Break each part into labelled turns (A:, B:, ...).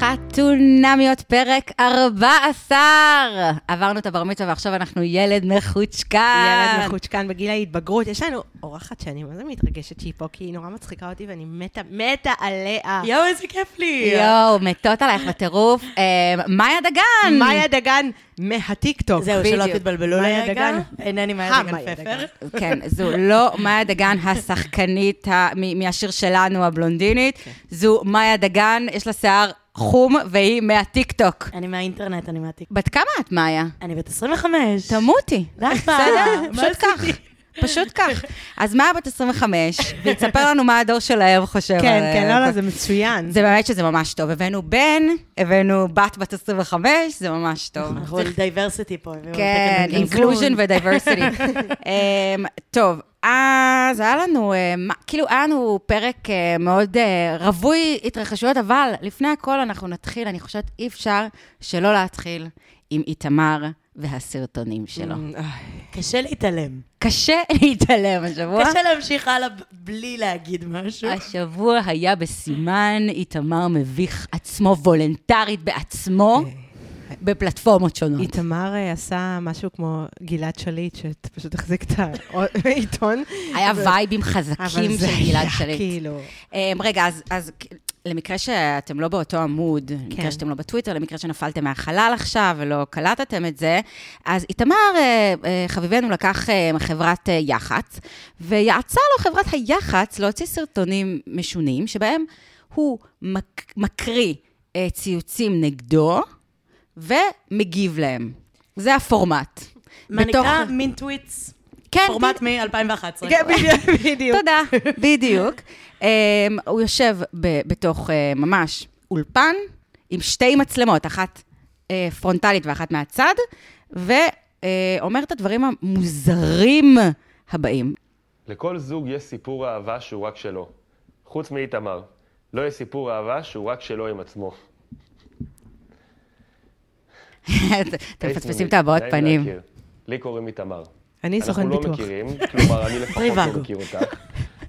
A: חתונמיות, פרק 14. עברנו את הבר מצווה ועכשיו אנחנו ילד מחוצ'קן.
B: ילד מחוצ'קן בגיל ההתבגרות. יש לנו אורחת שאני מה זה מתרגשת שהיא פה, כי היא נורא מצחיקה אותי ואני מתה, מתה עליה.
C: יואו, איזה כיף לי.
A: יואו, מתות עלייך בטירוף. אה, מאיה דגן.
B: מאיה דגן מהטיקטוק.
C: זהו, שלא
A: בדיוק.
C: תתבלבלו
B: מאיה
C: לרגע.
B: דגן.
C: אינני מאיה
B: אה,
C: דגן
B: מאיה
C: פפר.
B: דגן.
A: כן, זו לא מאיה דגן השחקנית ה- מ- מהשיר שלנו, הבלונדינית.
B: כן.
A: זו מאיה דגן, יש לה שיער חום והיא מהטיקטוק.
C: אני מהאינטרנט, אני מהתיק.
A: בת כמה את, מאיה?
C: אני בת 25.
A: תמותי.
C: די כבר.
A: בסדר?
C: מה
A: פשוט כך. פשוט כך. אז מאיה בת 25, והיא תספר לנו מה הדור שלהם חושב.
B: כן,
A: על-
B: כן, לא, לא, זה מצוין.
A: אה, זה באמת שזה ממש טוב. הבאנו בן, הבאנו בת בת 25, זה ממש טוב.
C: אנחנו על דייברסיטי פה. הביאו
A: כן,
C: נכון. תקן בן זוג.
A: אינקלוז'ן ודייברסיטי. טוב, אז היה לנו, אה, מה- כאילו, היה לנו פרק אה, מאוד אה, רווי התרחשויות, אבל לפני הכל אנחנו נתחיל, אני חושבת, אי אפשר שלא להתחיל עם איתמר והסרטונים שלו.
B: אה,
C: Mm. קשה להתעלם.
A: קשה להתעלם השבוע.
C: קשה להמשיך הלאה ב- בלי להגיד משהו.
A: השבוע היה בסימן איתמר מביך עצמו וולנטרית בעצמו
C: כן.
A: בפלטפורמות שונות.
B: איתמר אה, עשה משהו כמו גלעד שליט, שפשוט החזיק את העיתון.
A: היה
B: אבל-
A: וייבים חזקים
B: אבל זה
A: של גלעד
B: היה
A: שליט.
B: כאילו...
A: אמ, רגע, אז- אז כ- למקרה שאתם לא באותו
B: כן.
A: עמוד, למקרה שאתם לא בטוויטר, למקרה שנפלתם מהחלל עכשיו ולא קלטתם את זה, אז איתמר, אה, אה, חביבנו, לקח אה, חברת אה, יח"צ, ויעצה לו חברת היח"צ להוציא סרטונים משונים, שבהם הוא מק- מקריא אה, ציוצים נגדו ומגיב להם. זה הפורמט.
C: מה
A: בתוך-
C: נקרא? מין טוויטס.
A: כן,
C: פורמט מ-2011.
B: כן, בדיוק, בדיוק.
A: תודה, בדיוק. Um, הוא יושב ב- בתוך אה, ממש אולפן עם שתי מצלמות, אחת אה, פרונטלית ואחת מהצד, ואומר את הדברים המוזרים הבאים.
D: לכל זוג יש סיפור אהבה שהוא רק שלו. חוץ מאיתמר. לא יש סיפור אהבה שהוא רק שלו עם עצמו.
A: אתם מפספסים
D: היי,
A: את הבעות
D: נעים
A: פנים.
D: להכיר. לי קוראים איתמר.
B: אני סוכן
D: אנחנו לא
B: ביטוח.
D: מכירים, כלומר, אני לפחות
C: טריוואגו.
D: לא מכיר אותך.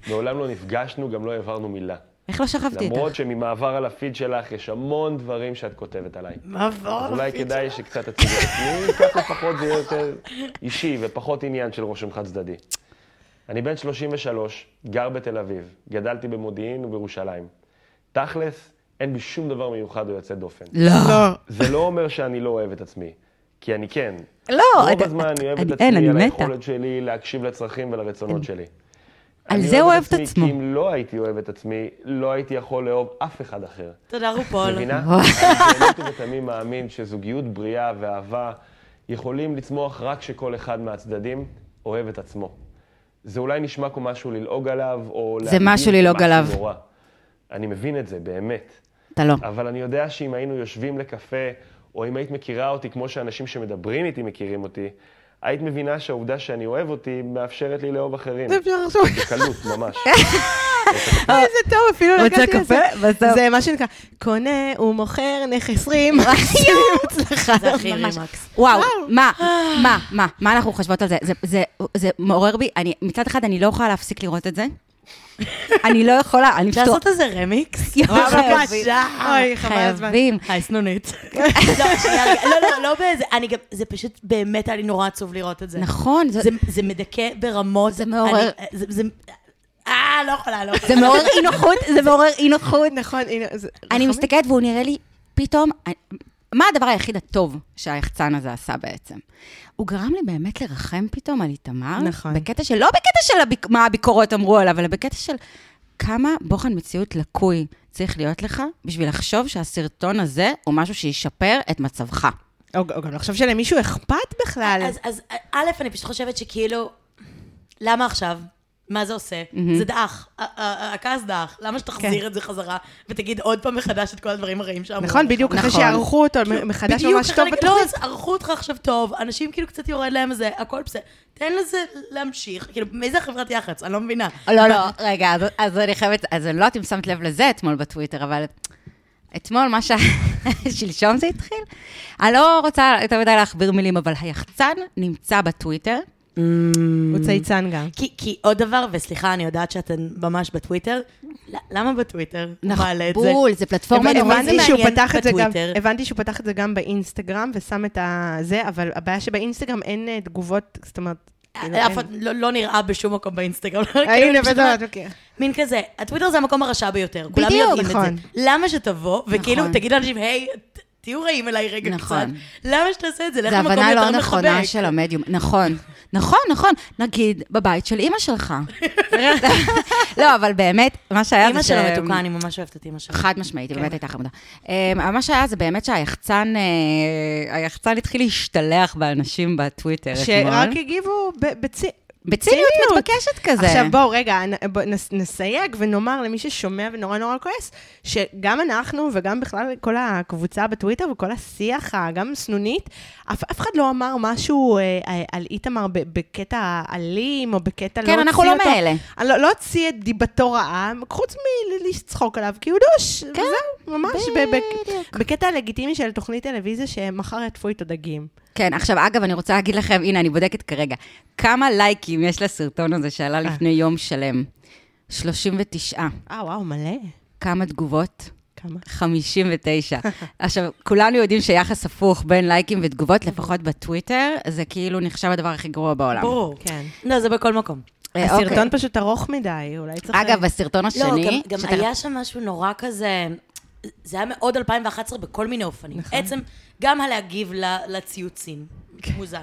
D: מעולם לא נפגשנו, גם לא העברנו מילה.
A: איך לא שכבתי
D: למרות
A: איתך?
D: שממעבר על הפיד שלך יש המון דברים שאת כותבת עליי.
C: מה
D: אז
C: עבור?
D: אולי כן. כדאי שקצת תציגי עצמי, כך לפחות זה יהיה יותר אישי ופחות עניין של רושם חד צדדי. אני בן 33, גר בתל אביב, גדלתי במודיעין ובירושלים. תכלס, אין בי שום דבר מיוחד או יוצא דופן.
A: לא.
D: זה לא אומר שאני לא אוהב את עצמי, כי אני כן.
A: לא,
D: רוב
A: אתה-
D: הזמן אני אוהב את
A: אני- אין, אני
D: עצמי, על
A: מתה.
D: היכולת שלי להקשיב לצרכים ולרצונות שלי.
A: על
D: אני
A: זה הוא אוהב את
D: עצמי,
A: עצמו.
D: כי אם לא הייתי אוהב את עצמי, לא הייתי יכול לאהוב אף אחד אחר.
C: תודה רופול.
D: מבינה? אני באמת ובתמים מאמין שזוגיות בריאה ואהבה יכולים לצמוח רק כשכל אחד מהצדדים אוהב את עצמו. זה אולי נשמע כמו משהו ללעוג עליו, או...
A: זה
D: להגיד
A: משהו ללעוג
D: משהו
A: עליו.
D: נורא. אני מבין את זה, באמת.
A: אתה לא.
D: אבל אני יודע שאם היינו יושבים לקפה, או אם היית מכירה אותי כמו שאנשים שמדברים איתי מכירים אותי, היית מבינה שהעובדה שאני אוהב אותי מאפשרת לי לאהוב אחרים.
B: זה אפשר לחשוב.
D: בקלות, ממש.
B: איזה טוב, אפילו לא
A: אה, רוצה
B: הגעתי לזה.
A: קפה? בסוף.
B: זה מה שנקרא, קונה ומוכר נכסרים. אצלך.
C: זה הכי
A: ממש.
C: רימקס.
D: אה.
A: וואו, מה, מה, מה, מה אנחנו חושבות על זה? זה, זה, זה מעורר בי, אני, מצד אחד אני לא יכולה להפסיק לראות את זה. אני לא יכולה, אני
C: אפשר
A: פשוט...
C: לעשות איזה רמיקס?
A: יואו,
B: ממש, אוי, חבל על הזמן.
A: חייבים.
C: היי, סנונית. לא, שנייה, רגע. לא, לא, לא באיזה, אני גם, זה פשוט באמת היה לי נורא עצוב לראות את זה.
A: נכון, זה-
C: זה- זה מדכא ברמות.
A: זה מעורר-
C: אני- זה- זה- אה, לא יכולה, לא יכולה.
A: זה מעורר אי נוחות, זה מעורר אי נוחות.
B: נכון, הנה, זה-
A: אני
B: נכון?
A: מסתכלת והוא נראה לי, פתאום, אני- מה הדבר היחיד הטוב שהיחצן הזה עשה בעצם? הוא גרם לי באמת לרחם פתאום על איתמר.
B: נכון.
A: בקטע של, לא בקטע של הביק, מה הביקורות אמרו עליו, אלא בקטע של כמה בוחן מציאות לקוי צריך להיות לך בשביל לחשוב שהסרטון הזה הוא משהו שישפר את מצבך.
B: או או גם לחשוב שלמישהו אכפת בכלל.
C: אז- אז אה, א', אני פשוט חושבת שכאילו, למה עכשיו? מה זה עושה? זה דעך. ה- ה- הכעס דעך. למה
B: כן.
C: שתחזיר את זה חזרה ותגיד עוד פעם מחדש את כל הדברים הרעים שאמרו?
B: נכון, בדיוק, אחרי
A: נכון.
B: שיערכו אותו מחדש
C: בדיוק,
B: ממש
C: ככה
B: טוב
C: אני-
B: בתוכנית.
C: לא, אז ערכו אותך עכשיו טוב, אנשים כאילו קצת יורד להם זה, הכל בסדר. תן לזה להמשיך. כאילו, מאיזה חברת יח"צ? אני לא מבינה.
A: לא, לא, רגע, אז- אז אני חייבת, אז אני לא יודעת אם שמת לב לזה אתמול בטוויטר, אבל אתמול, מה ש... שלשום זה התחיל. אני לא רוצה יותר מדי להכביר מילים, אבל היחצן נמצא בטוויטר,
B: הוא צייצן גם.
C: כי, כי עוד דבר, וסליחה, אני יודעת שאתן ממש בטוויטר, ל- למה בטוויטר? הוא
B: נכון,
C: מעלה את זה.
A: בול, זה פלטפורמה
C: אבל-
A: נורא...
C: אבל-
B: הבנתי
C: זה
B: שהוא
C: מעניין
B: פתח את זה גם-
C: בטוויטר.
B: הבנתי שהוא פתח את זה גם באינסטגרם ושם את הזה, אבל הבעיה שבאינסטגרם אין אה, תגובות, זאת אומרת... כאילו,
C: אף
B: אין.
C: אחד לא, לא נראה בשום מקום באינסטגרם.
B: הנה,
C: כאילו, פשוט
B: בזה, אוקיי.
C: מין כזה, הטוויטר זה המקום הרשע ביותר. כולם
B: בדיוק,
C: יודעים
B: נכון.
C: את זה. למה שתבוא, וכאילו
A: נכון.
C: תגיד לאנשים, היי, ת- תהיו רעים אליי רגע
A: נכון.
C: קצת. למה שתעשה את זה? לך
A: זה
C: למקום
A: הבנה לא
C: יותר
A: נכונה
C: מחבק.
A: של המדיום. נכון, נכון, נכון. נגיד, בבית של אימא שלך. לא, אבל באמת, מה שהיה זה
C: אימא שלו
A: ש-
C: מתוקה, אני ממש אוהבת את אימא שלו.
A: חד משמעית, היא
B: כן.
A: באמת הייתה חמודה. אה, מה שהיה זה באמת שהיחצן, אה, היחצן התחיל להשתלח באנשים בטוויטר
B: שרק
A: אתמול.
B: הגיבו ב- בצי-
A: בציניות
B: ציניות.
A: מתבקשת כזה.
B: עכשיו בואו, רגע, נ- בוא, נס- נסייג ונאמר למי ששומע ונורא נורא כועס, שגם אנחנו וגם בכלל כל הקבוצה בטוויטר וכל השיח, גם סנונית, אף, אף אחד לא אמר משהו אה, אה, על איתמר ב- בקטע אלים או בקטע לא
A: כן, אנחנו
B: הוציא
A: לא
B: אותו-
A: מאלה.
B: אני לא, לא הוציא את דיבתו רעה, חוץ מלצחוק עליו, כי הוא דוש. כן. וזהו, ממש ב- ב- בקטע הלגיטימי של תוכנית טלוויזיה שמחר יטפו איתו דגים.
A: כן, עכשיו, אגב, אני רוצה להגיד לכם, הנה, אני בודקת כרגע, כמה לייקים יש לסרטון הזה שעלה לפני יום שלם? 39.
B: אה, וואו, מלא.
A: כמה תגובות?
B: כמה?
A: 59. עכשיו, כולנו יודעים שיחס הפוך בין לייקים ותגובות, לפחות בטוויטר, זה כאילו נחשב הדבר הכי גרוע בעולם.
C: ברור.
B: כן.
A: אוקיי.
C: לא, זה בכל מקום.
A: אה,
B: הסרטון
A: אוקיי.
B: פשוט ארוך מדי, אולי צריך...
A: אגב, בסרטון השני...
C: לא, גם, גם
A: שתכף-
C: היה שם משהו נורא כזה, זה היה מאוד 2011 בכל מיני אופנים. נכון. עצם, גם הלהגיב ל, לציוצים,
A: כן.
C: מוזר.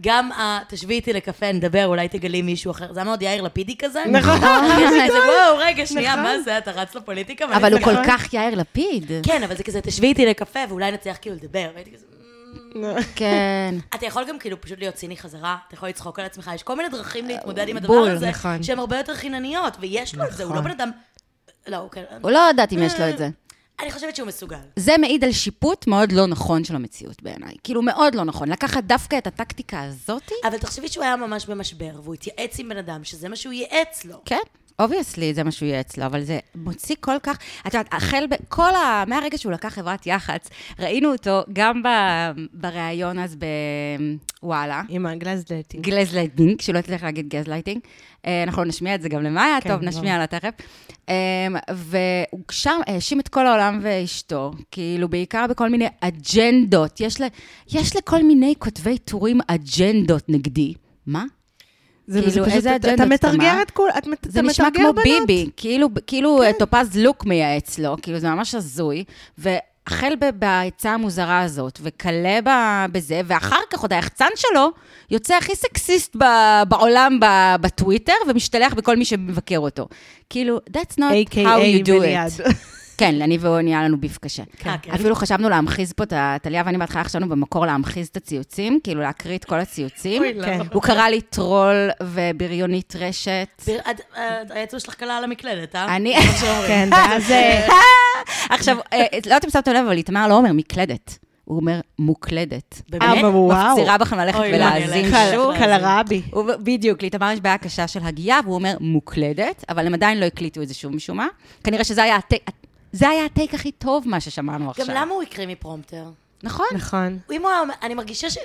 C: גם ה... תשבי איתי לקפה, נדבר, אולי תגלי מישהו אחר. זה היה מאוד יאיר לפידי כזה.
B: נכון.
C: כזה, וואו, רגע, שנייה,
B: נכון.
C: מה זה? אתה רץ לפוליטיקה? ואני
A: אבל הוא
C: כזה,
A: כל
B: נכון.
A: כך יאיר לפיד.
C: כן, אבל זה כזה, תשבי איתי לקפה, ואולי נצליח כאילו לדבר. והייתי כזה... "מ,
B: לא.
A: כן.
C: אתה יכול גם כאילו פשוט להיות ציני חזרה, אתה יכול לצחוק על עצמך, יש כל מיני דרכים להתמודד עם הדבר
A: בול,
C: הזה,
B: נכון.
C: שהן הרבה יותר חינניות, ויש לו את זה, הוא לא
B: נכון.
C: בן אדם... לא, הוא כן...
A: הוא לא יודעת אם יש לו את זה.
C: אני חושבת שהוא מסוגל.
A: זה מעיד על שיפוט מאוד לא נכון של המציאות בעיניי. כאילו, מאוד לא נכון. לקחת דווקא את הטקטיקה הזאתי?
C: אבל תחשבי שהוא היה ממש במשבר, והוא התייעץ עם בן אדם, שזה מה שהוא ייעץ לו.
A: כן. אובייסלי, זה מה שהוא יהיה אצלו, אבל זה מוציא כל כך... את יודעת, החל בכל ה... מהרגע שהוא לקח חברת יח"צ, ראינו אותו גם ב... בריאיון אז בוואלה.
B: עם הגלזלטים.
A: גלזלייטינג, שלא הצליח להגיד גזלייטינג. אה, אנחנו נשמיע את זה גם למאיה,
B: כן,
A: טוב,
B: ברור.
A: נשמיע לה תכף. אה, והוא שם האשים את כל העולם ואשתו, כאילו, בעיקר בכל מיני אג'נדות. יש, ל, יש לכל מיני כותבי טורים אג'נדות נגדי. מה?
B: זה
A: כאילו,
B: זה פשוט-
A: איזה
B: אתה-
A: אג'נדות,
B: אתה מתרגר
A: מה?
B: את כול, אתה מת-
A: זה
B: אתה
A: נשמע
B: מתרגר
A: כמו
B: בנות.
A: ביבי, כאילו, כאילו כן. טופז לוק מייעץ לו, כאילו זה ממש הזוי, והחל ב- בעצה המוזרה הזאת, וכלה ב- בזה, ואחר כך עוד היחצן שלו יוצא הכי סקסיסט ב- בעולם ב- בטוויטר, ומשתלח בכל מי שמבקר אותו. כאילו, that's not how
B: AKA
A: you do
B: וליעד.
A: it. כן, אני והוא נהיה לנו ביף קשה.
C: אה, כן.
A: אפילו חשבנו להמחיז פה את ה- טליה ואני בהתחלה חשבנו במקור להמחיז את הציוצים, כאילו להקריא את כל הציוצים.
C: אוי, לא.
B: כן.
A: הוא קרא לי טרול ובריונית רשת.
C: תראי, את- את- היצוא שלך קלה על המקלדת, אה?
A: אני...
B: כן, ואז... אה,
A: עכשיו, אה, לא יודעת אם שמתם לב, אבל איתמר לא אומר מקלדת, הוא אומר מוקלדת.
C: באמת?
B: אה, אבל וואו.
A: מפצירה בכם ללכת
C: אוי, לא,
A: ולהאזין
C: אני
B: קל-
C: אלך.
A: שוב.
B: קלרבי.
A: הוא- בדיוק, לאיתמר יש בעיה קשה של הגייה, והוא אומר מוקלדת, אבל הם עדיין לא הקליטו את זה שוב משום מה. כנראה שזה היה הטייק... זה היה הטייק הכי טוב, מה ששמענו עכשיו.
C: גם למה הוא הקריא מפרומטר?
A: נכון.
B: נכון.
C: אם הוא היה אומר, אני מרגישה ש...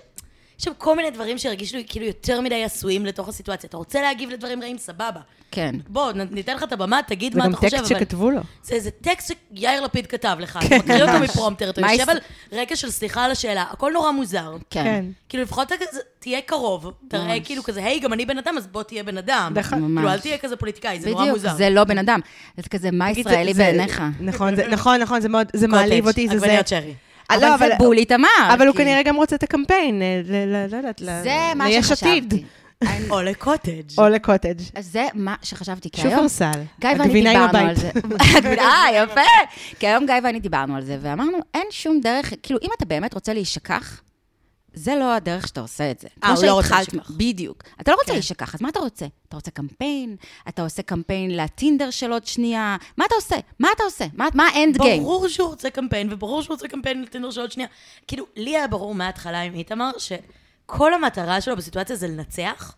C: יש שם כל מיני דברים שהרגישו לי כאילו יותר מדי עשויים לתוך הסיטואציה. אתה רוצה להגיב לדברים רעים, סבבה.
A: כן.
C: בוא, נ- ניתן לך את הבמה, תגיד
B: זה
C: מה
B: גם
C: אתה חושב,
B: טקסט
C: אבל...
B: שכתבו כן. לו.
C: זה איזה טקסט שיאיר לפיד כתב לך, אתה מקריא אותו
A: ממש.
C: מפרומטר, אתה
A: מה
C: יושב
A: יש-
C: על רקע של סליחה על השאלה, הכל נורא מוזר.
A: כן.
B: כן.
C: כאילו, לפחות אתה כזה- תהיה קרוב, תראה כאילו כזה, היי, גם אני בן אדם, אז בוא תהיה בן אדם.
B: נכון.
C: כאילו, אל
A: ממש.
C: תהיה כזה פוליטיקאי, זה נורא
A: בדיוק,
C: מוזר.
A: זה לא בן אדם. זה כזה, מה
B: תגיד,
A: ישראלי
B: זה- זה-
A: בעיניך?
B: נכון, זה- נכון, נכון, זה מאוד, זה
C: קוטג',
B: מעליב אותי, זה זה.
C: עגבניות שרי.
B: אה,
A: אבל
B: לא,
A: זה בול איתמר.
B: אבל הוא
A: כאילו.
B: כנראה גם רוצה את הקמפיין, אה, ל- ל- לא יודעת, ל-
A: זה מה
B: ליש עתיד.
A: שחשבתי. אני-
C: או לקוטג'.
B: או לקוטג'.
A: זה מה שחשבתי, כי היום...
B: שופרסל.
A: אוקיי. גיא ואני
B: הגבינה עם
A: דיברנו על
B: הבית.
A: זה. הגבינה, אה, יפה. כי היום גיא ואני דיברנו על זה, ואמרנו, אין שום דרך, כאילו, אם אתה באמת רוצה להישכח, זה לא הדרך שאתה עושה את זה.
C: הוא
A: כמו
C: לא רוצה
A: שהתחלת-
C: להישכח. כן.
A: בדיוק. אתה לא רוצה להישכח, אז מה אתה רוצה? אתה רוצה קמפיין? אתה עושה קמפיין לטינדר של עוד שנייה? מה אתה עושה? מה אתה עושה? מה- מה האנד
B: כן.
A: גיים?
C: ברור שהוא רוצה קמפיין, וברור שהוא רוצה קמפיין לטינדר של עוד שנייה. כאילו, לי היה ברור מההתחלה עם איתמר, שכל המטרה שלו בסיטואציה זה לנצח,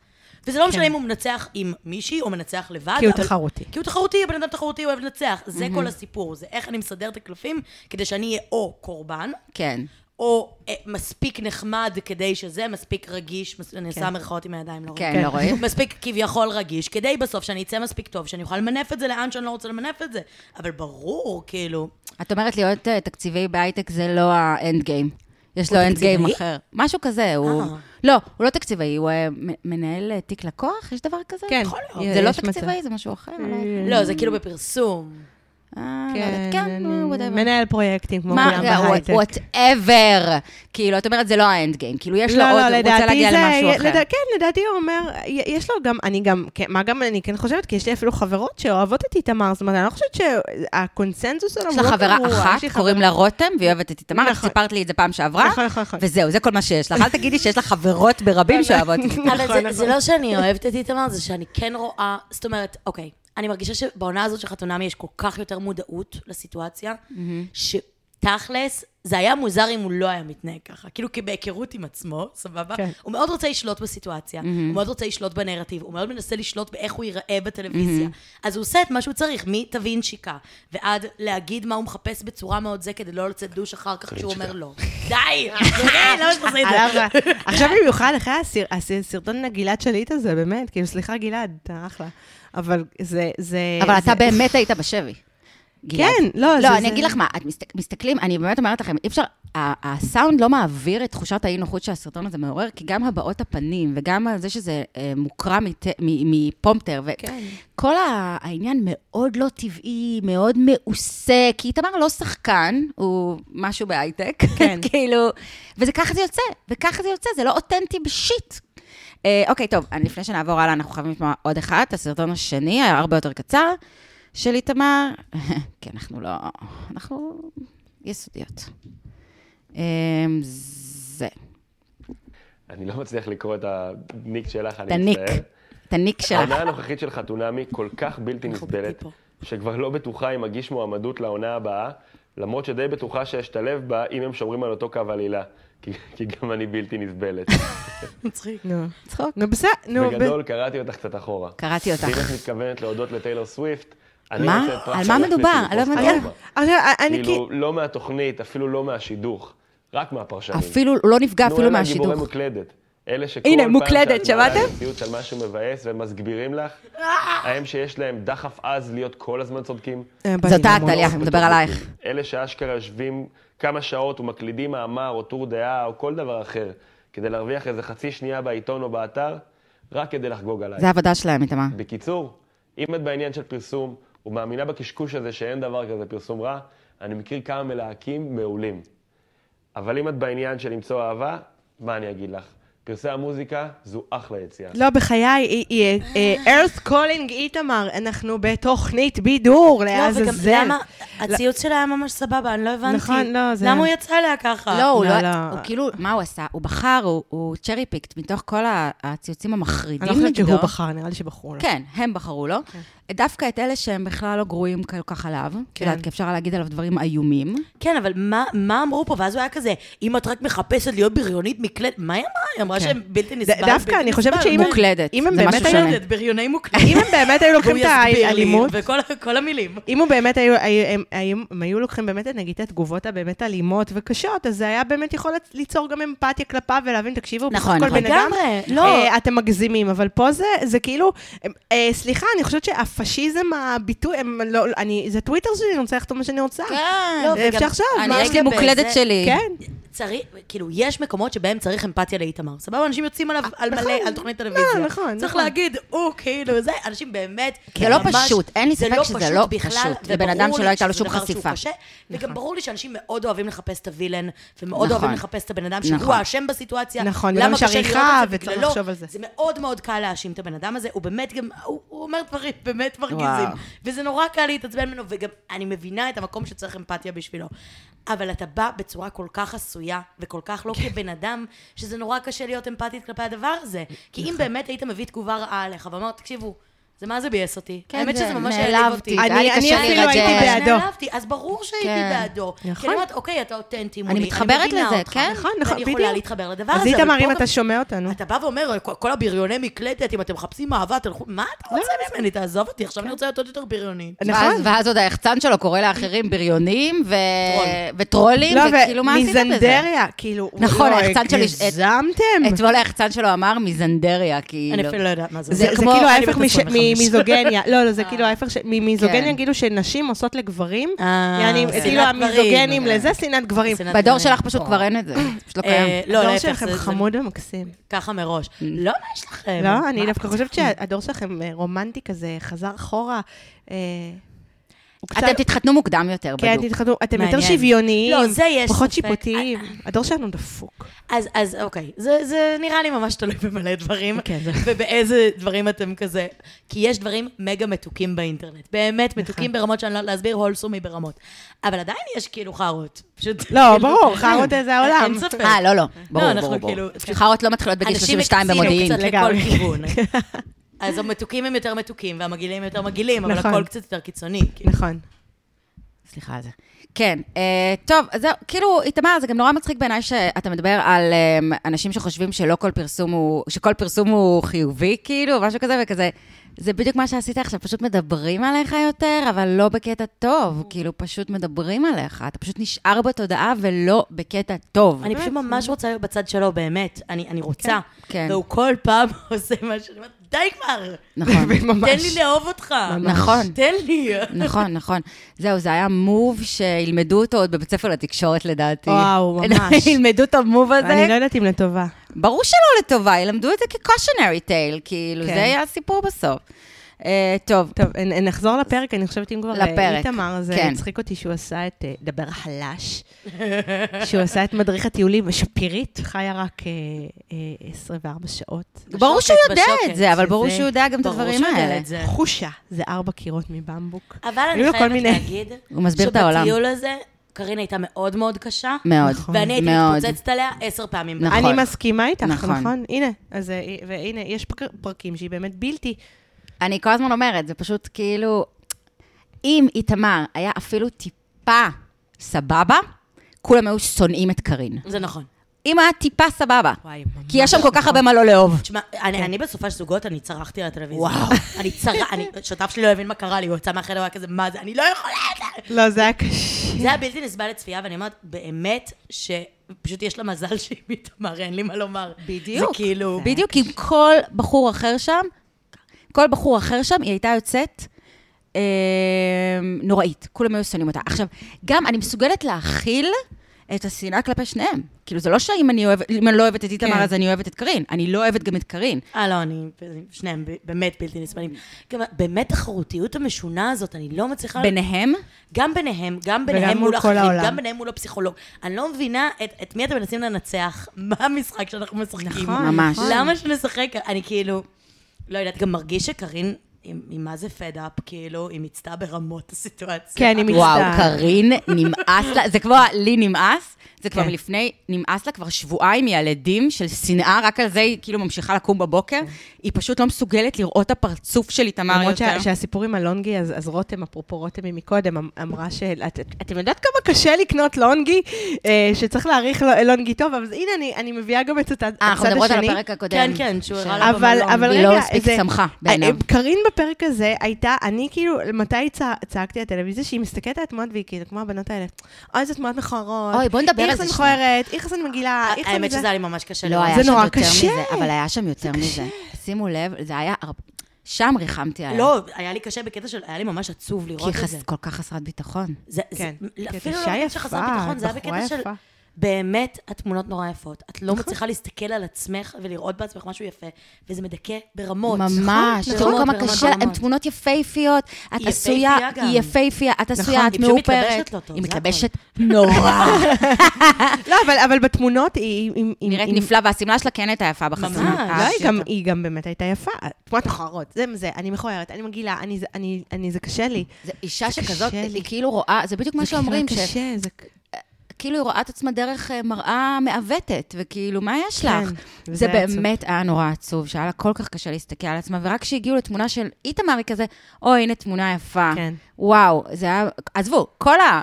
C: וזה לא משנה אם הוא מנצח עם מישהי או מנצח לבד.
B: כן. כי הוא
C: אבל-
B: תחרותי.
C: כי הוא תחרותי, הבן אדם תחרותי, הוא אוהב לנצח. זה כל הסיפור, זה איך אני מסדר את הקלפים, כדי שאני אהיה או קורבן,
A: כן.
C: או או אה, מספיק נחמד כדי שזה, מספיק רגיש, מס...
B: כן.
C: אני עושה מירכאות עם הידיים, לא רואים.
A: כן, לא רואים.
C: מספיק כביכול רגיש, כדי בסוף שאני אצא מספיק טוב, שאני אוכל למנף את זה לאן שאני לא רוצה למנף את זה. אבל ברור, כאילו,
A: את אומרת להיות אה, תקציבי בהייטק זה לא האנד גיים. יש לו
C: הוא
A: אנד גיים
C: תקציבאי?
A: אחר. משהו כזה, הוא...
C: אה.
A: לא, הוא לא תקציבאי, הוא אה, מ- מנהל אה, תיק לקוח? יש דבר כזה?
B: כן.
C: יכול להיות.
A: זה לא
B: יש מצב. אה,
A: תקציבאי, זה משהו אחר. לא יודעת.
C: לא, זה כאילו בפרסום.
A: אה, לא יודעת. כן, whatever.
B: מנהל פרויקטים כמו
A: מה,
B: כולם בהייטק.
A: וואטאבר. כאילו, את אומרת, זה לא האנד גיים. כאילו, יש לו עוד, הוא רוצה להגיע למשהו
B: לא, י-
A: אחר.
B: לדע- כן, לדעתי הוא אומר, י- יש לו גם, אני גם, כן, מה גם אני כן חושבת, כי יש לי אפילו חברות שאוהבות את איתמר, זאת אומרת, אני לא חושבת שהקונצנזוס שלנו
A: יש
B: הוא
A: לך
B: לא
A: חברה
B: קבוע.
A: אחת,
B: יש לי חבר-
A: קוראים לה רותם, והיא אוהבת את איתמר, את
B: נכון.
A: סיפרת לי את זה פעם שעברה,
B: נכון, נכון, נכון.
A: וזהו, זה כל מה שיש לך. אל תגידי שיש לך חברות ברבים שאוהבות את זה.
C: אבל זה, זה לא שאני אוהבת את איתמר, זה שאני כן רואה, זאת אומרת, אוקיי, אני מרגישה שבעונה הזאת של חתונמי יש כל כך יותר מודעות לסיטואציה, שתכלס, זה היה מוזר אם הוא לא היה מתנהג ככה. כאילו, כי בהיכרות עם עצמו, סבבה?
B: כן.
C: הוא מאוד רוצה לשלוט בסיטואציה, הוא מאוד רוצה לשלוט בנרטיב, הוא מאוד מנסה לשלוט באיך הוא ייראה בטלוויזיה. אז הוא עושה את מה שהוא צריך, מתווין שיקה, ועד להגיד מה הוא מחפש בצורה מאוד זה, כדי לא לצאת דוש אחר כך כשהוא אומר לא. די! די, למה שאתה עושה את זה?
B: עליו- עכשיו במיוחד אחרי הסר- הס- הסרטון הגלעד שליט הזה, באמת, כאילו, סליחה גלעד, אתה אחלה. אבל זה, זה...
A: אבל
B: זה-
A: אתה באמת היית בשבי. גלעד.
B: כן, לא, זה-
A: לא, אני
B: זה-
A: אגיד לך מה, את מסת- מסתכלים, אני באמת אומרת לכם, אי אפשר, ה- הסאונד לא מעביר את תחושת האי-נוחות שהסרטון הזה מעורר, כי גם הבעות הפנים, וגם על זה שזה אה, מוקרע מט- מ- מפומטר,
B: כן.
A: וכל ה- העניין מאוד לא טבעי, מאוד מעושה, כי איתמר לא שחקן, הוא משהו בהייטק,
B: כן.
A: כאילו, וזה ככה זה יוצא, וככה זה יוצא, זה לא אותנטי בשיט. אה, אוקיי, טוב, אני, לפני שנעבור הלאה, אנחנו חייבים לשמוע עוד אחת, הסרטון השני, היה הרבה יותר קצר, של איתמר, כי אנחנו לא... אנחנו יסודיות. אה, זה,
D: אני לא מצליח לקרוא את הניק שלך, אני
A: תניק,
D: מצטער.
A: תניק שלך.
D: העונה הנוכחית של חתונמי כל כך בלתי
C: אנחנו
D: נסבלת,
C: בטיפו.
D: שכבר לא בטוחה אם אגיש מועמדות לעונה הבאה, למרות שדי בטוחה שאשתלב בה אם הם שומרים על אותו קו עלילה. כי, כי גם אני בלתי נסבלת.
C: מצחיק.
B: נו,
A: צחוק.
B: נו, בסדר, נו, ב-
D: בגדול, קראתי אותך קצת אחורה.
A: קראתי אותך.
D: אם את מתכוונת להודות לטיילור סוויפט, אני
A: מה?
D: רוצה את פרס
A: על מה
D: שלך
A: מדובר?
D: לטיפוס
A: אני לא הבנתי.
D: טראומה.
B: עכשיו, אני כי...
D: כאילו, לא מהתוכנית, אפילו לא מהשידוך, רק מהפרשנים.
A: אפילו, הוא לא נפגע
D: נו,
A: אפילו
D: אלה הגיבורי
A: מהשידוך.
D: מוקלדת. אלה שכל
A: הנה,
D: פעם
A: מוקלדת,
D: שאת מעלה
A: שמעתם?
D: מציאות על משהו מבאס ומסגבירים לך, ההם שיש להם דחף עז להיות כל הזמן צודקים.
B: אה, באתי
A: זאת את,
B: ללמוד.
A: טליה, אני מדבר עלייך.
D: אלה שאשכרה יושבים כמה שעות ומקלידים מאמר או טור דעה או כל דבר אחר, כדי להרוויח איזה חצי שנייה בעיתון או באתר, רק כדי לחגוג עליי.
A: זה העבודה שלהם, איתמר.
D: בקיצור, אם את בעניין של פרסום ומאמינה בקשקוש הזה שאין דבר כזה פרסום רע, אני מכיר כמה מלהקים מעולים. אבל אם את בעניין של למצוא אהבה, מה אני אגיד לך? פרסי המוזיקה זו אחלה יציאה.
B: לא, בחיי, ארת' קולינג איתמר, אנחנו בתוכנית בידור,
C: לא,
B: לעזאזל.
C: וגם למה, הציוץ שלה היה ממש סבבה, אני לא הבנתי.
B: לא. נכון, לא, זה-
C: למה הוא יצא אליה ככה?
A: לא, הוא
B: לא,
A: לא,
B: לא.
A: הוא כאילו, מה הוא עשה? הוא בחר, הוא- הוא צ'רי פיקט מתוך כל ה- הציוצים
B: אני לא
A: המחרידים
B: חושבת שהוא
A: נגדו.
B: בחר, נראה לי שבחרו לו.
A: כן, הם בחרו לו. דווקא את אלה שהם בכלל לא גרועים כל כך עליו, את יודעת, כי אפשר להגיד עליו דברים איומים.
C: כן, אבל מה- מה אמרו פה? ואז הוא היה כזה, אם את רק מחפשת להיות בריונית מקלדת, מה היא אמרה? היא אמרה שהם בלתי נסבל.
B: כן. ד- דווקא,
C: בלתי
B: אני חושבת
C: נסבל.
B: שאם הם-
A: מוקלדת,
B: אם הם
A: זה
B: באמת
A: משהו
B: היו-
A: שונה.
C: מוקלדת, בריוני
B: אם
C: מוקלדת.
B: הם באמת היו
C: והוא
B: לוקחים את
C: יסביר לי,
B: האלימות,
C: וכל כל המילים.
B: אם הוא באמת היו, היו, הם, היו, הם היו לוקחים באמת, את, נגיד, את התגובות הבאמת אלימות וקשות, אז זה היה באמת יכול לצ- ליצור גם אמפתיה כלפיו ולהבין, תקשיבו,
A: נכון,
B: בסך הכל
A: נכון.
B: בן אדם,
C: לגמרי, לא.
B: אה, אתם מגזימים, אבל פה זה, זה כאילו, אה, אה, סליחה, אני חושבת שהפשיזם, הביטוי, הם, לא, אני, זה טוויטר שלי, אני רוצה לכתוב מה שאני רוצה.
A: כן.
C: לא,
B: אה,
C: וגם-
B: אפשר עכשיו,
A: אני,
B: מה?
A: יש לי
C: רגע,
A: מוקלדת
C: בזה-
A: שלי.
B: כן.
C: צריך, כאילו, יש מקומות שבהם צריך אמפתיה לאיתמר. סבבה, אנשים יוצאים עליו על מלא, על תוכנית טלוויזיה.
B: אה, נכון. לא, נכון,
C: צריך
B: נכון.
C: להגיד, הוא כאילו, זה, אנשים באמת...
A: זה לא
C: ממש-
A: פשוט, אין לי
C: זה
A: ספק שזה לא פשוט. זה בן אדם
C: וברור
A: שלא
C: לי
A: הייתה לו
C: שזה
A: שום
C: דבר שהוא
A: חשיפה.
C: קשה, וגם ברור לי שאנשים מאוד אוהבים לחפש את הווילן, ומאוד
A: נכון.
C: אוהבים לחפש את הבן אדם שהוא
A: נכון.
C: האשם בסיטואציה.
B: נכון,
C: למה
B: וגם יש
C: קשה לראות
B: עריכה,
C: את זה
B: וצריך
C: בגללו.
B: לחשוב על זה.
C: זה מאוד מאוד קל להאשים את הבן אדם הזה, הוא באמת גם, הוא הוא אומר דברים באמת מרגיזים.
A: וואו.
C: וזה נורא קל להתעצבן ממנו, וגם אני מבינה את המקום שצריך אמפתיה בשבילו. אבל אתה בא בצורה כל כך עשויה, וכל כך
A: כן.
C: לא כבן אדם,
A: נכון.
C: שזה נורא קשה להיות אמפתית כלפי הדבר הזה. כי אם באמת היית מביא תגובה רעה עליך, ואומר, תקשיבו, זה מה זה ביאס אותי.
A: כן,
C: האמת
A: זה-
C: שזה ממש
A: נעלבתי.
C: העליב אותי. כן.
A: היה לי
B: אני-
A: קשה
B: אני אפילו הייתי
A: להירגע.
B: בעדו.
C: נעלבתי, אז ברור שהייתי
A: כן.
C: בעדו. נכון. כי
B: נכון.
C: אני אומרת, אוקיי, אתה אותנטי מולי.
A: אני מתחברת
C: מבינה
A: לזה,
C: אותך.
A: כן?
B: נכון, נכון,
C: אני יכולה
B: בדיוק.
C: להתחבר לדבר הזה.
B: אז
C: אבל
B: איתמר,
C: פה
B: אם
C: גם-
B: אתה שומע אותנו.
C: אתה בא ואומר, כל- כל הבריוני מקלדת, אם אתם מחפשים אהבה, תלכו... מה אתה
B: לא,
C: רוצה ממני? תעזוב אותי,
B: כן.
C: עכשיו אני רוצה להיות עוד יותר בריונית.
A: ואז,
B: נכון.
A: ואז עוד היחצן שלו קורא לאחרים בריונים ו...
C: טרול.
A: וטרולים,
B: לא,
A: וכאילו, מה עשית בזה?
B: ומיזנדריה, כאילו,
A: נכון,
B: וואי,
A: היחצן שלי-
B: הגזמתם.
A: אתמול היחצן שלו אמר מיזנדריה, כאילו.
C: אני אפילו לא יודעת מה זה.
B: זה
A: זה
B: זה
A: כמו-
B: כאילו
A: אני
B: ההפך
C: בת
B: מש-
C: 25.
B: ממיזוגניה. לא, לא, זה כאילו ההפך ש- ממיזוגניה,
A: כן.
B: כאילו שנשים עושות לגברים.
C: אה,
B: יעני,
C: שנאת
B: כאילו
C: גברים. אה.
B: המיזוגנים לזה שנאת גברים.
C: שנאת
A: בדור
C: גברים.
A: שלך פשוט כבר אין את זה, פשוט לא
C: אה,
A: קיים.
C: לא,
B: הדור
C: להפך,
B: שלכם
C: זה- זה
B: חמוד ומקסים.
C: ככה מראש. לא, מה יש לכם?
B: לא, אני
C: מה?
B: דווקא חושבת שהדור שלכם אה, רומנטי כזה, חזר אחורה. אה, הוא קצת-
A: אתם תתחתנו מוקדם יותר,
B: כן,
A: בדיוק.
B: תתחתנו, אתם יותר
C: מעניין.
B: שוויוניים,
C: לא, זה יש
B: פחות
C: ספק. אה,
B: שיפוטיים. הדור שלנו דפוק.
C: אז, אז אוקיי, זה, זה נראה לי ממש תלוי במלא דברים,
B: כן, זה-
C: ובאיזה דברים אתם כזה, כי יש דברים מגה מתוקים באינטרנט, באמת
B: נכון.
C: מתוקים ברמות שאני לא יודעת להסביר, הולסומי ברמות, אבל עדיין יש כאילו חארות, פשוט...
B: לא,
C: כאילו-
B: ברור, חארות זה העולם.
C: אין ספק.
A: אה, לא, לא. ברור,
C: אנחנו
A: ברור, ברור.
C: כאילו-
A: חארות לא מתחילות בגיל 32 במודיעין. כן.
C: אנשים מקצים
B: לגמרי.
C: קצת לכל כיוון. אז המתוקים הם יותר מתוקים, והמגעילים יותר מגעילים, אבל
B: נכון.
C: הכל קצת יותר קיצוני. כאילו.
B: נכון.
A: סליחה על זה. כן, אה, טוב, אז זהו, כאילו, איתמר, זה גם נורא מצחיק בעיניי שאתה מדבר על אה, אנשים שחושבים שלא כל פרסום הוא, שכל פרסום הוא חיובי, כאילו, משהו כזה וכזה. זה בדיוק מה שעשית עכשיו, פשוט מדברים עליך יותר, אבל לא בקטע
B: Mm.
A: טוב, כאילו, פשוט מדברים עליך. אתה פשוט נשאר בתודעה ולא בקטע טוב.
C: אני פשוט ממש רוצה להיות בצד שלו, באמת. אני אני רוצה.
A: כן.
C: והוא כל פעם עושה משהו, אני אומרת, די כבר!
A: נכון.
B: ממש.
C: תן לי לאהוב אותך.
A: נכון.
C: תן לי.
A: נכון, נכון. זהו, זה היה מוב שילמדו אותו עוד בבית ספר לתקשורת, לדעתי.
B: וואו, ממש.
A: ילמדו את המוב הזה.
B: אני לא יודעת אם לטובה.
A: ברור שלא לטובה, ילמדו את זה כ-cautionary tale, כאילו,
B: כן.
A: זה יהיה הסיפור בסוף. אה, טוב,
B: טוב, נ- נחזור לפרק, אני חושבת אם כבר אה,
A: לפרק,
B: איתמר, זה
A: כן.
B: הצחיק אותי שהוא עשה את אה, דבר חלש, שהוא עשה את מדריך הטיולים, שפירית חיה רק אה, אה, 24 שעות.
A: ברור שהוא
C: בשוקת,
A: יודע
C: בשוקת,
A: את זה, אבל ברור
B: שזה-
A: שהוא יודע גם את הדברים האלה. נכון.
C: את זה.
B: חושה, זה ארבע קירות מבמבוק.
C: אבל אני
B: היו לו כל
C: חייבת
B: מיני-
C: להגיד,
A: הוא מסביר את העולם.
C: שבטיול הזה, קרין הייתה מאוד מאוד קשה,
A: מאוד,
C: ואני הייתי
A: מאוד.
C: מתפוצצת עליה עשר פעמים.
A: נכון.
B: אני מסכימה איתך,
A: נכון.
B: נכון? הנה, אז אה, והנה, יש פרק- פרקים שהיא באמת בלתי.
A: אני כל הזמן אומרת, זה פשוט כאילו, אם איתמר היה אפילו טיפה סבבה, כולם היו שונאים את קארין.
C: זה נכון.
A: אם היה טיפה סבבה.
C: וואי,
A: כי יש שם כל כך הרבה מה לא לאהוב.
C: תשמע,
B: כן.
C: אני, אני בסופה של זוגות, אני צרחתי על הטלוויזיה. וואו. אני צרח, אני, שותף שלי לא הבין מה קרה לי, הוא יצא מהחדר, הוא היה כזה, מה זה, אני לא יכולה את זה.
B: לא, זה היה קשה.
C: זה היה בלתי נסבל לצפייה, ואני אומרת, באמת, שפשוט יש לה מזל שהיא מתאמר, אין לי מה לומר.
A: בדיוק.
C: זה כאילו...
B: כן.
A: בדיוק, כי עם כל בחור אחר שם, כל בחור אחר שם, היא הייתה יוצאת אה, נוראית. כולם היו שונאים אותה. עכשיו, גם אני מסוגלת להכיל את השנאה כלפי שניהם. כאילו, זה לא שאם אני, אוהבת, אם אני לא אוהבת את איתמר,
B: כן.
A: אז אני אוהבת את קארין. אני לא אוהבת גם את קארין.
C: אה, לא, אני... שניהם ב- באמת בלתי נסבלים. גם באמת החרותיות המשונה הזאת, אני לא
B: אה,
C: מצליחה...
A: ביניהם,
C: גם ביניהם, גם ביניהם
B: מול
C: מול
B: כל
C: החיים,
B: העולם.
C: גם ביניהם מול הפסיכולוג. אני לא מבינה את, את מי אתם מנסים לנצח, מה המשחק שאנחנו משחקים.
B: נכון,
A: ממש.
B: נכון.
C: למה שנשחק? אני כאילו, לא יודעת, גם מרגיש שקארין, היא היא מה זה פד אפ, כאילו, היא מיצתה ברמות הסיטואציה.
B: כן, היא מצטערת.
A: וואו, קארין, נמאס לה, זה כבר לי נמאס, זה כבר
B: כן.
A: מלפני, נמאס לה כבר שבועיים מהלדים של שנאה, רק על זה היא כאילו ממשיכה לקום בבוקר. היא פשוט לא מסוגלת לראות את הפרצוף של איתמר
B: כן. למרות
A: יותר.
B: שה- שהסיפור עם הלונגי, אז, אז רותם, אפרופו רותם ממקודם, אמ- אמרה ש... את, את- אתם יודעת כמה קשה לקנות לונגי? אה, שצריך להעריך לו- לונגי טוב, אבל הנה, אני, אני מביאה גם את הצד, הצד השני.
A: אה, אנחנו מדברות על הפרק הקודם.
C: כן, כן, שהוא הראה לה
B: אבל,
C: במלון.
B: אבל רגע,
A: היא לא מספיק
B: זה- אה,
A: שמחה בעיניו.
B: קארין בפרק הזה הייתה, אני כאילו, מתי צע, צעקתי לטלוויזיה? שהיא מסתכלת על התמונות והיא כאילו, כמו הבנות האלה, אוי, איזה תמונות מכוערות.
A: אוי, בואי נדבר על זה
B: איכסן
A: שנייה." אה,
B: מכוערת, איכסן מגעילה, איכסן
C: האמת שזה היה לי ממש קשה
A: לא,
C: לראות.
A: היה
B: זה
A: שם
B: נורא
A: יותר
B: קשה.
A: מזה, אבל היה שם יותר מזה. שימו לב, זה היה... הר- שם ריחמתי עליה.
C: לא, היה לי קשה בקטע של, היה לי ממש עצוב
A: כי היא
C: לראות את
A: חס-
C: זה.
A: כל כך חסרת ביטחון.
C: זה,
B: כן.
C: זה,
B: כי את
C: אפילו לא
B: אישה
C: בקטע
B: יפה,
C: של חסרת ביטחון, זה היה
B: את
C: בקטע
B: בחורה
C: של...
B: יפה. נכון.
C: באמת, התמונות נורא יפות. את לא מצליחה להסתכל על עצמך ולראות בעצמך משהו יפה, וזה מדכא ברמות.
A: ממש,
C: נכון?
A: תראו
C: ברמות,
A: כמה
C: ברמות,
A: קשה, לה, הן
C: ברמות.
A: תמונות יפהפיות, את
C: היא
A: עשויה,
C: יפהפייה גם.
A: היא יפהפייה, את עשויה, את
C: היא פשוט מתלבשת
A: מאופרת.
C: לא טוב,
A: היא
C: זה הכל.
A: מתלבשת נורא.
B: לא, אבל, אבל בתמונות היא... היא- היא-
A: היא נראית
B: היא-
A: נפלא, והשמלה שלה כן הייתה יפה בחסונה.
C: ממש.
B: לא, היא גם, היא גם באמת הייתה יפה. תמונות מכוערות, זה זה, אני מכוערת, אני מגעילה, אני, זה- אני, אני, זה קשה לי.
A: זה אישה
B: זה
A: שכזאת,
B: קשה לי.
A: היא כאילו רואה, זה בדיוק מה
B: זה כאילו
A: שאומרים,
B: קשה, זה...
A: כאילו היא רואה את עצמה דרך אה, מראה מעוותת, וכאילו, מה יש
B: כן,
A: לך?
B: וזה
A: זה
B: היה עצוב.
A: באמת היה נורא עצוב, שהיה לה כל כך קשה להסתכל על עצמה, ורק כשהגיעו לתמונה של איתמר, היא כזה, אוי, הנה תמונה יפה.
B: כן.
A: וואו, זה היה... עזבו, כל ה...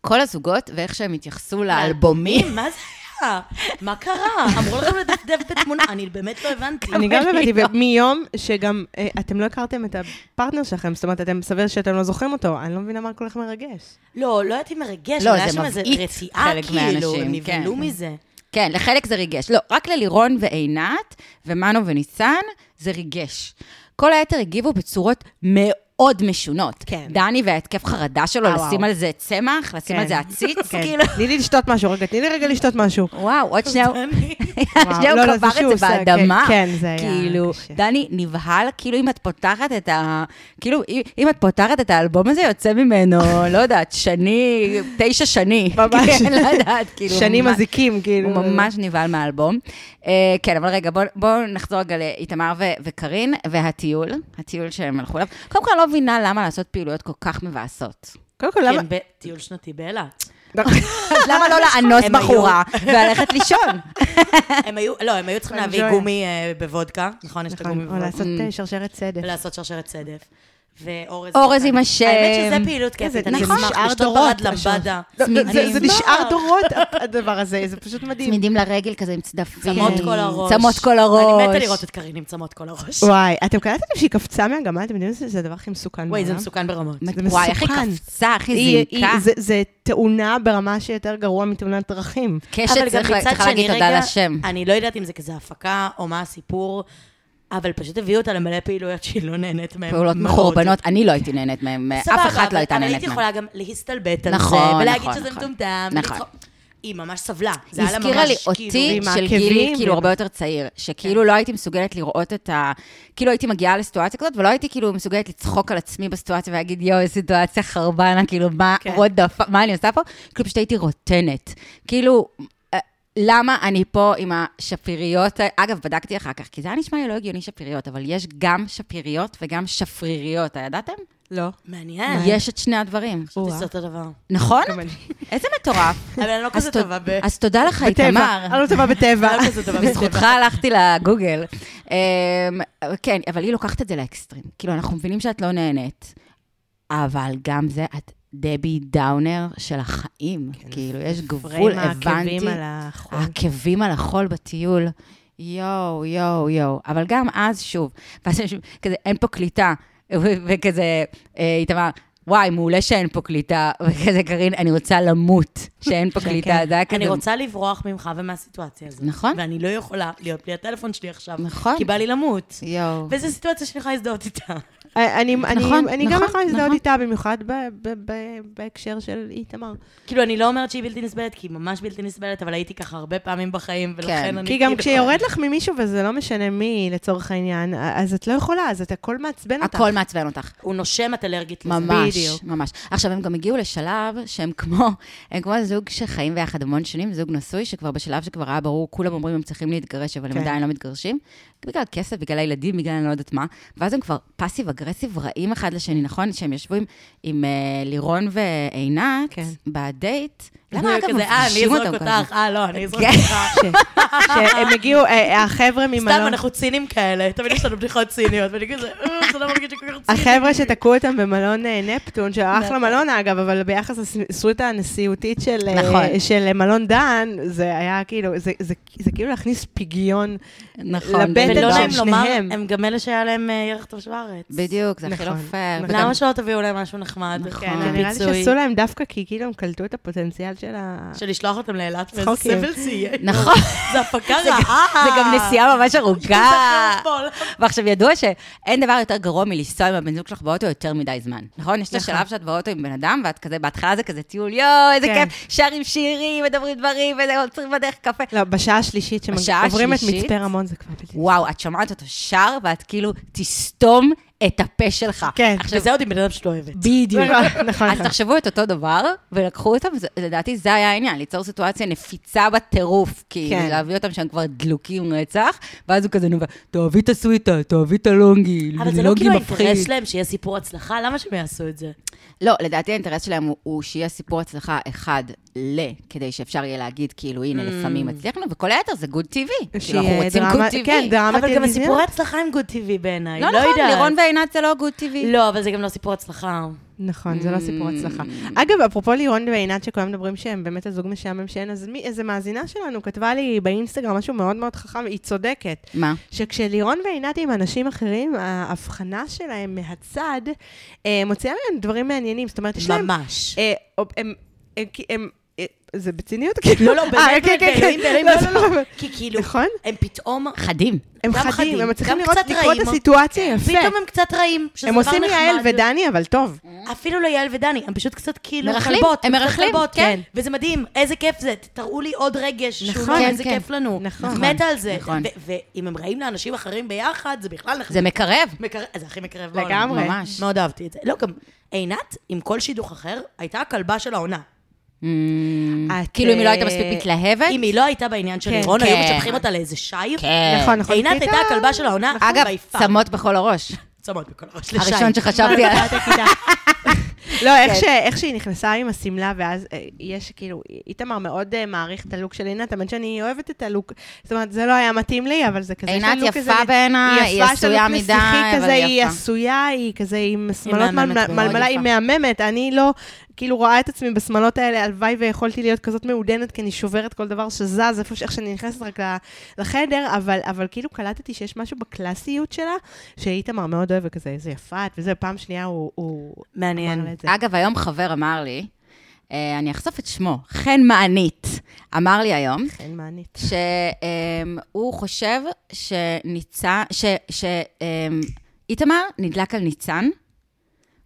A: כל הזוגות ואיך שהם
B: כן.
A: התייחסו לאלבומים.
C: מה זה היה? מה קרה? אמרו לכם לדפדף בתמונה, אני באמת לא הבנתי.
B: אני גם הבנתי, ומיום שגם אה, אתם לא הכרתם את הפרטנר שלכם, זאת אומרת, אתם סביר שאתם לא זוכרים אותו, אני לא מבינה מה כל כך מרגש.
C: לא, לא הייתי מרגש,
A: לא,
C: אבל היה
A: זה
C: שם איזה
A: מבעית
C: רתיעה,
A: חלק
C: כאילו,
A: מהאנשים,
C: הם נבהלו
A: כן.
C: מזה.
A: כן, לחלק זה ריגש. לא, רק ללירון ועינת, ומנו וניצן, זה ריגש. כל היתר הגיבו בצורות מאוד משונות.
B: כן.
A: דני וההתקף חרדה שלו,
B: אה,
A: לשים
B: וואו.
A: על זה צמח, לשים על זה עציץ,
B: כן.
A: כאילו.
B: תני לי לשתות משהו, רגע, תני לי רגע לשתות משהו.
A: וואו, עוד שנייה הוא-
C: אני-
A: שנייה
B: לא,
A: הוא
B: לא, זה
A: קבר
B: שהוא
A: את זה
B: עושה,
A: באדמה.
B: כן, כן, זה היה
A: כאילו,
B: קשה.
A: דני נבהל, כאילו אם את פותחת את ה... כאילו, אם- אם את פותחת את האלבום הזה, יוצא ממנו, לא יודעת, שני, תשע שני.
B: ממש.
A: כן, לא יודעת, כאילו.
B: שנים
A: מה-
B: מזיקים, כאילו.
A: הוא ממש נבהל מהאלבום. אה, כן, אבל רגע, בואו בוא נחזור רגע לאיתמר ו- וקארין, והטיול, הטיול שהם הלכו אליו. קודם כל, אני לא מבינה למה לעשות פעילויות כל כך מבאסות.
B: קודם כל, למה...
C: כן, בטיול שנתי באילת.
A: אז למה לא לאנוס
C: הם היו-
A: בחורה וללכת לישון?
C: הם היו, לא, הם היו צריכים
B: אני
C: להביא
B: שואל.
C: גומי אה, בוודקה, נכון? יש את הגומי
B: נכון, או
C: בוודקה.
B: לעשות אה, שרשרת סדק.
C: ולעשות שרשרת צדף. ואורז...
A: אורז
C: קטן.
A: עם השם.
C: האמת שזה פעילות כיפית,
B: זה
C: אני
B: נכון.
C: אשמח
B: נשאר
C: לשתות
B: דורות,
C: ברד למבדה.
B: לא, זה-
C: אני
B: זה- זה
C: אשמח.
B: נשאר דורות, הדבר הזה, זה פשוט מדהים.
A: צמידים לרגל כזה עם צדפים.
C: צמות כל הראש.
A: צמות כל הראש.
C: אני מתה לראות את קארין עם צמות כל הראש.
B: וואי, אתם קלטתם שהיא קפצה מהגמל? אתם יודעים שזה הדבר הכי מסוכן בעולם?
C: וואי, זה מסוכן ברמות.
B: זה
A: וואי, איך היא
B: מסוכן.
A: קפצה, איך היא
B: היא-
A: זינקה.
B: היא- זה- זה תאונה ברמה שיותר גרוע מתאונת דרכים.
A: קשת
C: אבל גם
A: צריך לה-
C: מצד
A: צריכה
C: שני,
A: להגיד
C: רגע,
A: תודה לשם.
C: אני לא יודעת אם זה כזה הפקה או מה הסיפור, אבל פשוט הביאו אותה למלא פעילויות שהיא לא נהנית מהן.
A: פעולות
C: מאוד.
A: מחורבנות, אני לא הייתי נהנית מהם,
C: סבבה,
A: אף אחת
C: אבל-
A: לא הייתה
C: אבל
A: נהנית
C: הייתי
A: מהם.
C: יכולה גם להסתלבט על זה,
A: נכון,
C: ולהגיד
A: נכון,
C: שזה
A: נכון.
C: מטומטם.
A: נכון.
C: ולצחוק. היא ממש סבלה. זה
A: היא
C: היה לה
A: הזכירה לי
C: ממש,
A: אותי
C: כאילו,
B: עם
A: של
B: העקבים,
A: גילי, כאילו
B: עם-
A: הרבה יותר צעיר,
C: כן.
A: שכאילו לא הייתי מסוגלת לראות את ה... כאילו הייתי מגיעה לסיטואציה כזאת, ולא הייתי כאילו מסוגלת לצחוק על עצמי בסיטואציה ולהגיד, יואו, איזה סיטואציה חרבנה, כאילו, מה,
B: כן.
A: what the fuck, מה אני עושה פה? כאילו, פשוט הייתי רוטנת. כאילו... אה, למה אני פה עם השפיריות, ה- אגב, בדקתי אחר כך, כי זה היה נשמע לי לא הגיוני שפיריות, אבל יש גם שפיריות וגם שפריריות, ידעתם?
B: לא.
C: מעניין.
A: יש את שני הדברים,
C: חשבתי שזה אותו דבר.
A: נכון?
B: גם אני.
A: איזה מטורף.
C: אבל אני לא
A: אז
C: כזה
A: תוד-
C: טובה ב...
A: אז תודה לך,
B: בטבע,
A: איתמר.
B: אני לא טובה בטבע.
C: אני לא כזה טובה בטבע.
A: בזכותך הלכתי לגוגל. אמ, כן, אבל היא לוקחת את זה לאקסטרים. כאילו, אנחנו מבינים שאת לא נהנית, אבל גם זה, את דבי דאונר של החיים.
C: כן,
A: כאילו, יש גבול, הבנתי.
B: העקבים על החול.
A: העקבים על החול בטיול. יואו, יואו, יואו. אבל גם אז, שוב, ואז יש כזה, אין פה קליטה, ו- וכזה, אה, איתמר, וואי, מעולה שאין פה קליטה, וכזה, קארין, אני רוצה למות שאין פה קליטה, זה היה כזה...
C: כן, אני רוצה לברוח ממך ומהסיטואציה הזאת.
A: נכון.
C: ואני לא יכולה להיות בלי הטלפון שלי עכשיו.
A: נכון.
C: כי בא לי למות.
A: יואו.
C: וזו סיטואציה שאני יכולה להזדהות איתה.
B: אה, אני- אני
A: נכון,
B: אני גם
A: נכון,
B: יכולה להזדהות
A: נכון.
B: איתה, במיוחד ב- ב- ב- בהקשר של איתמר.
C: כאילו, אני לא אומרת שהיא בלתי נסבלת, כי היא ממש בלתי נסבלת, אבל הייתי ככה הרבה פעמים בחיים, ולכן
A: כן.
C: אני...
B: כי גם
C: כאילו-
B: כשיורד לך ממישהו, וזה לא משנה מי, לצורך העניין, אז את לא יכולה, אז את הכל מעצבן אותך.
A: הכל מעצבן אותך.
C: הוא נושם, את אלרגית לזה.
A: ממש,
B: בדיוק.
A: ממש. עכשיו, הם גם הגיעו לשלב שהם כמו, הם כמו זוג שחיים ביחד המון שנים, זוג נשוי, שכבר בשלב שכבר היה ברור, כולם אומרים הם צריכים להתגרש, אבל הם
B: כן.
A: עדיין לא מתגרשים. בגלל כסף, בגלל הילדים, בגלל אני לא יודעת מה. ואז הם כבר פאסיב אגרסיב רעים אחד לשני, נכון? שהם ישבו עם, עם אה, לירון ועינת,
B: כן.
A: בדייט.
C: הוא
A: למה אגב
C: כזה, אה, אני
A: מפגישים
C: אזרוק
A: אותם ככה?
C: אותך, אה, לא, אני אזרוק
A: כן.
C: אותך.
B: שהם הגיעו, אה, החבר'ה ממלון...
C: סתם, אנחנו צינים כאלה, תמיד יש לנו בדיחות ציניות, ואני כזה, "אה, זה לא מרגיש לי כל כך ציני.
B: החבר'ה שתקעו אותם במלון אה, נפטון, שאחלה מלון אגב, אבל ביחס לסוויטה הנשיאותית של, אה,
A: נכון.
B: של אה, מלון דן, זה היה כאילו, זה, זה, זה כאילו להכניס פיגיון.
A: נכון.
B: לבטן
A: בדיוק.
C: ולא
B: של
C: נעים לומר,
B: שניהם.
C: הם גם אלה שהיה להם אה, ירח טוב שוארץ.
A: בדיוק, זה הכי לא
B: נכון,
A: פייר.
B: נכון.
C: למה שלא תביאו להם משהו נחמד?
A: נכון.
C: כן,
A: אה,
B: נראה לי
C: פיצוי.
B: שעשו להם דווקא כי כאילו הם קלטו את הפוטנציאל של ה...
C: של לשלוח אותם לאילת, ואיזה
B: צחוקים.
C: סבל זה יהיה.
A: נכון.
C: זה הפקה רעה.
A: זה גם נסיעה כן, ממש ארוכה.
C: זה חרבול.
A: ועכשיו, ידוע שאין דבר יותר גרוע מלנסוע עם הבן זוג שלך באוטו יותר מדי זמן, נכון? יש את
B: נכון.
A: השלב שאת באוטו עם בן אדם, ואת כזה, בהתחלה זה כזה טיול, יואו, איזה
B: כן.
A: כיף, שרים שירים, מדברים דברים, ועוצרים בדרך קפה.
B: לא, בשעה השלישית,
A: בשעה
B: שעוברים את
A: השלישית?
B: מצפה רמון, זה כבר בלתי...
A: וואו, את שומעת אותו שר, ואת כאילו, תסתום את הפה שלך.
B: כן.
A: עכשיו,
C: וזה עוד עם בן אדם שאת אוהבת.
A: בדיוק.
B: נכון, נכון.
A: אז תחשבו את אותו דבר, ולקחו אותם, זה- לדעתי זה היה העניין, ליצור סיטואציה נפיצה בטירוף, כי
B: כן.
A: להביא אותם שהם כבר דלוקים רצח, ואז הוא כזה נובע, תאהבי את הסוויטה, תאהבי את הלונגי,
C: אבל זה לא
A: לונגי
C: כאילו
A: מפחיד.
C: האינטרס שלהם שיהיה
B: אה,
C: סיפור הצלחה, למה שהם יעשו את זה?
A: לא, לדעתי האינטרס שלהם הוא, הוא שיהיה סיפור הצלחה אחד כדי שאפשר יהיה להגיד, כאילו, הנה, לפעמים הצליחנו, וכל היתר זה גוד טיווי. כאילו, אנחנו
B: שיהיה
A: רוצים גוד
B: דרמה-
A: טיווי.
B: כן, דרמה
C: אבל גם
B: טלוויזיונית.
C: הסיפורי הצלחה הם גוד טיווי בעיניי, לא
A: לא
C: יודעת.
A: נכון, לירון ועינת זה לא גוד טיווי.
C: לא, אבל זה גם לא סיפור הצלחה.
B: נכון, זה לא סיפור הצלחה.
C: Mm.
B: אגב, אפרופו לירון ועינת, שכולם מדברים שהם באמת הזוג משעמם שאין, אז מי- איזה מאזינה שלנו כתבה לי באינסטגרם משהו מאוד מאוד חכם, היא צודקת.
A: מה?
B: שכשלירון ועינת עם אנשים אחרים, ההבחנה שלהם מהצד אה, מוציאה מהם דברים מעניינים. זאת אומרת, יש להם...
C: ממש.
B: אה, אופ- הם... הם- כי הם- אה, זה בציניות? כאילו-
C: לא, לא,
B: אה,
C: באמת,
B: כן,
C: באמת,
B: כן, כן.
C: באלוהים, באלוהים,
B: לא,
C: לא,
B: לא,
C: לא,
B: לא.
C: לא. כי כאילו,
B: נכון.
C: הם פתאום,
A: חדים.
B: הם
C: גם
B: חדים,
C: חדים,
B: הם מצליחים
C: גם
B: לראות
C: קצת
B: לקרוא את
C: רעים. אה,
B: הסיטואציה יפה.
C: פתאום הם קצת רעים, שזה
B: הם
C: דבר
B: עושים
C: נחמד.
B: יעל ודני, אבל טוב.
C: אפילו לא יעל ודני, הם פשוט קצת כאילו
A: מרכלים,
C: כלבות.
A: הם
C: קצת
A: מרכלים,
C: כלבות,
A: כן.
C: וזה מדהים, איזה כיף זה, תראו לי עוד רגש, שהוא
B: נכון,
C: לא,
B: כן,
C: איזה
A: כן.
C: כיף לנו.
B: נכון.
C: מתה על זה.
A: נכון.
C: ו- ואם הם רעים לאנשים אחרים ביחד, זה בכלל נחמד.
A: זה מקרב.
C: מקרב, זה הכי מקרב בעולם.
B: לגמרי.
A: ממש.
C: מאוד אהבתי את זה. לא, גם עינת, עם כל שידוך אחר, הייתה הכלבה של העונה.
B: את,
A: Mm. כאילו, אם היא לא
B: אה,
A: הייתה מספיק מתלהבת.
C: אם היא לא הייתה בעניין של
B: כן.
C: לירון, היו
A: כן.
C: משבחים אותה לאיזה שייב.
A: כן. נכון.
B: נכון, נכון.
C: עינת הייתה
B: פתאום-
C: הכלבה של העונה,
A: אגב,
C: נכון. by far.
A: צמות בכל הראש.
C: צמות בכל הראש לשי.
A: הראשון שחשבתי על...
B: לא,
A: כן.
B: איך ש- איך שהיא נכנסה עם השמלה, ואז אה, יש כאילו, איתמר מאוד אה, מעריך את הלוק של עינת, האמת שאני אוהבת את הלוק. זאת אומרת, זה לא היה מתאים לי, אבל זה כזה, יש לה
A: עינת
B: לוק
A: יפה
B: כזה-
A: בעיניי, היא
B: יפה, יש לה
A: עשויה
B: לוק
A: מדי, אבל
B: נסיכי כזה, היא
A: יפה.
B: עשויה, היא כזה עם שמלות
C: מהממת
B: מלמלה-
C: מאוד,
B: מלמלה, היא
A: יפה.
B: מהממת. אני לא, כאילו, רואה את עצמי בשמלות האלה, הלוואי ויכולתי להיות כזאת מעודנת, כי אני שוברת כל דבר שזז, איפה ש- איך שאני נכנסת רק ל- לחדר, אבל אבל כאילו קלטתי שיש משהו בקלאסיות שלה, שאיתמר מאוד אוהב, וכזה, איזה יפה את, וזה, פעם שנייה הוא- הוא...
C: מעניין.
B: אמר את זה.
A: אגב, היום חבר אמר לי, אה, אני אחשוף את שמו, חן מענית, אמר לי היום,
B: אין מענית.
A: שהוא חושב שניצן, שאיתמר אמ, נדלק על ניצן.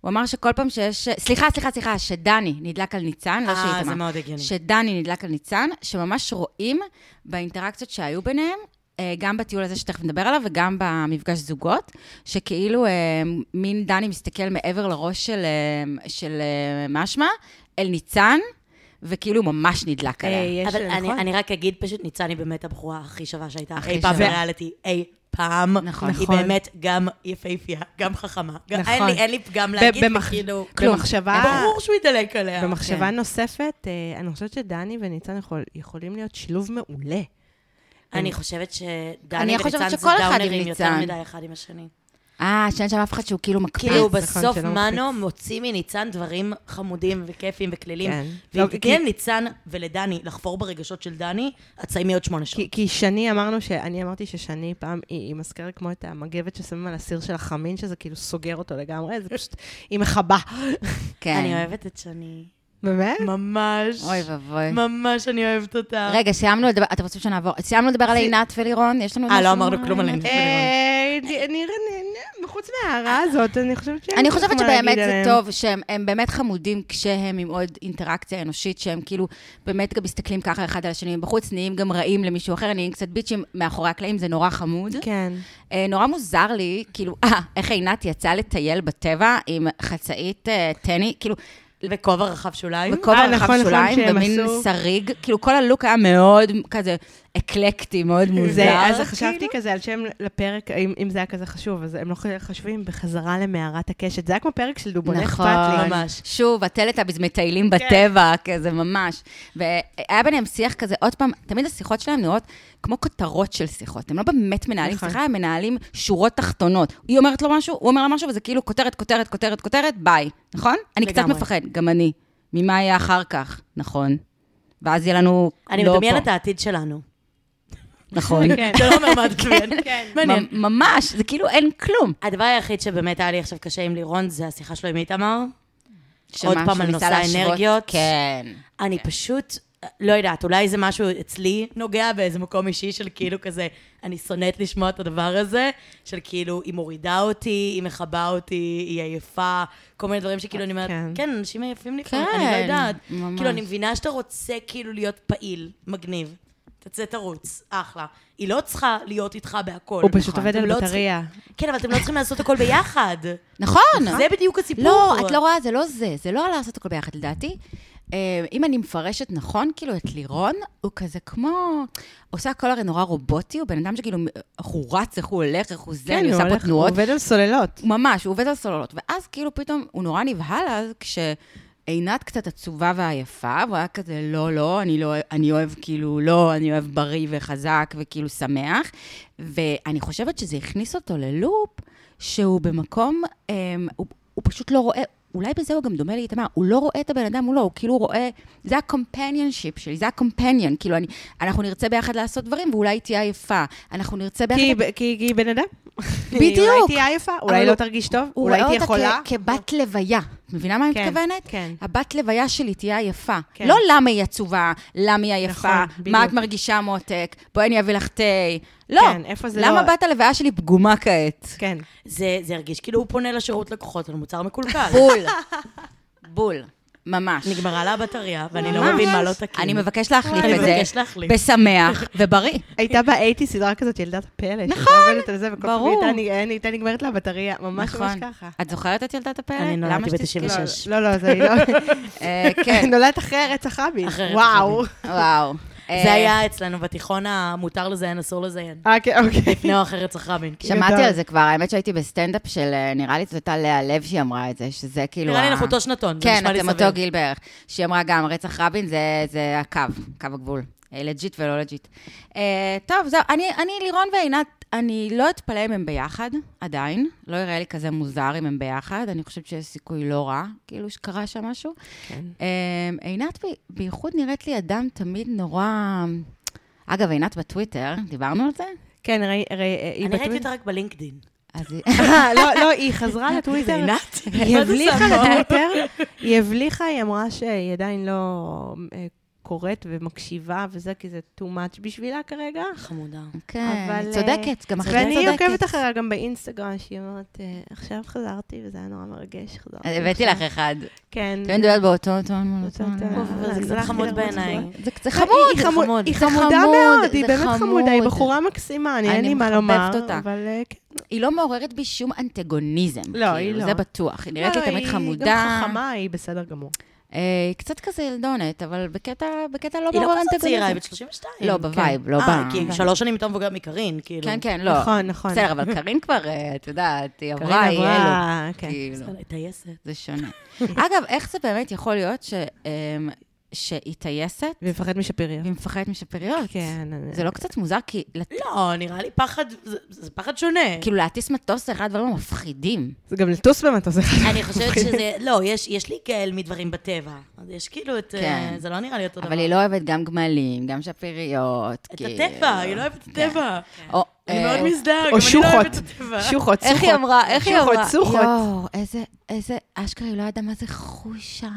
A: הוא אמר שכל פעם שיש... סליחה, סליחה, סליחה, שדני נדלק על ניצן, לא
C: אה,
A: שאיתמר.
C: זה מאוד הגיוני.
A: שדני נדלק על ניצן, שממש רואים באינטראקציות שהיו ביניהם, אה, גם בטיול הזה שתכף נדבר עליו וגם במפגש זוגות, שכאילו אה, מין דני מסתכל מעבר לראש של, אה, של אה, משמע אל ניצן, וכאילו הוא ממש
C: אה,
A: נדלק עליה.
B: יש,
C: אבל אני-
B: נכון?
C: אני רק אגיד, פשוט ניצן היא באמת הבחורה הכי שווה שהייתה
A: הכי
C: אי פעם
A: שווה.
C: בריאליטי, אי פעם.
A: נכון.
C: היא
B: נכון.
C: באמת גם יפהפייה, גם חכמה. גם-
B: נכון.
C: אין לי- אין לי פגם
B: ב-
C: להגיד,
B: במח-
C: כאילו...
A: כלום.
B: במחשבה...
C: ברור שהוא ידלק עליה.
B: אה, במחשבה
A: כן.
B: נוספת, אה, אני חושבת שדני וניצן יכול- יכולים להיות שילוב מעולה.
C: אני חושבת שדני
A: אני חושבת
C: וניצן זה
A: שכל אחד עם
C: דאונרים יותר
A: ניצן.
C: מדי אחד עם השני.
A: אה, שאין שם אף אחד שהוא כאילו מקפיץ.
C: כאילו,
B: נכון,
C: בסוף
B: שלא
C: מנו מוציא מניצן דברים חמודים וכיפים וכלילים.
B: כן.
C: ואם
B: לא,
C: תתני
B: כי-
C: לניצן ולדני לחפור ברגשות של דני, את תסיימי עוד שמונה שעות.
B: כי- כי שני אמרנו ש... אני אמרתי ששני פעם, היא היא מזכרת כמו את המגבת ששמים על הסיר של החמין, שזה כאילו סוגר אותו לגמרי, זה פשוט... היא מכבה.
A: כן.
C: אני אוהבת את שני.
B: באמת?
C: ממש.
A: אוי ואבוי.
C: ממש אני אוהבת אותה. אה,
A: רגע, סיימנו לדבר, אתם רוצים שנעבור? סיימנו לדבר על עינת ולירון? יש לנו...
C: אה, לא
A: משהו
C: אמרנו כלום על עינת.
B: אה, נראה- נראה- חוץ מההערה הזאת, אני חושבת ש...
A: אני חושבת שבאמת זה טוב שהם הם באמת חמודים כשהם עם עוד אינטראקציה אנושית, שהם כאילו באמת גם מסתכלים ככה אחד על השני מבחוץ, נהיים גם רעים למישהו אחר, נהיים קצת ביצ'ים מאחורי הקלעים, זה נורא חמוד.
B: כן.
A: אה, נורא מוזר לי, כאילו, אה, איך עינת יצאה לטייל בטבע עם חצאית אה, טני, כאילו,
C: וכובע רחב שוליים.
A: בכובע
B: אה, נכון,
A: רחב
B: נכון,
A: שוליים,
B: שהם
A: במין
B: עשו-
A: שריג, כאילו כל הלוק היה מאוד כזה אקלקטי, מאוד מוזר.
B: זה, אז חשבתי
A: כאילו.
B: כזה על שם לפרק, אם, אם זה היה כזה חשוב, אז הם לא חשובים בחזרה למערת הקשת. זה היה כמו פרק של דובונה
A: נכון,
B: אכפת לי. כן.
C: ממש.
A: שוב, הטלטאביז מטיילים בטבע, כזה ממש. והיה ביניהם שיח כזה, עוד פעם, תמיד השיחות שלהם נראות כמו כותרות של שיחות. הם לא באמת מנהלים
B: נכון.
A: שיחה, הם מנהלים שורות תחתונות. היא אומרת לו משהו, הוא אומר לה משהו, וזה כאילו כותרת, כותרת, כותרת, כותרת, ביי, נכון? אני קצת
C: לגמרי.
A: מפחד, גם אני. ממה יהיה אחר כך, נכון. ואז יהיה לנו
C: אני
A: לא
C: מדמיינת את
A: פה,
C: העתיד שלנו.
A: נכון.
B: כן.
C: זה לא אומר מה את מדמיינת. מעניין.
A: מ- ממש, זה כאילו אין כלום.
C: הדבר היחיד שבאמת היה לי עכשיו קשה עם לירון, זה השיחה שלו עם איתמר. עוד
A: שמה,
C: פעם
A: שהוא ניסה
C: על נושא
A: להשוות.
C: האנרגיות.
A: כן.
C: אני פשוט, לא יודעת, אולי זה משהו אצלי נוגע באיזה מקום אישי של כאילו כזה, אני שונאת לשמוע את הדבר הזה, של כאילו, היא מורידה אותי, היא מכבה אותי, היא עייפה, כל מיני דברים שכאילו אני אומרת,
B: כן.
C: כן, אנשים עייפים לפעמים,
A: כן,
C: אני לא יודעת.
A: ממש.
C: כאילו, אני מבינה שאתה רוצה כאילו להיות פעיל, מגניב. תצא תרוץ, אחלה. היא לא צריכה להיות איתך בהכל.
B: הוא פשוט
C: נכון.
B: עובד
C: אתם
B: על
C: לא
B: בטריה.
C: צריכים- כן, אבל אתם לא צריכים לעשות הכל ביחד.
A: נכון.
C: זה בדיוק הסיפור.
A: לא, את לא רואה, זה לא זה, זה לא על לעשות הכל ביחד, לדעתי. אה, אם אני מפרשת נכון, כאילו, את לירון, הוא כזה כמו... עושה הכל הרי נורא רובוטי, הוא בן אדם שכאילו, איך הוא רץ, איך הוא הולך, איך הוא
C: כן,
A: זה, אני
B: כן, הוא
A: עושה פה
B: הולך- הוא
A: תנועות.
B: עובד על סוללות.
A: ממש, הוא עובד על סוללות. ואז כאילו פתאום, הוא נורא נבהל אז, כש... עינת קצת עצובה ועייפה, והוא היה כזה, לא, לא, אני, לא, אני אוהב כאילו, לא, אני אוהב בריא וחזק וכאילו שמח. ואני חושבת שזה הכניס אותו ללופ, שהוא במקום, אה, הוא, הוא פשוט לא רואה, אולי בזה הוא גם דומה לאיתמר, הוא לא רואה את הבן אדם מולו, הוא כאילו רואה, זה ה-companionship שלי, זה ה-companion, כאילו, אני, אנחנו נרצה ביחד לעשות דברים, ואולי היא תהיה עייפה. אנחנו נרצה ביחד...
B: כי כי היא בן אדם. אולי
A: בדיוק.
B: תהיה עייפה,
A: אבל
B: אולי
A: הוא-
B: לא תרגיש טוב,
A: הוא
B: אולי
A: רואה
B: תהיה
A: אותה
B: חולה. לא.
A: כ- כבת לוויה. מבינה מה אני
B: כן,
A: מתכוונת?
B: כן.
A: הבת לוויה שלי תהיה עייפה.
B: כן.
A: לא למה היא עצובה, למה היא עייפה,
B: נכון,
A: מה
B: בדיוק.
A: את מרגישה מותק, בואי אני אביא לך תה. לא.
B: כן, איפה זה
A: למה
B: לא-
A: בת הלוויה שלי פגומה כעת?
B: כן.
C: זה זה הרגיש כאילו הוא פונה לשירות לקוחות על מוצר מקולקל.
A: בול. בול. ממש.
C: נגמרה לה הבטריה, ואני לא
A: ממש.
C: מבין מה לא תקין.
A: אני מבקש להחליף
C: אני
A: את זה.
C: מבקש להחליף.
A: בשמח ובריא.
B: הייתה באייטי סדרה כזאת, ילדת הפלא. נכון, וכל פעם
A: ברור.
B: הייתה נג- הייתה נגמרת לה בטריה, ממש ממש
A: נכון.
B: ככה.
A: את זוכרת את ילדת הפרק?
C: אני נולדתי
A: למה שתזכרי?
C: ב-
B: לא,
C: 96.
B: לא, לא, זה היא לא...
A: אה, כן,
B: נולדת אחרי רצח רבין.
C: אחרי רצח
B: וואו.
A: וואו.
C: זה
A: אה,
C: היה אצלנו בתיכון המותר לזיין, אסור לזיין.
B: אה, כן, אוקיי.
C: לפני או אחרי רצח רבין. כאילו.
A: שמעתי
B: גדול.
A: על זה כבר, האמת שהייתי בסטנדאפ של, אה, נראה לי זאת הייתה לאה לב שהיא אמרה את זה, שזה כאילו...
C: נראה לי
A: ה-
C: אנחנו אותו שנתון, זה
A: כן,
C: נשמע לי
A: אתם
C: סביר.
A: אותו גיל בערך. שהיא אמרה גם, רצח רבין זה- זה הקו, קו הגבול. אה, לג'יט ולא לג'יט. אה, טוב, זהו, אני, אני לירון ועינת, אני לא אתפלא אם הם ביחד, עדיין. לא יראה לי כזה מוזר אם הם ביחד, אני חושבת שיש סיכוי לא רע, כאילו שקרה שם משהו.
B: כן.
A: אה, עינת ב- בייחוד נראית לי אדם תמיד נורא... אגב, עינת בטוויטר, דיברנו על זה?
B: כן, ראי- ראי- אה, היא
C: אני ראיתי
B: בטוויטר.
C: אותה רק בלינקדין.
A: אז היא...
B: אה, לא, לא, היא חזרה לטוויטר.
C: עינת?
B: היא
C: מה זה
B: הבליחה
C: סבבה?
B: לטוויטר, היא הבליחה, היא אמרה שהיא עדיין לא אה, קוראת ומקשיבה וזה, כי זה too much בשבילה כרגע.
C: חמודה.
A: כן,
B: אבל,
A: היא
B: אה,
A: צודקת, גם הכי צודקת.
B: ואני עוקבת אחריה גם באינסטגרם, שהיא אומרת, אה, עכשיו חזרתי, וזה היה נורא מרגש, חזרתי.
A: אה, הבאתי לך
B: עכשיו."
A: אחד.
B: כן.
A: אתם מדברת באותו טון מול
B: אותו
A: אותו
B: טון.
A: טון.
C: אוף, אבל זה קצת
B: הלכתי
C: חמוד
B: לרוץ
C: בעיניי.
B: בחוץ.
A: זה קצת
B: היא-
A: חמוד,
B: היא
A: זה
B: חמוד,
A: חמוד.
B: היא
A: זה
B: חמודה
A: חמוד,
B: מאוד,
A: זה
B: היא באמת חמודה, היא
A: חמוד.
B: בחורה מקסימה, אני אין
A: אני
B: לי מה
A: מחבבת
B: לומר.
A: אותה.
B: אבל אה, כן.
A: היא לא מעוררת בי שום אנטגוניזם.
B: לא,
A: כאילו,
B: היא לא.
A: זה בטוח. היא נראית לי
B: לא,
A: תמיד
B: היא
A: חמודה.
B: גם חכמה, היא בסדר גמור.
A: אה, היא קצת כזה ילדונת, אבל בקטע בקטע לא
C: היא לא
A: מעורר
C: כזאת צעירה, היא
A: אנטגוניזם.
C: בת 32.
B: כן.
A: לא, בווייב, לא
C: אה,
A: ב-
C: כי היא שלוש שנים יותר מבוגרת מקרין, כאילו.
A: כן, כן, לא.
B: נכון, נכון.
A: בסדר, אבל קארין כבר, אה, את יודעת, היא
B: קארין
A: עברה, היא אלו.
B: עברה, כן.
A: כאילו.
C: בסדר, היא טייסת.
A: זה שונה. אגב, איך זה באמת יכול להיות ש- אמ, שהיא טייסת
B: והיא מפחדת משפיריות.
A: והיא מפחדת משפריות?
B: כן.
A: זה לא קצת מוזר? כי לת-
C: לא, נראה לי פחד, זה- זה פחד שונה.
A: כאילו להטיס מטוס זה אחד הדברים המפחידים.
B: זה גם לטוס במטוס אחד.
C: אני חושבת שזה, לא, יש, יש לי גאל מדברים בטבע. אז יש כאילו את,
A: כן.
C: אה, זה לא נראה לי אותו דבר.
A: אבל היא לא אוהבת גם גמלים, גם שפיריות.
C: את
A: כאילו.
C: הטבע, היא לא אוהבת את הטבע.
A: או,
C: אני
A: אה,
C: מאוד מזדהה, גם
B: או
C: אני לא
B: שוחות.
C: אוהבת את הטבע.
B: שוחות,
A: איך היא
B: סוחות.
A: אמרה? איך היא
B: סוחות,
A: אמרה?
B: סוחות.
A: יואו, איזה, איזה, אשכרה היא לא ידעה מה זה חושה.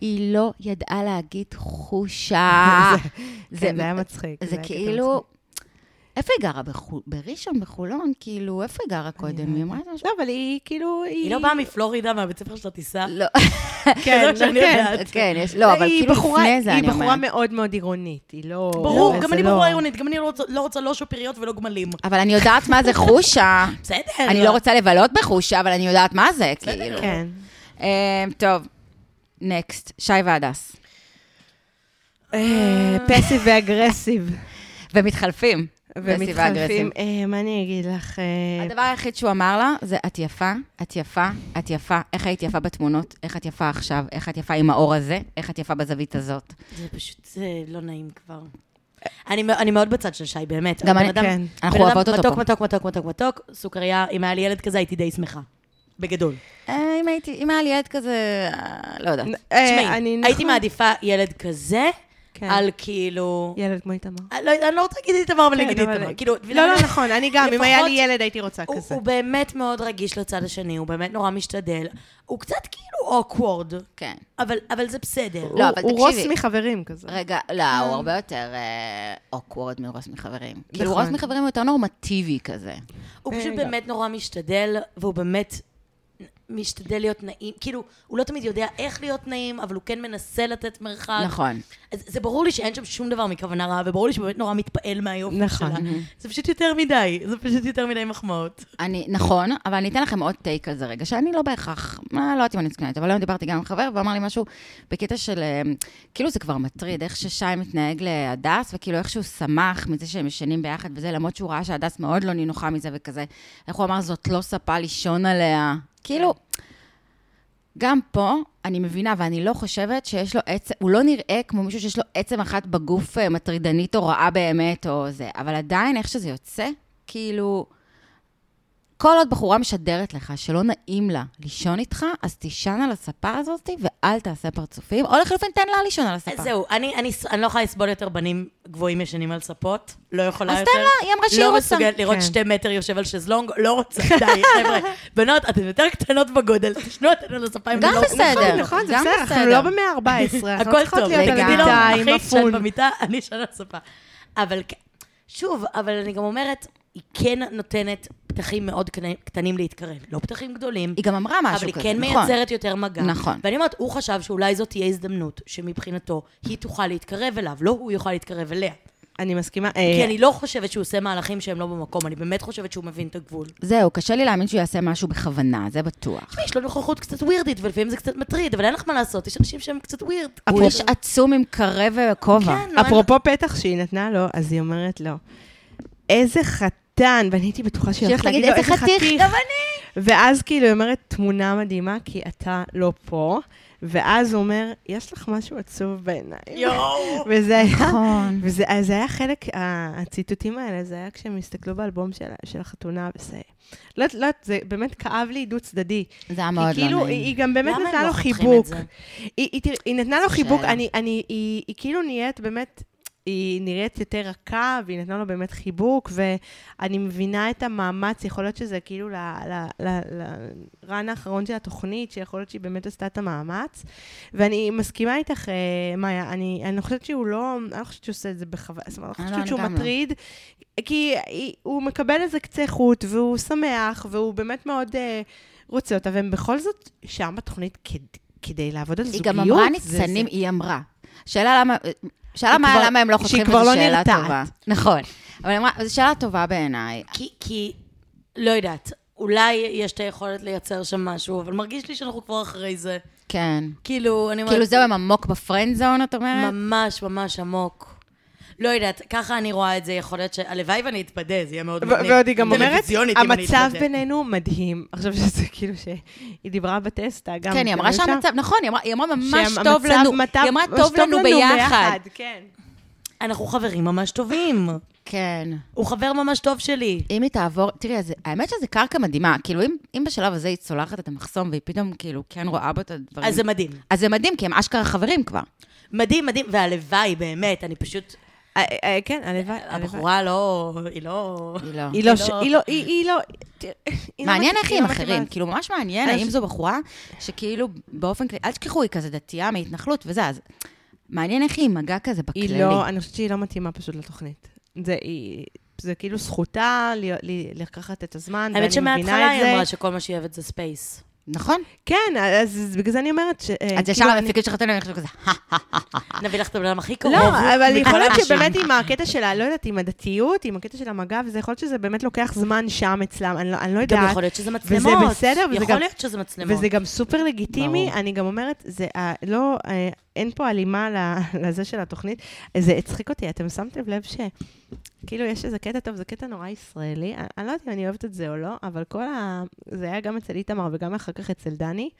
A: היא לא ידעה להגיד חושה.
B: כן, זה היה מצחיק.
A: זה
B: היה קטע
A: כאילו... איפה היא גרה? בחו- בראשון, בחולון? כאילו, איפה היא גרה קודם? היא אמרה את
B: מצחיק.
A: משהו?
B: לא, אבל היא כאילו...
C: היא לא באה מפלורידה, מהבית ספר שלה טיסה.
A: לא.
C: כזאת שאני יודעת.
A: כן, יש... לא, אבל
B: היא
A: כאילו
B: בחורה-
A: לפני זה, אני
B: היא בחורה
A: אומרת.
B: מאוד מאוד עירונית, היא לא...
C: ברור,
B: זה
C: גם אני
B: לא-
C: בחורה עירונית, גם אני לא רוצה- לא רוצה לא שופריות ולא גמלים.
A: אבל אני יודעת מה זה חושה.
C: בסדר.
A: אני לא רוצה לבלות בחושה, אבל אני יודעת מה זה, כאילו.
B: כן.
A: אה, טוב, נקסט, שי והדס.
B: אה, פסיב ואגרסיב.
A: ומתחלפים. פסיב ואגרסיב.
B: ומתחלפים. אה, מה אני אגיד לך? אה,
A: הדבר היחיד שהוא אמר לה זה, את יפה, את יפה, את יפה. איך היית יפה בתמונות, איך את יפה עכשיו, איך את יפה עם האור הזה, איך את יפה בזווית הזאת.
C: זה פשוט אה, לא נעים כבר. אני מא- אני מאוד בצד של שי, באמת.
A: גם
C: הבן
A: אני-
C: אדם-
B: כן.
A: אנחנו
C: בן אדם
A: אוהבות אותו פה.
C: מתוק, מתוק, מתוק, מתוק, מתוק, סוכריה, אם היה לי ילד כזה, הייתי די שמחה. בגדול.
A: אה, אם הייתי, אם היה לי ילד כזה, אה, לא יודעת.
B: אה, אני-
C: תשמעי,
B: נכון.
C: הייתי מעדיפה ילד כזה,
B: כן.
C: על כאילו...
B: ילד כמו איתמר.
C: אני לא אני לא רוצה להגיד איתמר, אבל
B: כן,
C: נגיד
B: אבל-
C: איתמר. כאילו, את מבינה
B: לא,
C: מה
B: לא
C: אני-
B: נכון, אני גם, אם
C: לפחות-
B: היה לי ילד הייתי רוצה
C: הוא-
B: כזה.
C: הוא באמת מאוד רגיש לצד השני, הוא באמת נורא משתדל. הוא קצת כאילו אוקוורד,
A: כן.
C: אבל אבל זה בסדר.
B: אוקיי,
A: לא, אבל
B: הוא רוס
A: תקשיבי.
B: מחברים כזה.
A: רגע, לא, הוא הרבה יותר אוקוורד מרוס מחברים. כאילו,
B: נכון.
A: רוס מחברים הוא יותר נורמטיבי כזה.
C: הוא פשוט
B: רגע.
C: באמת נורא משתדל, והוא באמת משתדל להיות נעים. כאילו, הוא לא תמיד יודע איך להיות נעים, אבל הוא כן מנסה לתת מרחק.
A: נכון.
C: אז זה ברור לי שאין שם שום דבר מכוונה רעה, וברור לי שהוא באמת נורא מתפעל מהיופי
B: נכון.
C: שלה. זה פשוט יותר מדי, זה פשוט יותר מדי מחמאות.
A: אני, נכון, אבל אני אתן לכם עוד טייק על זה רגע, שאני לא בהכרח, מה, לא יודעת אם אני זקנית, אבל היום דיברתי גם עם חבר, והוא אמר לי משהו בקטע של, אה, כאילו זה כבר מטריד, איך ששי מתנהג להדס, וכאילו איך שהוא שמח מזה שהם ישנים ביחד וזה, למרות שהוא ראה שהדס מאוד לא נינוחה מזה וכזה, איך הוא אמר, זאת לא ספה לישון עליה. כאילו, גם פה, אני מבינה, ואני לא חושבת שיש לו עצם, הוא לא נראה כמו מישהו שיש לו עצם אחת בגוף אה, מטרידנית או רעה באמת, או זה, אבל עדיין, איך שזה יוצא, כאילו... כל עוד בחורה משדרת לך שלא נעים לה לישון איתך, אז תישן על הספה הזאת ואל תעשה פרצופים, או לחלופין תן לה לישון על הספה.
C: זהו, אני, אני, ס- אני לא יכולה לסבול יותר בנים גבוהים ישנים על ספות, לא יכולה
A: אז
C: יותר.
A: תן לה, היא אמרה שהיא
C: לא
A: רוצה.
C: מסוגלת לראות
B: כן.
C: שתי מטר יושב על שזלונג, לא רוצה, די, חבר'ה. בנות, אתן יותר קטנות בגודל, תשנו אותנו על הספה אם
A: גם
C: לא...
A: בסדר. אה,
B: נכון, נכון, זה
A: כן, גם
B: בסדר, אנחנו
A: בסדר.
B: לא במאה ה-14, אנחנו לא
C: הכל
B: צריכות
C: טוב,
B: להיות על
A: לגמרי.
C: תגידי לו,
B: המיטה עם
C: אחי, שאת
B: אפון.
C: במיטה, אני שנה ספה. אבל כ- שוב, אבל אני גם אומרת, היא כן נותנת פתחים מאוד קטנים- קטנים להתקרן, לא פתחים גדולים.
A: היא גם אמרה משהו
C: אבל
A: כזה,
C: היא כן
A: נכון.
C: מייצרת יותר מגע.
A: נכון.
C: ואני אומרת, הוא חשב שאולי זאת תהיה הזדמנות שמבחינתו היא תוכל להתקרב אליו, לא הוא יוכל להתקרב
A: אה,
C: אליה.
B: אני מסכימה.
C: כי
B: אה,
C: אני לא חושבת שהוא עושה מהלכים שהם לא במקום, אני באמת חושבת שהוא מבין את הגבול.
A: זהו, קשה לי להאמין שהוא יעשה משהו בכוונה, זה בטוח.
C: יש לו נוכחות קצת ווירדית, ולפעמים זה קצת מטריד, אבל אין לך מה לעשות, יש אנשים שהם קצת ווירד.
A: הוא איש עצום עם קרה וכובע.
C: כן, לא, אין-
B: אפרופו פתח שהיא נתנה לו, אז היא אומרת לו, איזה חתן, ואני הייתי בטוחה שהיא הולכת להגיד לו, איזה חתיך.
A: גם אני.
B: ואז כאילו היא אומרת, תמונה מדהימה, כי אתה לא פה. ואז הוא אומר, יש לך משהו עצוב בעיניים.
C: יואו!
B: וזה היה,
A: נכון.
B: וזה אז זה היה חלק, ה- הציטוטים האלה, זה היה כשהם הסתכלו באלבום של, של החתונה, וזה... לא, יודעת- לא, יודעת, זה באמת כאב לי דו צדדי.
A: זה היה מאוד
B: כי
A: לא
B: כאילו, היא,
A: נעים.
B: היא גם באמת
C: למה הם
B: נתנה
C: לא
B: לו
C: חותכים את
B: חיבוק.
C: זה?
B: היא, היא, תראה, היא נתנה לו חיבוק,
A: שאלה.
B: אני, אני, היא, היא כאילו נהיית באמת, היא נראית יותר רכה, והיא נתנה לו באמת חיבוק, ואני מבינה את המאמץ, יכול להיות שזה כאילו ל- ל- ל- לרן האחרון של התוכנית, שיכול להיות שהיא באמת עשתה את המאמץ. ואני מסכימה איתך, אה, מאיה, אני, אני חושבת שהוא לא, אני לא חושבת שהוא עושה את זה בכוונה, זאת אומרת, אני
A: אה,
B: לא
A: לא,
B: חושבת
A: אני
B: שהוא
A: גם לא.
B: מטריד, כי היא- הוא מקבל איזה קצה חוט, והוא שמח, והוא באמת מאוד אה, רוצה אותה, והם בכל זאת שם בתוכנית כדי, כדי לעבוד על
A: היא
B: זוגיות.
A: גם אמרה
B: זה- זה-
A: ניצנים, היא אמרה. שאלה למה... שאלה מה,
B: כבר-
A: למה הם לא
B: שהיא
A: חותכים,
B: כבר
A: וזו
B: לא
A: שאלה
B: נרתעת.
A: טובה. נכון. אבל היא אמרה, זו שאלה טובה בעיניי.
C: כי, כי, לא יודעת, אולי יש את היכולת לייצר שם משהו, אבל מרגיש לי שאנחנו כבר אחרי זה.
A: כן.
C: כאילו, אני אומרת...
A: כאילו זהו, הם עמוק בפרנד זון, את אומרת?
C: ממש ממש עמוק. לא יודעת, ככה אני רואה את זה, יכול להיות ש... הלוואי ואני אתפדה, זה יהיה מאוד
B: ו-
C: מגניב.
B: ועוד היא גם אומרת,
C: טלוויזיונית אם אני
B: המצב
C: אתפדה."
B: בינינו מדהים. עכשיו שזה כאילו שהיא דיברה בטסטה גם.
A: כן, היא אמרה
B: גם שם.
A: שהמצב, נכון, היא אמרה- היא אמרה ממש
B: שהמצב
A: טוב לנו.
B: מטב-
A: היא אמרה
B: ממש
A: טוב לנו ביחד.
B: כן.
C: אנחנו חברים ממש טובים.
A: כן.
C: הוא חבר ממש טוב שלי.
A: אם היא תעבור, תראי, אז האמת שזו קרקע מדהימה. כאילו, אם, אם בשלב הזה היא צולחת את המחסום והיא פתאום כאילו כן רואה בו את הדברים,
C: אז זה מדהים.
A: אז זה מדהים, כי הם אשכרה חברים כבר.
C: מדהים, מדהים, והלוואי, באמת, אני פשוט...
B: אה, אה, כן, הלוואי. הלוואי.
C: הבחורה לא... היא לא...
A: היא לא.
B: היא לא,
C: היא
B: ש-
C: לא-
B: היא לא, היא- היא לא... תראה, היא לא
A: מעניין
B: מתאימה-
A: איך
B: היא
A: היא עם
B: לא מתאימה
A: אחרים,
B: לזה.
A: כאילו ממש מעניין
B: אני
A: האם
B: חושבת-
A: זו בחורה שכאילו באופן כללי, אל תשכחו, היא כזה דתייה מהתנחלות וזה, אז מעניין איך היא עם מגע כזה בכללי.
B: היא לא, אני חושבת שהיא לא מתאימה פשוט לתוכנית. זה היא... זה כאילו זכותה ל- ל- לקחת את הזמן, ואני
C: האמת שמההתחלה
B: מבינה את
C: היא אמרה
B: זה.
C: שכל מה שהיא אוהבת זה ספייס.
A: נכון?
B: כן, אז בגלל זה אני אומרת ש... אה,
A: אז ישר
B: כאילו,
A: המפיקים של חתונה, אני חושבת כזה,
C: נביא לך את הבן אדם הכי קרוב.
B: לא, אבל
C: מכל
B: יכול להיות
C: האנשים.
B: שבאמת עם הקטע שלה, לא יודעת, עם הדתיות, עם הקטע של המגע, וזה יכול להיות שזה באמת לוקח זמן שם אצלם, אני לא- אני לא
C: גם
B: יודעת.
C: יכול להיות
B: וזה
C: שזה מצלמות.
B: בסדר, וזה
C: יכול
B: גם-
C: להיות שזה מצלמות.
B: וזה גם סופר לגיטימי,
C: ברור.
B: אני גם אומרת, זה אה, לא, אה, אין פה הלימה ל- לזה של התוכנית. זה הצחיק אותי, אתם שמתם לב ש... כאילו, יש איזה קטע טוב, זה קטע נורא ישראלי. אני, אני לא יודעת אם אני אוהבת את זה או לא, אבל כל ה... זה היה גם אצל איתמר וגם אחר כך אצל דני.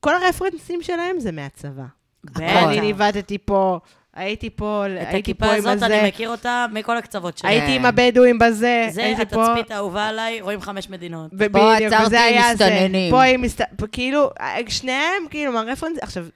B: כל הרפרנסים שלהם זה מהצבא.
C: בטח.
B: אני ניווטתי פה, הייתי פה,
C: כן. את
B: הייתי פה
C: הכיפה
B: עם
C: הזאת,
B: הזה,
C: אני מכיר אותה מכל הקצוות שלה.
B: הייתי עם הבדואים בזה,
C: זה
B: אה, הייתי פה.
C: התצפית האהובה עליי, רואים חמש מדינות.
B: ב-
A: פה
B: בדיוק,
A: עצרתי
B: וזה היה זה.
A: מסתננים.
B: פה עם מסתננים. כאילו, שניהם, כאילו, מה רפרנס... עכשיו,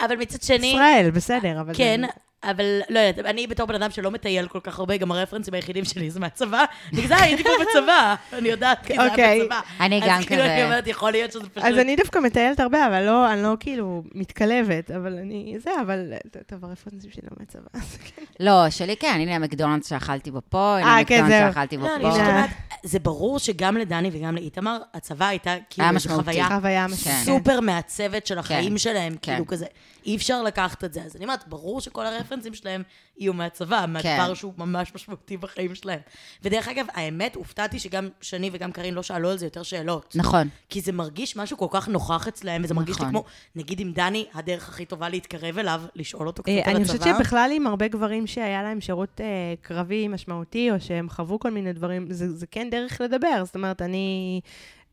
C: אבל מצד שני,
B: ישראל, בסדר, אבל...
C: כן,
B: זה-
C: אבל לא יודעת, אני בתור בן אדם שלא מטייל כל כך הרבה, גם הרפרנסים היחידים שלי זה מהצבא. בגלל זה הייתי פה בצבא, אני יודעת, כי זה היה
B: אוקיי.
C: בצבא.
A: אני גם
C: אז כאילו
A: כזה.
C: אני אומרת, יכול להיות שזה פשוט...
B: אז אני דווקא מטיילת הרבה, אבל לא, אני לא כאילו מתקלבת, אבל אני... זה, אבל... טוב, הרפרנסים שלי לא מהצבא. אז כן.
A: לא, שלי כן, הנה המקדונלדס שאכלתי בו פה, הנה
B: אה, כן, זהו.
A: המקדונלדס שאכלתי בו
C: לא, אני
A: פה.
C: פשוט
B: בוא.
C: אומרת, זה ברור שגם לדני וגם לאיתמר, הצבא הייתה כאילו
A: היה
C: איזו
A: משמעותי.
C: חוויה
B: חוויה משמעותית.
C: סופר מעצבת של החיים
A: כן.
C: שלהם,
A: כן.
C: כאילו כזה, אי אפשר לקחת את זה. אז אני אומרת, ברור שכל הרפרנסים שלהם יהיו מהצבא,
A: כן.
C: מהדבר שהוא ממש משמעותי בחיים שלהם. ודרך אגב, האמת, הופתעתי שגם שני וגם קארין לא שאלו על זה יותר שאלות.
A: נכון.
C: כי זה מרגיש משהו כל כך נוכח אצלהם, וזה מרגיש לי
A: נכון.
C: כמו, נגיד עם דני, הדרך הכי טובה להתקרב אליו, לשאול אותו קצת על
B: אה,
C: הצבא.
B: אני חושבת שבכלל עם הרבה גברים שהיה להם שירות אה, קרבי משמעותי, או שהם חוו כל מיני דברים, זה זה כן דרך לדבר. זאת אומרת, אני...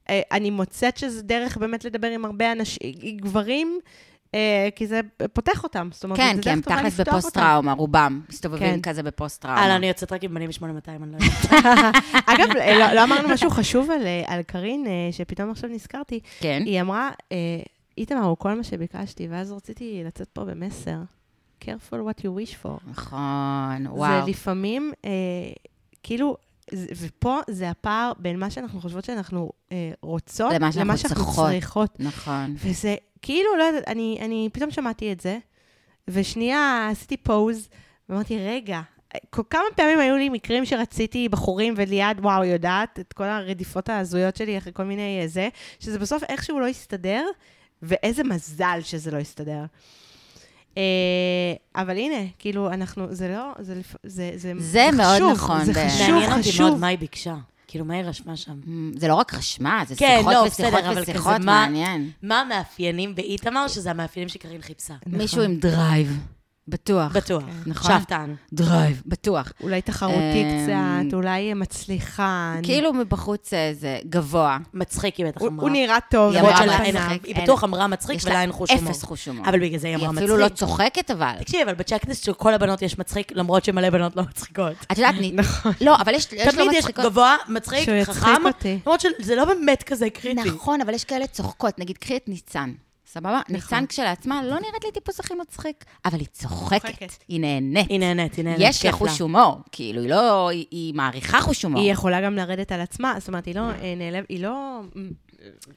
B: אה, אני מוצאת שזה דרך באמת לדבר עם הרבה אנשים, גברים, אה, כי זה פותח אותם. זאת אומרת,
A: כן,
B: זה
A: כי
B: דרך
A: הם
B: טובה
A: תכלס
B: לפתוח אותם.
A: בפוסט-טראומה, רובם מסתובבים
B: כן.
A: כזה בפוסט-טראומה.
C: הלאה, אני יוצאת רק עם בנים מ-8200, אני
A: כן.
C: לא יודעת.
B: אגב, לא, לא אמרנו משהו חשוב על, אה, על קארין, אה, שפתאום עכשיו נזכרתי.
A: כן.
B: היא אמרה, אה, איתמר הוא כל מה שביקשתי, ואז רציתי לצאת פה במסר. careful what you wish for.
A: נכון,
B: וואו.
A: וואו.
B: זה לפעמים, אה, כאילו, זה- ופה זה הפער בין מה שאנחנו חושבות שאנחנו אה, רוצות,
A: למה שאנחנו צריכות.
B: צריכות.
A: נכון.
B: וזה כאילו, לא יודעת, אני, אני פתאום שמעתי את זה, ושנייה עשיתי פוז, ואמרתי, רגע, כל כמה פעמים היו לי מקרים שרציתי בחורים וליעד, וואו, יודעת, את כל הרדיפות ההזויות שלי אחרי כל מיני אה, זה, שזה בסוף איכשהו לא הסתדר, ואיזה מזל שזה לא הסתדר. אה, אבל הנה, כאילו, אנחנו, זה לא, זה, לפ- זה, זה,
A: זה מאוד
B: חשוב,
A: נכון,
B: זה
A: באמת.
B: חשוב,
C: מעניין אותי מאוד
B: חשוב.
C: מה היא ביקשה. כאילו, מה היא רשמה שם?
A: מ, זה לא רק חשמל, זה
C: כן,
A: שיחות
C: לא,
A: ושיחות
C: בסדר, אבל כזה
A: ושיחות,
C: מה-
A: מעניין.
B: נכון.
C: מה המאפיינים באיתמר, שזה המאפיינים שקרין חיפשה?
A: מישהו
B: נכון.
A: עם דרייב, בטוח.
C: בטוח.
A: נכון.
C: שאפתן.
A: דרייב, בטוח.
B: אולי תחרותי
A: אמ,
B: קצת, אולי מצליחן.
A: כאילו מבחוץ אה, זה גבוה.
C: מצחיק היא בטח
B: הוא,
C: אמרה.
B: הוא נראה טוב,
A: היא
C: למרות
A: אמרה
C: שלה
A: מצחיק,
C: אין-
A: אין-
C: היא בטוח אמרה מצחיק
A: יש
C: ולה
A: לה
C: אין חוש הומור.
A: אפס חוש הומור.
C: אבל בגלל זה היא אמרה
A: היא
C: מצחיק.
A: אפילו לא צוחקת, אבל.
C: תקשיבי, אבל בצ'קליסט של כל הבנות יש מצחיק, למרות שמלא בנות לא מצחיקות.
A: את יודעת, אני... לא, אבל יש יש לא
C: תמיד יש
A: מצחיקות.
C: גבוה, מצחיק,
B: שהוא יצחיק
C: חכם,
B: אותי.
C: למרות שזה לא באמת כזה קריטי.
A: נכון, אבל יש כאלה צוחקות. נגיד, קחי את ניצן, סבבה? ניצן כשלעצמה לא נראית לי טיפוס הכי מצחיק, אבל היא צוחקת,
B: צוחקת.
A: היא נהנית.
C: היא נהנית, היא נהנית,
A: יש לה
C: כיף
A: חוש הומור, כאילו, היא לא... היא- היא מעריכה חוש הומור.
B: היא יכולה גם לרדת על עצמה, זאת אומרת, היא לא אה, נעלב, היא לא...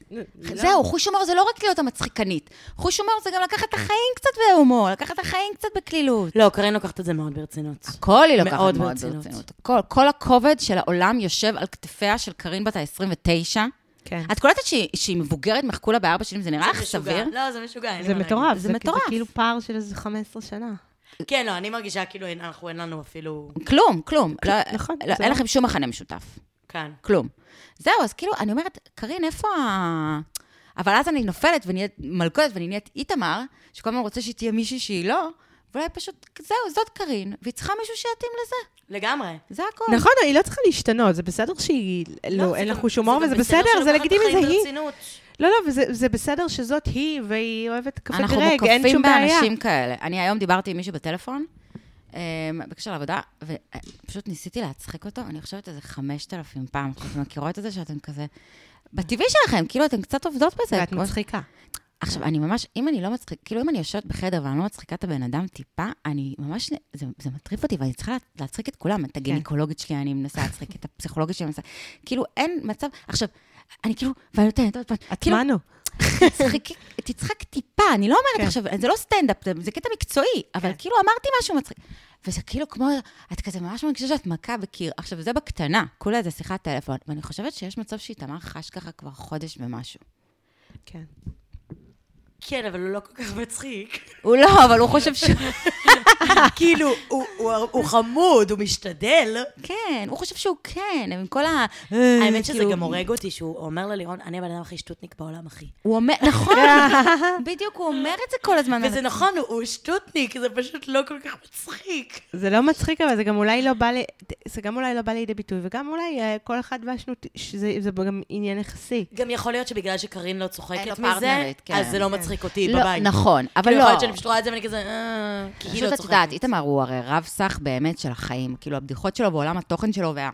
B: היא לא-
A: זהו, חוש הומור זה לא רק להיות המצחיקנית. חוש הומור זה גם לקחת את החיים קצת בהומור, לקחת את החיים קצת בקלילות.
C: לא, קרין לוקחת את זה מאוד ברצינות.
A: הכל היא לוקחת
C: מאוד
A: מאוד
C: ברצינות.
A: ברצינות. הכל, כל הכובד של העולם יושב על כתפיה של קארין בת ה-29.
B: כן.
A: את קולטת שהיא, שהיא מבוגרת, מחקו לה בארבע שנים, זה נראה לך
C: משוגע.
A: סביר?
C: לא, זה משוגע. אין לי
B: זה
C: מה
B: מטורף.
A: זה
B: זה
A: מטורף.
B: כאילו פער של איזה 15 שנה.
C: להגיד. כן, לא, אני מרגישה כאילו אין- אנחנו, אין לנו אפילו...
A: כלום, כלום. לא,
B: נכון,
A: לא,
B: זה
A: אין
B: לא-
A: לכם שום מכנה משותף.
C: כאן.
A: כלום. זהו, אז כאילו, אני אומרת, קארין, איפה ה... אבל אז אני נופלת ונהיית מלכודת ואני נהיית איתמר, שכל הזמן רוצה שתהיה מישהי שהיא לא, ואולי פשוט, זהו, זאת קארין, והיא צריכה מישהו שיתאים לזה.
C: לגמרי.
A: זה הכל.
B: נכון, היא לא צריכה להשתנות, זה בסדר שהיא... לא,
C: זה
B: אין
C: גם-
B: לה חוש הומור, וזה
C: גם
B: בסדר,
C: שלוקחת
B: זה לגיטימי, זה
C: חיים
B: היא.
C: ברצינות.
B: לא, לא, וזה זה בסדר שזאת היא, והיא אוהבת קפה
A: אנחנו
B: גרג, אין
A: מוקפים
B: שום בעיה.
A: באנשים כאלה. אני היום דיברתי עם מישהו בטלפון, אמ, בקשר לעבודה, ופשוט ניסיתי להצחיק אותו, אני חושבת איזה 5,000 פעם, אתם מכירות את זה שאתם כזה... בטבעי שלכם, כאילו, אתן קצת עובדות בזה.
B: ואת
A: כמו-
B: מצחיקה.
A: עכשיו, אני ממש, אם אני לא מצחיק, כאילו, אם אני יושבת בחדר ואני לא מצחיקה את הבן אדם טיפה, אני ממש, זה, זה מטריף אותי, ואני צריכה לה- להצחיק את כולם.
B: כן.
A: את הגינקולוגית שלי אני מנסה להצחיק, את הפסיכולוגית שלי אני מנסה... כאילו, אין מצב... עכשיו, אני כאילו, ואני נותנת עוד פעם, כאילו,
B: עצמנו.
A: תצחקי, תצחק טיפה, אני לא אומרת
B: כן.
A: עכשיו, זה לא סטנדאפ, זה- זה קטע מקצועי,
C: כן.
A: אבל כאילו אמרתי משהו מצחיק. וזה כאילו כמו, את כזה ממש מרגישה שאת מכה בקיר. עכשיו, זה בקטנה, כולה זה שיחת טלפון, ואני חושבת שיש מצב שאיתמר חש ככה כבר חודש ומשהו.
B: כן.
C: כן, אבל הוא לא כל כך מצחיק.
A: הוא לא, אבל הוא חושב ש...
C: כאילו, הוא- הוא- הוא חמוד, הוא משתדל.
A: כן, הוא חושב שהוא כן, עם כל ה...
C: האמת שזה
A: כאילו,
C: גם הורג אותי, שהוא אומר ללירון, אני הבן אדם הכי שטוטניק בעולם, אחי.
A: הוא אומר, נכון, בדיוק, הוא אומר את זה כל הזמן.
C: וזה נכון, הוא- הוא שטוטניק, זה פשוט לא כל כך מצחיק.
B: זה לא מצחיק, אבל זה גם אולי לא בא ל... זה גם אולי לא בא לידי ביטוי, וגם אולי אה, כל אחד והשנות... שזה- זה גם עניין יחסי.
C: גם יכול להיות שבגלל שקרין לא
A: אין לו
C: צוחקת מזה,
A: פרטנרית, כן.
C: אז זה לא מצחיק אותי
A: לא,
C: בבית.
A: נכון, אבל
C: כאילו,
A: לא.
C: יכול להיות שאני פשוט רואה את זה ואני כזה, אה, כי היא
A: פשוט
C: לא
A: את יודעת,
C: צוחקת.
A: איתמר הוא הרי רב סך באמת של החיים. כאילו, הבדיחות שלו ועולם התוכן שלו וה...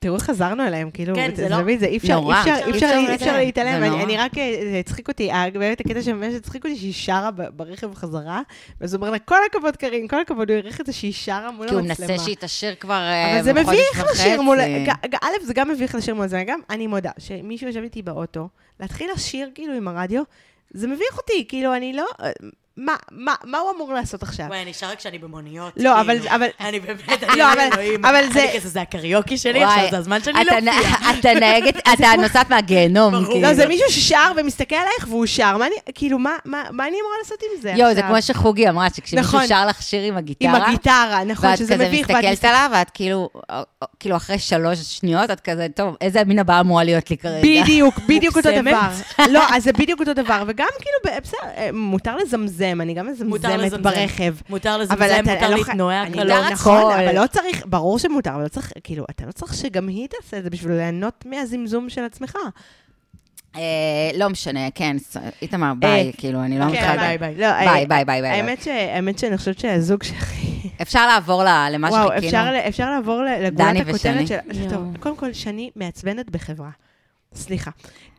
B: תראו איך חזרנו אליהם, כאילו,
C: כן, זה
B: זה
C: לא-
B: מבין, זה אי אפשר,
A: נורא.
B: אי
A: אפשר
B: אפשר, אי אפשר,
A: לזה.
B: אי אפשר
A: זה
B: להתעלם,
A: נורא.
B: אני- אני רק, אה, זה הצחיק אותי, אה, באמת הקטע שממש הצחיק אותי שהיא שרה ב- ברכב חזרה, ואז הוא אומר לה, כל הכבוד קארין, כל הכבוד, הוא העריך את זה שהיא שרה מול
A: כי הוא
B: המצלמה.
A: מנסה שהיא תשאיר כבר
B: אבל
A: אה,
B: זה
A: בחודש
B: מביך לשיר מול...
A: וחצי.
B: ג- ג- א', זה גם מביך לשיר מול זה, גם אני מודה, שמישהו יושב איתי באוטו, להתחיל לשיר כאילו עם הרדיו, זה מביך אותי, כאילו, אני לא... אה, מה, מה, מה הוא אמור לעשות עכשיו?
A: אה,
C: וואי, אני שרה כשאני במוניות.
B: לא,
C: כאילו.
B: אבל- אבל-
C: אני באמת,
B: לא,
C: אני לא
B: אבל-
C: אלוהים.
B: אבל זה-
C: אני כזה, זה הקריוקי שלי,
A: וואי,
C: עכשיו זה הזמן שאני
A: אתה
C: לא...
A: נ- אתה נהגת, אתה נוסעת מהגיהנום.
C: ברור.
A: כאילו.
B: לא, זה מישהו ששר ומסתכל עלייך והוא שר, מה אני, כאילו, מה, מה, מה אני אמורה לעשות עם זה
A: יואו,
B: עכשיו?
A: זה כמו שחוגי אמרה, שכשמישהו
B: נכון.
A: שר לך שיר עם הגיטרה,
B: עם הגיטרה, נכון,
A: ואת
B: שזה
A: כזה
B: מביך, ואת
A: מסתכלת עליו, ואת כאילו, או- או- כאילו אחרי שלוש שניות, את כזה, טוב, איזה מין הבאה אמורה להיות לי כרגע?
B: בדיוק, בדיוק אותו
C: מוקסמת.
B: דבר. לא, אז זה בדיוק אותו דבר, וגם כאילו, ב- בסדר, אה, מותר לזמזם, אני גם
C: מותר
B: מזמזמת
C: לזמזם.
B: ברכב.
C: מותר לזמזם,
B: אבל אתה-
C: מותר
B: אני לא ח-
C: להתנועע.
B: אני
C: קלות.
A: יודעת,
B: לא, נכון,
A: הכל.
B: אבל לא צריך, ברור שמותר, אבל לא צריך, כאילו, אתה לא צריך שגם היא תעשה את זה בשביל ליהנות מהזמזום של עצמך.
A: אה, לא משנה, כן, ס- איתמר, ביי,
B: אה,
A: כאילו, אני לא
B: כן,
A: מתחילה.
B: ביי, ביי. לא,
A: ביי,
B: אה,
A: ביי, ביי, ביי.
B: האמת ש- האמת שאני חושבת שהזוג שהכי...
A: אפשר לעבור ל- למה
B: וואו,
A: שחיכינו.
B: אפשר, ל- אפשר לעבור ל- לגולת
A: דני ושני.
B: הכותרת של...
C: יואו.
B: טוב, קודם כל, שני מעצבנת בחברה. סליחה.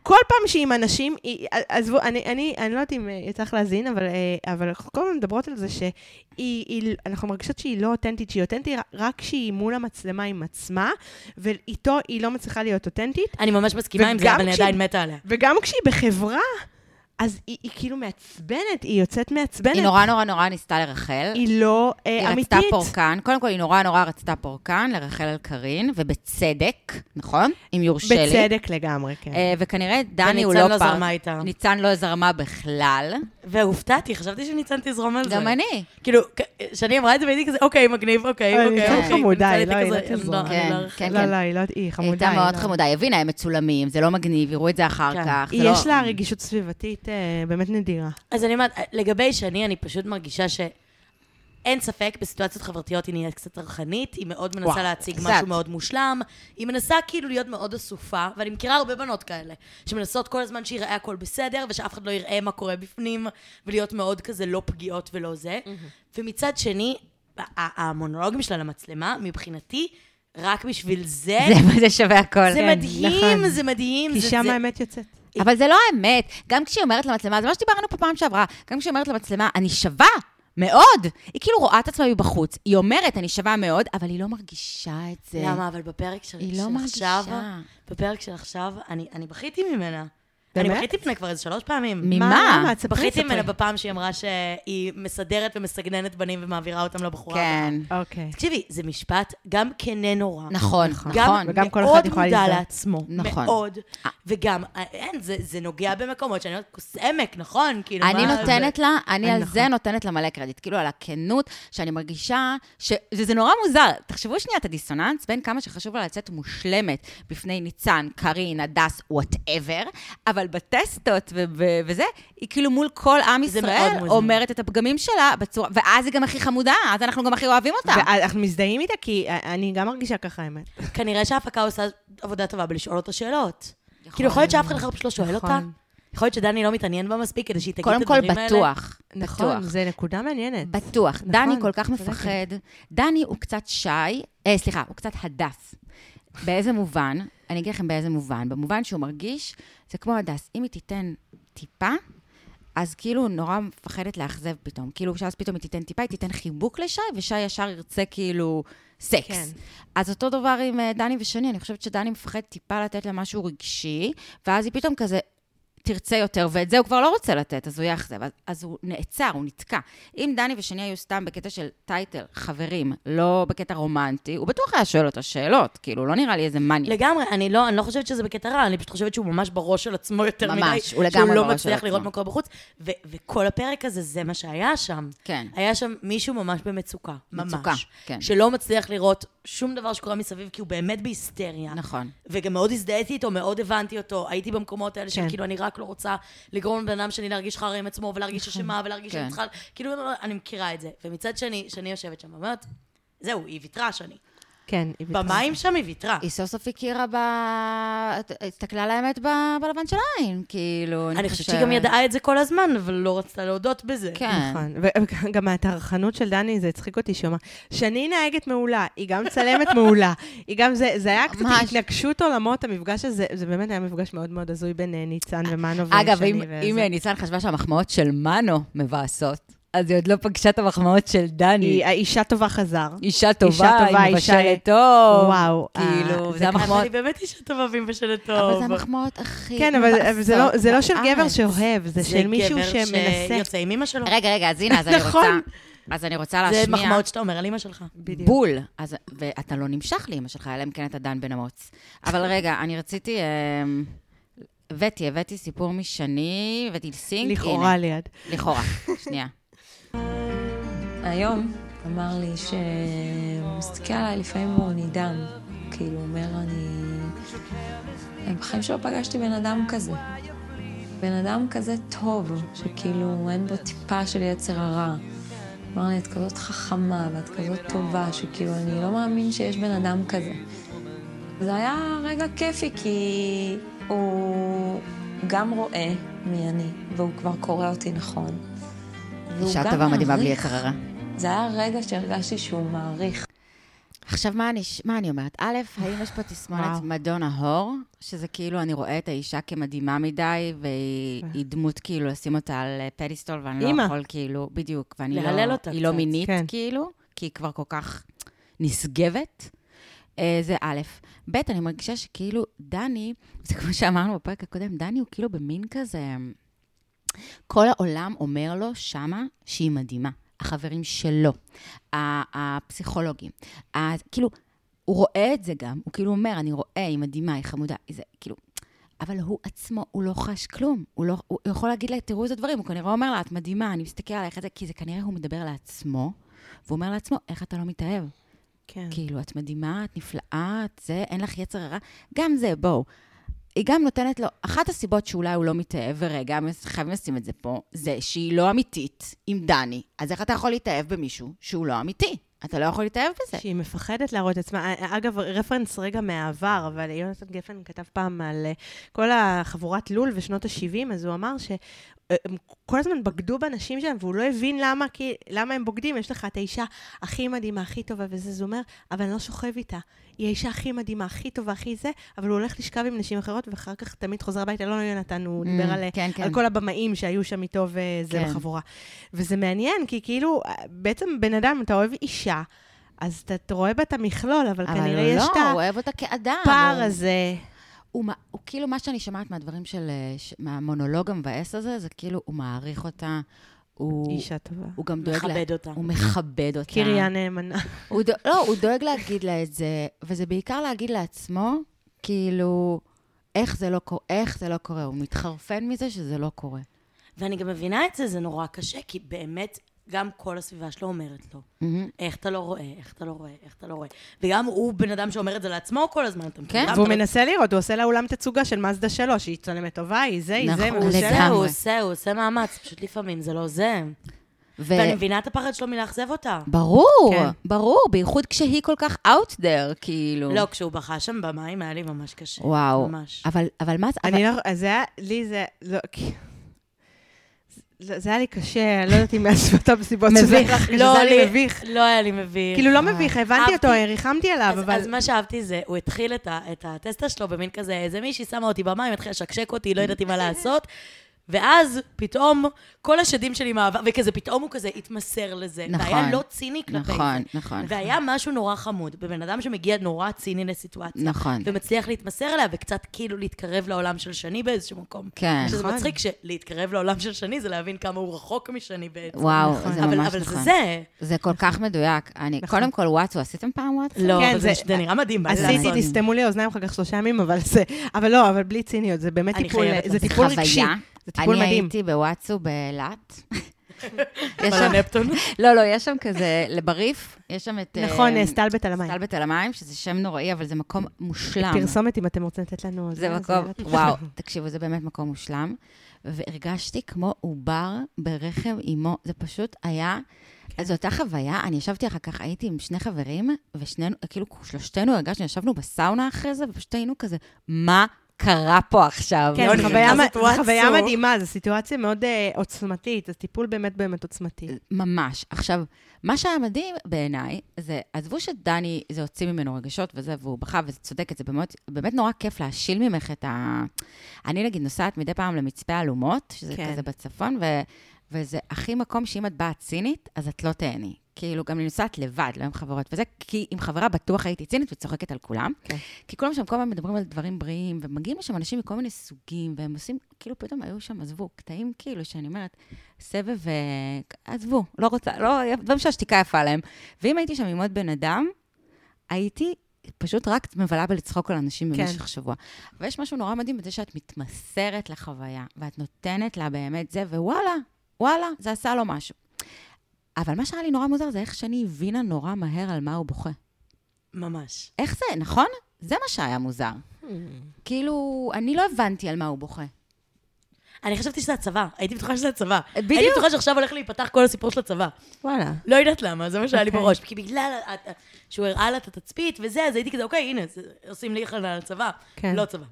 B: כל פעם שהיא עם אנשים, היא, עזבו, אני, אני, אני לא יודעת אם אה, יצא לך להאזין, אבל, אה, אבל אנחנו כל הזמן מדברות על זה שהיא, היא, אנחנו מרגישות שהיא לא אותנטית, שהיא אותנטית רק כשהיא מול המצלמה עם עצמה, ואיתו היא לא מצליחה להיות אותנטית,
C: אני ממש מסכימה עם זה,
B: וגם
C: אבל אני
B: כשהיא-
C: עדיין מתה עליה.
B: וגם כשהיא בחברה, אז היא, היא כאילו מעצבנת, היא יוצאת מעצבנת.
A: היא נורא נורא נורא ניסתה לרחל.
B: היא לא אה,
A: היא
B: אמיתית.
A: רצתה פורקן, קודם כל היא נורא נורא רצתה פורקן לרחל על קארין, ובצדק, נכון? אם יורשה לי.
B: בצדק לגמרי, כן.
A: אה, וכנראה דני הוא לא
C: וניצן
A: פעם.
C: לא זרמה איתה.
A: ניצן לא זרמה בכלל.
C: והופתעתי, חשבתי שניצן תזרום על זה.
A: גם אני.
C: כאילו, כ- כשאני אמרה את זה, והייתי כזה, אוקיי, מגניב,
B: אבל
C: אוקיי, אוקיי.
B: ניצן
C: אוקיי."
B: חמודה,
C: ניצן
B: היא
C: הייתי
B: לא- היא
C: כזה,
B: לא תזרום.
C: "לא, אני
A: כן,
C: לא ארחיב."
A: כן,
B: לא, לא, היא לא, היא
A: היא
B: חמודה.
A: הייתה
B: היא
A: מאוד
B: לא-
A: חמודה, היא הבינה, הם מצולמים, זה לא מגניב, יראו את זה אחר
C: כן.
A: כך. זה
B: היא
A: לא-
B: יש לה רגישות סביבתית אה, באמת נדירה.
C: אז אני אומרת, לגבי שני, אני פשוט מרגישה ש... אין ספק, בסיטואציות חברתיות היא נהיית קצת טרחנית, היא מאוד מנסה
A: וואו,
C: וואו, להציג
A: קצת.
C: קצת. משהו מאוד מושלם, היא מנסה כאילו להיות מאוד אסופה, ואני מכירה הרבה בנות כאלה, שמנסות כל הזמן שיראה הכל בסדר, ושאף אחד לא יראה מה קורה בפנים, ולהיות מאוד כזה לא פגיעות ולא זה. ומצד שני, ה- ה- המונולוגים שלה למצלמה, מבחינתי, רק בשביל זה,
A: זה מה זה שווה הכל.
C: זה
B: כן,
C: מדהים,
B: נכון.
C: זה מדהים.
B: כי
C: זה-
B: שם
C: זה-
B: האמת יוצאת.
A: אבל זה לא האמת. גם כשהיא אומרת למצלמה, זה מה שדיברנו פה פעם שעברה, גם כשהיא אומרת למצלמה, אני שווה. מאוד! היא כאילו רואה את עצמה מבחוץ, היא אומרת, אני שווה מאוד, אבל היא לא מרגישה את זה.
C: למה? אבל בפרק של,
A: היא
C: של
A: לא
C: עכשיו,
A: מרגישה.
C: בפרק של עכשיו, אני, אני בכיתי ממנה.
B: באמת?
C: אני בכיתי ממנה כבר איזה שלוש פעמים.
A: ממה?
B: מה? למה? תספרי,
C: בכיתי
B: תספרי.
C: ממנה בפעם שהיא אמרה שהיא מסדרת ומסגננת בנים ומעבירה אותם לבחורה.
A: כן.
B: אוקיי.
C: תקשיבי, זה משפט גם כנה נורא.
A: נכון,
C: גם
A: נכון.
B: וגם כל
C: מאוד
B: אחת יכולה
C: מודע
B: לזהות.
C: לעצמו.
A: נכון.
C: מאוד. וגם, אה, אין, זה, זה נוגע במקומות שאני אומרת, כוס עמק, נכון? כאילו,
A: אני
C: מה אה,
A: נותנת לה, אני על
B: נכון.
A: זה נותנת לה מלא קרדיט, כאילו על הכנות, שאני מרגישה ש... וזה נורא מוזר. תחשבו שנייה את הדיסוננס בין כמה שחשוב לה לצאת מושלמת בפני ניצן, קארין, הדס, וואטאבר, אבל בטסטות ו- ו- וזה, היא כאילו מול כל עם
C: זה מאוד
A: ישראל
C: מוזר.
A: אומרת את הפגמים שלה בצורה... ואז היא גם הכי חמודה, אז אנחנו גם הכי אוהבים אותה.
B: ואנחנו מזדהים איתה, כי אה, אני גם מרגישה ככה, האמת.
C: זה? כנראה שההפקה עושה עבודה טובה בלשאול אותה שאלות.
A: יכול
C: כאילו, יכול להיות שאף אחד אחר פשוט לא שואל
B: נכון.
C: אותה. יכול להיות שדני לא מתעניין בה מספיק כדי שהיא תגיד את
A: קודם כל,
C: הדברים האלה.
A: בטוח.
B: נכון,
A: בטוח.
B: זה נקודה מעניינת.
A: בטוח. נכון, דני כל כך
B: צודקת.
A: מפחד. דני הוא קצת שי, אה, סליחה, הוא קצת הדס. באיזה מובן? אני אגיד לכם באיזה מובן. במובן שהוא מרגיש, זה כמו הדס. אם היא תיתן טיפה, אז כאילו נורא מפחדת לאכזב פתאום. כאילו, שאז פתאום היא תיתן טיפה, היא תיתן חיבוק לשי, ושי ישר ירצה כאילו סקס.
B: כן.
A: אז אותו דבר עם אה, דני ושני, אני חושבת שדני מפחד טיפה לתת לה משהו רגשי, ואז היא פתאום כזה תרצה יותר, ואת זה הוא כבר לא רוצה לתת, אז הוא יאכזב. אז, אז הוא נעצר, הוא נתקע. אם דני ושני היו סתם בקטע של טייטל, חברים, לא בקטע רומנטי, הוא בטוח היה שואל אותה שאלות, כאילו, לא נראה לי איזה מניאק.
C: לגמרי, אני לא, אני לא חושבת שזה בקטע רע, אני פשוט חושבת שהוא ממש בראש של עצמו יותר
A: ממש,
C: מדי.
A: הוא לגמרי
C: שהוא לא
A: בראש של
C: מצליח לראות
A: עצמו.
C: מה קורה בחוץ. ו- וכל הפרק הזה, זה מה שהיה שם.
A: כן.
C: היה שם מישהו ממש במצוקה. ממש.
A: מצוקה, כן.
C: שלא מצליח לראות שום דבר שקורה מסביב, כי הוא באמת בהיסטריה.
A: נכון.
C: וגם מאוד הזדהיתי איתו, מאוד הבנתי אותו. הייתי במקומות האלה
B: כן.
C: שכאילו, אני רק לא רוצה לגרום לבן אדם שני להרגיש חרא עם עצמו, ולהרגיש אשמה, ולהרגיש
A: כן.
C: שאני צריכה... כאילו, לא, לא, אני מכירה את זה. ומצד שני, שאני יושבת שם, ואומרת, זהו, היא ויתרה, שני.
B: כן, היא בטוחה.
C: במים שם היא ויתרה.
A: היא סוף סוף הכירה ב... הסתכלה על האמת ב- בלבן של העין, כאילו, אני
C: אני חושבת שהיא גם ידעה את זה כל הזמן, אבל לא רצתה להודות בזה.
A: כן.
B: נכון, וגם הטרחנות של דני, זה הצחיק אותי, שהוא אמר, שני נהגת מעולה, היא גם צלמת מעולה, היא גם זה, זה היה קצת
A: ממש.
B: התנגשות עולמות, המפגש הזה, זה באמת היה מפגש מאוד מאוד הזוי בין אה, ניצן ומנו ושני.
A: אגב, אם,
B: וזה.
A: אם ניצן חשבה שהמחמאות של מנו מבאסות, אז היא עוד לא פגשה את המחמאות של דני.
B: היא האישה טובה חזר.
A: אישה
B: אישה
A: טובה,
B: טובה,
A: היא מבשלת
B: אישה-
A: טוב.
B: וואו,
A: כאילו,
B: אה,
A: זה
C: אבל
A: המחמאות.
C: היא באמת אישה טובה ואם בשלט טוב.
A: אבל זה המחמאות הכי
B: כן, אבל אבל זה לא- זה לא של
A: מבאסות
B: גבר
A: בארץ.
B: שאוהב, זה של מישהו
C: גבר
B: שמנסה.
C: שיוצא עם אמא שלו.
A: רגע, רגע, אז הנה, אז אני
B: נכון.
A: רוצה... אז אני רוצה
C: זה
A: להשמיע...
C: מחמאות שאתה אומר על אמא שלך.
A: בול. אז, ואתה לא נמשך לאמא שלך, אלא אם כן אתה דן בן אמוץ. אבל רגע, אני רציתי... אמ, הבאתי, הבאתי סיפור משני, הבאתי סינק.
B: לכאורה ליד.
A: הנה, לכאורה, שנייה.
E: היום אמר לי שהוא מסתכל עליי לפעמים והוא נדהם. כאילו, הוא אומר, אני... אני בחיים שלא פגשתי בן אדם כזה. בן אדם כזה טוב, שכאילו אין בו טיפה של יצר הרע. אמר לי, את כזאת חכמה ואת כזאת טובה, שכאילו, אני לא מאמין שיש בן אדם כזה. זה היה רגע כיפי, כי הוא גם רואה מי אני, והוא כבר קורא אותי נכון. והוא
A: שאת
E: גם
A: דבר מדהימה בלי
E: מעריך.
A: יצר הרע.
E: זה היה הרגע שהרגשתי שהוא מעריך.
A: עכשיו, מה אני, מה אני אומרת? א', האם יש פה תסמונת
B: וואו.
A: מדון ההור, שזה כאילו, אני רואה את האישה כמדהימה מדי, והיא היא דמות כאילו, לשים אותה על אה, פדיסטול, ואני לא
B: אימא.
A: יכול כאילו, בדיוק, ואני לא...
C: להלל אותה
A: היא לא
C: קצת.
A: מינית,
B: כן.
A: כאילו, כי היא כבר כל כך נשגבת. אה, זה א', ב', אני מרגישה שכאילו, דני, זה כמו שאמרנו בפרק הקודם, דני הוא כאילו במין כזה... כל העולם אומר לו שמה שהיא מדהימה. החברים שלו, ה- הפסיכולוגים. אז כאילו, הוא רואה את זה גם, הוא כאילו אומר, אני רואה, היא מדהימה, היא חמודה, היא זה, כאילו... אבל הוא עצמו, הוא לא חש כלום. הוא, לא, הוא יכול להגיד לה, תראו את הדברים, הוא כנראה אומר לה, את מדהימה, אני מסתכל עלייך, את זה, כי זה כנראה הוא מדבר לעצמו, והוא אומר לעצמו, איך אתה לא מתאהב?
B: כן.
A: כאילו, את מדהימה, את נפלאה, את זה, אין לך יצר הרע. גם זה, בואו. היא גם נותנת לו, אחת הסיבות שאולי הוא לא מתאהב, ורגע, חייבים לשים את זה פה, זה שהיא לא אמיתית עם דני. אז איך אתה יכול להתאהב במישהו שהוא לא אמיתי? אתה לא יכול להתאהב בזה.
B: שהיא מפחדת להראות את עצמה. אה, אגב, רפרנס רגע מהעבר, אבל יונתן גפן כתב פעם על אה, כל החבורת לול ושנות ה-70, אז הוא אמר שהם כל הזמן בגדו בנשים שלהם, והוא לא הבין למה, כי, למה הם בוגדים. יש לך את האישה הכי מדהימה, הכי טובה וזה, זה אומר, אבל אני לא שוכב איתה. היא האישה הכי מדהימה, הכי טובה, הכי זה, אבל הוא הולך לשכב עם נשים אחרות, ואחר כך תמיד חוזר הביתה. לא, לא יונתן, הוא
A: Mm,
B: דיבר על, אה,
A: כן, כן.
B: על כל הבמאים שהיו שם איתו וזה
A: כן.
B: בחבורה. וזה מעניין, כי כאילו, אה, בעצם בן אדם, אתה אוהב אישה, אז אתה אתה רואה בה את המכלול, אבל,
A: אבל
B: כנראה
A: הוא
B: יש
A: לא,
B: את
A: הוא אוהב אותה כאדם.
B: הפער
A: הוא-
B: הזה.
A: הוא, מע- הוא כאילו, מה שאני שומעת מהדברים של... אה, ש- מהמונולוג המבאס הזה, זה כאילו, הוא מעריך אותה, הוא... כן.
B: אישה טובה.
A: הוא גם דואג לה...
C: מכבד אותה.
A: הוא מכבד אותה.
B: קריה נאמנה.
A: הוא דו... לא, הוא דואג להגיד לה את זה, וזה בעיקר להגיד לעצמו, כאילו, איך זה לא קורה, איך זה לא קורה. הוא מתחרפן מזה שזה לא קורה.
C: ואני גם מבינה את זה, זה נורא קשה, כי באמת, גם כל הסביבה שלו אומרת לו, איך אתה לא רואה, איך אתה לא רואה, איך אתה לא רואה. וגם הוא בן אדם שאומר את זה לעצמו כל הזמן, אתה מבין?
A: כן.
C: גם
B: והוא
C: אתה-
B: מנסה לראות, הוא עושה לה אולם תצוגה של מזדה שלו, שהיא צולמת טובה, היא זה, היא זה,
C: לא-
A: נכון,
B: מבושלת.
A: לגמרי.
C: הוא עושה, הוא עושה מאמץ, פשוט לפעמים זה לא זה.
A: ו...
C: ואני מבינה את הפחד שלו מלאכזב אותה.
A: ברור,
B: כן.
A: ברור, בייחוד כשהיא כל כך out there, כאילו.
C: לא, כשהוא בכה שם במים היה לי ממש קשה.
A: וואו.
C: ממש.
A: אבל, אבל מה זה... אבל...
B: אני לא, אז זה היה, לי זה, לא, כי- זה זה היה לי קשה, אני לא יודעת אם מהסיבות המסיבות
A: מביך.
B: לך, שזה היה לי מביך.
C: לא היה לי מביך.
B: כאילו, לא מביך, הבנתי אותו,
C: אהבתי.
B: ריחמתי עליו,
C: אז,
B: אבל...
C: אז מה שאהבתי זה, הוא התחיל את, ה, את הטסטה שלו במין כזה, איזה מישהי שמה אותי במים, התחילה לשקשק אותי, לא ידעתי מה לעשות. ואז פתאום כל השדים שלי מהעבר, וכזה פתאום הוא כזה התמסר לזה.
A: נכון.
C: והיה לא ציני כלפי
A: נכון,
C: זה.
A: נכון.
C: והיה משהו נורא חמוד, בבן אדם שמגיע נורא ציני לסיטואציה.
A: נכון.
C: ומצליח להתמסר אליה, וקצת כאילו להתקרב לעולם של שני באיזשהו מקום.
A: כן.
C: שזה
B: נכון.
C: מצחיק שלהתקרב לעולם של שני זה להבין כמה הוא רחוק משני בעצם.
A: וואו,
B: נכון.
A: זה
C: אבל,
A: ממש
C: אבל
A: נכון.
C: זה זה.
A: זה כל כך מדויק. אני,
B: נכון.
A: קודם כל, וואטסו, עשיתם פעם וואטסו?
C: לא,
B: כן,
C: אבל זה,
B: זה-
C: זה נראה מדהים. נכון. מה זה לעשות?
B: עשיתי, תסתמו לי האוזניים אחר כך שלושה ימים, אבל זה... אבל לא, אבל בלי ציניות, זה באמת
C: אני
B: טיפול,
C: חייבת
B: זה
C: לך.
B: טיפול
A: חוויה.
B: רגשי. זה טיפול
A: אני
B: מדהים.
A: הייתי בוואטסו באילת. יש
C: אבל
A: שם-
C: הנפטון.
A: לא, לא, יש שם כזה, לבריף, יש שם את...
B: נכון,
A: אה,
B: סטלבט על המים.
A: סטלבט על המים, שזה שם נוראי, אבל זה מקום מושלם.
B: פרסומת, אם אתם רוצים לתת לנו...
A: זה מקום, וואו, תקשיבו, זה באמת מקום מושלם. והרגשתי כמו עובר ברחם אימו, זה פשוט היה...
B: כן.
A: אז זו אותה חוויה, אני ישבתי אחר כך, הייתי עם שני חברים, ושנינו, כאילו, שלושתנו הרגשנו, ישבנו בסאונה אחרי זה, ופשוט היינו כזה, מה קרה פה עכשיו?
B: כן,
C: לא,
B: זו
C: אני
B: חוויה
C: מבינה,
B: מ-
C: זאת
B: זו
C: וואטסו.
B: חוויה מדהימה, זו סיטואציה מאוד אה, עוצמתית, זה טיפול באמת באמת עוצמתי.
A: ממש. עכשיו, מה שהיה מדהים בעיניי, זה, עזבו שדני, זה הוציא ממנו רגשות וזה, והוא בכה, וזה צודק, זה באמת, באמת נורא כיף להשיל ממך את ה... אני, נגיד, נוסעת מדי פעם למצפה אלומות, שזה
B: כן.
A: כן. כזה בצפון, ו, וזה הכי מקום שאם את באה צינית, אז את לא תהני. כאילו, גם אני נוסעת לבד, לא עם חברות וזה, כי עם חברה בטוח הייתי צינית וצוחקת על כולם.
B: כן.
A: כי כולם שם כל הזמן מדברים על דברים בריאים, ומגיעים לשם אנשים מכל מיני סוגים, והם עושים, כאילו פתאום היו שם, עזבו, קטעים כאילו, שאני אומרת, סבב, אה, עזבו, לא רוצה, לא, דברים שהשתיקה יפה להם. ואם הייתי שם עם עוד בן אדם, הייתי פשוט רק מבלה בלצחוק על אנשים
B: כן.
A: כן. במשך שבוע. ויש משהו נורא מדהים בזה שאת מתמסרת לחוויה, ואת נותנת לה באמת זה, ווואלה, וואלה, זה עשה לו משהו. אבל מה שהיה לי נורא מוזר זה איך שני הבינה נורא מהר על מה הוא בוכה.
C: ממש.
A: איך זה, נכון?
B: Hmm.
A: זה מה שהיה מוזר. כאילו, אני לא הבנתי על מה הוא בוכה.
C: אני חשבתי שזה הצבא, הייתי בטוחה שזה הצבא. הייתי
A: בדיוק.
C: בטוחה שעכשיו הולך להיפתח כל הסיפור של הצבא.
B: וואלה.
C: לא יודעת למה, זה מה שהיה לי בראש. כי בגלל ה- ה- שהוא הראה לה את התצפית וזה, אז הייתי כזה, אוקיי, הנה, זה- עושים לי חלנה על הצבא.
B: כן.
C: לא צבא.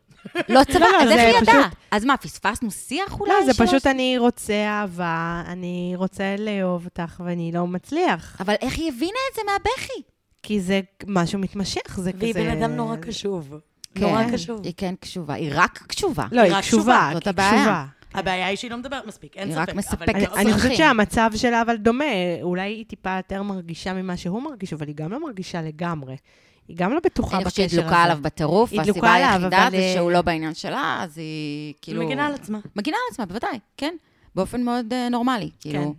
A: לא צבא,
B: לא,
A: אז
B: זה
A: איך היא ידעה?
B: פשוט-
A: אז מה, פספסנו שיח אולי?
B: לא, זה
A: שלא-
B: פשוט אני רוצה אהבה, אני רוצה לאהוב אותך ואני לא מצליח.
A: אבל איך היא הבינה את זה מהבכי?
B: כי זה משהו מתמשך, זה כזה...
C: והיא בן אדם נורא קשוב. נורא קשוב.
A: כן. היא כן קשובה, היא רק קשובה.
B: לא,
C: היא
B: היא
C: רק
B: קשובה,
C: קשובה,
A: זאת
B: היא
A: הבעיה.
B: קשובה.
C: הבעיה היא שהיא לא מדברת מספיק, אין
A: היא
C: ספק.
A: רק
C: אבל
A: מספקת
C: היא
B: אני,
C: לא
A: צרכים.
B: אני
C: עושה-
B: חושבת שהמצב שלה אבל דומה, אולי היא טיפה יותר מרגישה ממה שהוא מרגיש, אבל היא גם לא מרגישה לגמרי. היא גם לא בטוחה
A: אני
B: בקשר
A: חושבת
B: הזה.
A: שהיא דלוקה עליו בטירוף,
B: היא
A: והסיבה
B: דלוקה עליו,
A: היחידה
B: אבל,
A: זה
B: אה,
A: שהוא לא בעניין שלה, אז היא כאילו...
C: מגינה על עצמה.
A: מגינה על עצמה, בוודאי, כן. באופן מאוד אה, נורמלי,
B: כן.
A: כאילו.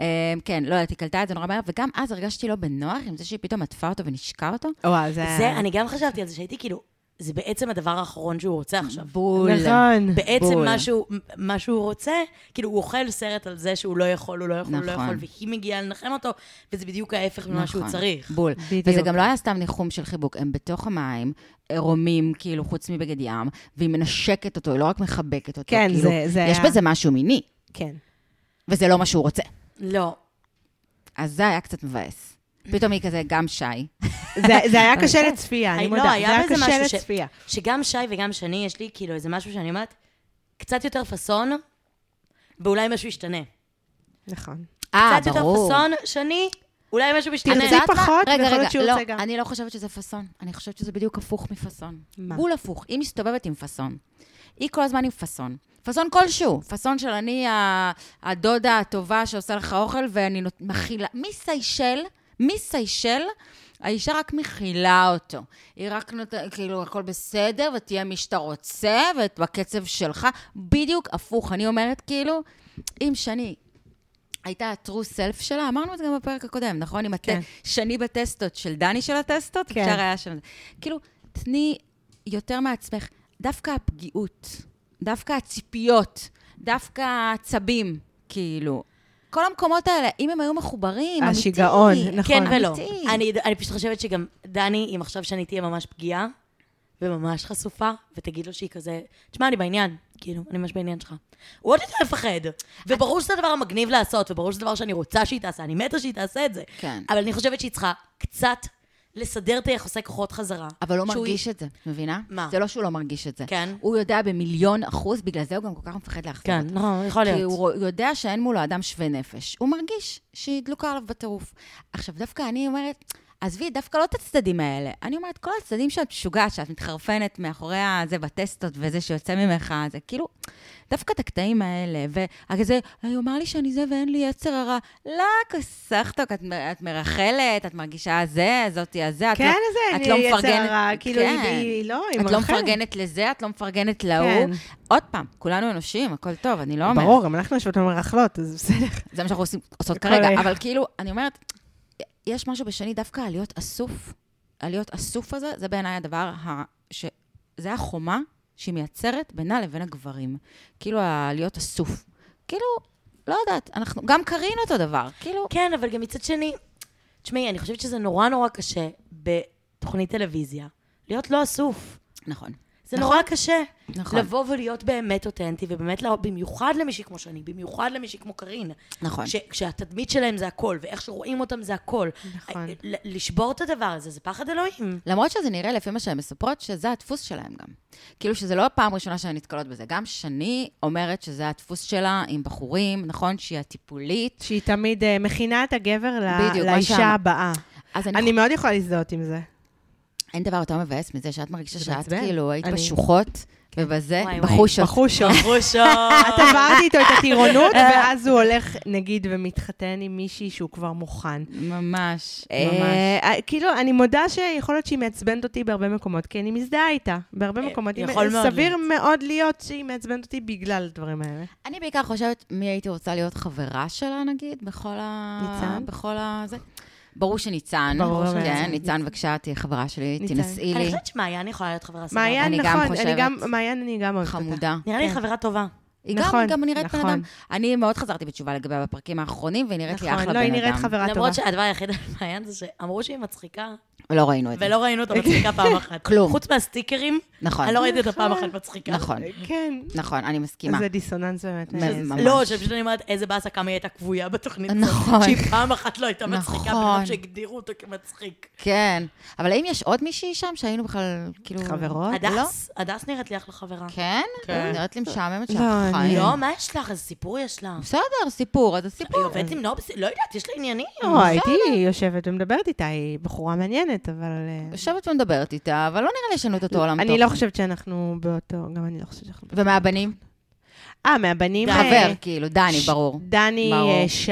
A: אה, כן, לא יודעת, היא קלטה את זה נורא מהר, וגם אז הרגשתי לא בנוח עם זה שהיא פתאום עטפה אותו ונישקה אותו.
B: וואו, זה...
C: זה, אני גם חשבתי על זה, שהייתי כאילו, זה בעצם הדבר האחרון שהוא רוצה עכשיו.
A: בול.
B: נכון.
C: בעצם
A: בול.
C: מה שהוא- מה שהוא רוצה, כאילו, הוא אוכל סרט על זה שהוא לא יכול, הוא לא יכול, הוא לא
A: נכון.
C: יכול, והיא מגיעה לנחם אותו, וזה בדיוק ההפך ממה שהוא
A: נכון,
C: צריך.
A: בול.
B: בדיוק.
A: וזה גם לא היה סתם ניחום של חיבוק, הם בתוך המים, עירומים, כאילו, חוץ מבגד ים, והיא מנשקת אותו, היא לא רק מחבקת אותו.
B: כן,
A: כאילו,
B: זה- זה
A: יש
B: היה-
A: בזה משהו מיני,
B: כן.
A: וזה לא מה שהוא רוצה.
C: לא.
A: אז זה היה קצת מבאס. פתאום היא כזה, גם שי.
B: זה- זה היה קשה
A: אוקיי.
B: לצפייה, אני
C: היי,
B: מודה.
C: לא,
B: זה
C: היה
B: היה
C: בזה
B: קשה
C: משהו ש-
B: לצפייה.
C: שגם שי וגם שני, יש לי כאילו איזה משהו שאני אומרת, קצת יותר פאסון, ואולי משהו ישתנה.
B: נכון.
A: אה,
C: קצת יותר
A: ברור.
C: פאסון, שני, אולי משהו
A: את
C: ישתנה.
B: תרצי
A: יודעת מה?
B: פחות,
A: רגע,
B: ויכול להיות
A: רגע,
B: שהוא
A: לא,
B: ירצה גם.
A: אני לא חושבת שזה פאסון. אני חושבת שזה בדיוק הפוך מפאסון.
B: מה?
A: בול הפוך. היא מסתובבת עם פאסון. היא כל הזמן עם פאסון. פאסון כלשהו. פאסון של אני ה- הדודה הטובה שעושה לך אוכל ואני נות- מכילה. מסיישל, מסיישל, האישה רק מכילה אותו. היא רק נותנת, כאילו, הכל בסדר, ותהיה מי שאתה רוצה, ובקצב שלך. בדיוק הפוך. אני אומרת, כאילו, אם שני הייתה ה-true self שלה, אמרנו את זה גם בפרק הקודם, נכון? עם
B: כן.
A: כן. שני בטסטות של דני של הטסטות,
B: כן.
A: כן. אפשר היה שם. כאילו, תני יותר מעצמך. דווקא הפגיעות, דווקא הציפיות, דווקא העצבים, כאילו. כל המקומות האלה, אם הם היו מחוברים, אמיתי.
B: השיגעון, נכון.
C: כן ולא.
A: אמיתי.
C: אני, אני פשוט חושבת שגם דני, אם עכשיו שאני תהיה ממש פגיעה, וממש חשופה, ותגיד לו שהיא כזה, תשמע, אני בעניין, כאילו, אני ממש בעניין שלך. הוא עוד יותר מפחד. וברור שזה הדבר המגניב לעשות, וברור שזה דבר שאני רוצה שהיא תעשה, אני מתה שהיא תעשה את זה.
A: כן.
C: אבל אני חושבת שהיא צריכה קצת לסדר את היחסי כוחות חזרה.
A: אבל הוא
C: שהוא-
A: מרגיש את זה, את מבינה?
C: מה?
A: זה לא שהוא לא מרגיש את זה.
C: כן.
A: הוא יודע במיליון אחוז, בגלל זה הוא גם כל כך מפחד לאכזב
C: כן,
A: אותה.
C: נכון, יכול
A: כי הוא
C: להיות.
A: רוא- יודע שאין מולו אדם שווה נפש. הוא מרגיש שהיא דלוקה עליו בטירוף. עכשיו, דווקא אני אומרת, עזבי, דווקא לא את הצדדים האלה. אני אומרת, כל הצדדים שאת משוגעת, שאת מתחרפנת מאחורי הזה בטסטות וזה שיוצא ממך, זה כאילו, דווקא את הקטעים האלה, וכזה, היא אומר לי שאני זה ואין לי יצר הרע. לא, כסחטוק, את, מ- את מרחלת, את מרגישה זה, זאתי הזה, את
B: כן,
A: לא,
B: זה,
A: את
B: אני
A: לא
B: יצר
A: מפרגנת...
B: הרע, כאילו, היא- היא- לא, היא
A: את לא
B: מרחלת.
A: מפרגנת לזה, את לא מפרגנת להוא.
B: כן.
A: עוד פעם, כולנו אנשים, הכל טוב, אני לא אומרת.
B: ברור, גם אנחנו יושבות ומרכלות, אז בסדר.
A: זה מה שאנחנו עושים, עושות
B: כל
A: כרגע,
B: ה-
A: אבל כאילו, אני אומרת, יש משהו בשני דווקא על להיות אסוף, על להיות אסוף הזה, זה בעיניי הדבר ה... ש... זה החומה שהיא מייצרת בינה לבין הגברים. כאילו, ה- להיות אסוף. כאילו, לא יודעת, אנחנו, גם קארין אותו דבר, כאילו...
C: כן, אבל גם מצד שני, תשמעי, אני חושבת שזה נורא נורא קשה בתוכנית טלוויזיה, להיות לא אסוף.
A: נכון.
C: זה נורא קשה.
A: נכון.
C: לבוא ולהיות באמת אותנטי, ובאמת, לה... במיוחד למישהי כמו שאני, במיוחד למישהי כמו קארין.
A: נכון.
C: ש... כשהתדמית שלהם זה הכל, ואיך שרואים אותם זה הכל. אה,
B: נכון.
C: ל... לשבור את הדבר הזה, זה פחד אלוהים.
A: למרות שזה נראה, לפי מה שהן מספרות, שזה הדפוס שלהם גם. כאילו שזה לא הפעם הראשונה שהן נתקלות בזה. גם שני אומרת שזה הדפוס שלה עם בחורים, נכון? שהיא הטיפולית.
B: שהיא תמיד אה, מכינה את הגבר ל-
A: בדיוק, מה
B: לאישה
A: שאמרת.
B: הבאה.
A: אז אני
B: אני מאוד יכולה להזדהות עם זה.
A: אין דבר יותר מבאס מזה שאת מרגישה
B: זה
A: שאת
B: מעצבן.
A: כאילו היית
B: אני- כן.
A: בשוחות, ובזה,
C: וואי, וואי.
A: בחושות.
B: בחושות.
C: רושות.
B: את עברת איתו את הטירונות, ואז הוא הולך, נגיד, ומתחתן עם מישהי שהוא כבר מוכן.
A: ממש, ממש.
B: אה, כאילו, אני מודה שיכול להיות שהיא מעצבנת אותי בהרבה מקומות, כי אני מזדהה איתה. בהרבה מקומות. היא-
C: יכול מאוד
B: סביר אה, מאוד להיות שהיא מעצבנת אותי בגלל הדברים האלה.
A: אני בעיקר חושבת מי הייתי רוצה להיות חברה שלה, נגיד, בכל ה...
B: ניצן?
A: בכל ה... זה. ברור שניצן.
B: ברור שניצן.
A: כן, ניצן, בבקשה, תהיי חברה שלי,
B: ניצן.
A: תנשאי
C: אני
A: לי.
C: חושבת שמעיין יכולה להיות חברה סבבה.
B: מעיין,
A: אני גם
B: נכון, אני
A: חושבת.
B: גם, מעיין, אני גם אוהבת אותה.
A: חמודה.
C: נראה לי
B: כן.
C: חברה טובה.
A: היא
B: נכון,
A: גם, גם נראית בן אדם.
B: נכון.
A: אני מאוד חזרתי בתשובה לגביה בפרקים האחרונים, והיא נראית לי אחלה בן
B: נכון,
A: אדם.
B: לא, היא נראית חברה טובה.
C: למרות שהדבר היחיד המעניין זה שאמרו שהיא מצחיקה,
A: לא ראינו את זה.
C: ולא ראינו אותה מצחיקה פעם אחת.
A: כלום.
C: חוץ מהסטיקרים,
A: נכון.
C: אני לא ראיתי אותה פעם אחת מצחיקה.
A: נכון,
B: כן.
A: נכון, אני מסכימה.
B: זה דיסוננס באמת. אה,
A: מ-
B: איזה-
A: ממש.
C: לא, שפשוט אני אומרת, איזה באסה כמה היא הייתה כבויה בתוכנית הזאת.
A: נכון.
C: שהיא פעם אחת לא הייתה מצחיקה,
A: נכון.
C: בגלל שהגדירו אותה כמצחיק.
A: כן. אבל האם יש עוד מישהי שם שהיינו בכלל, כאילו...
B: חברות?
A: לא?
C: הדס, הדס נראית לי אחלה חברה.
A: כן?
C: כן.
A: היא נראית לי משעממת
B: לא,
A: שם.
B: אני-
C: לא, מה יש לך? איזה סיפור יש לה.
A: בסדר, סיפור, אז הסיפור.
C: היא עובדת עם נובס, לא יודעת, יש לה עניינים.
B: לא, הייתי יושבת ומדברת איתה, היא בחורה מעניינת, אבל... אה,
A: יושבת ומדברת איתה, אבל לא נראה לי יש לנו את אותו עולם
B: אני
A: תוכן.
B: לא חושבת שאנחנו באותו, גם אני לא חושבת שאנחנו... באותו-
A: ומהבנים?
B: אה, מהבנים... אה,
A: חבר, כאילו, דני,
B: ש-
A: ברור.
B: דני,
A: ברור.
B: אה, ש-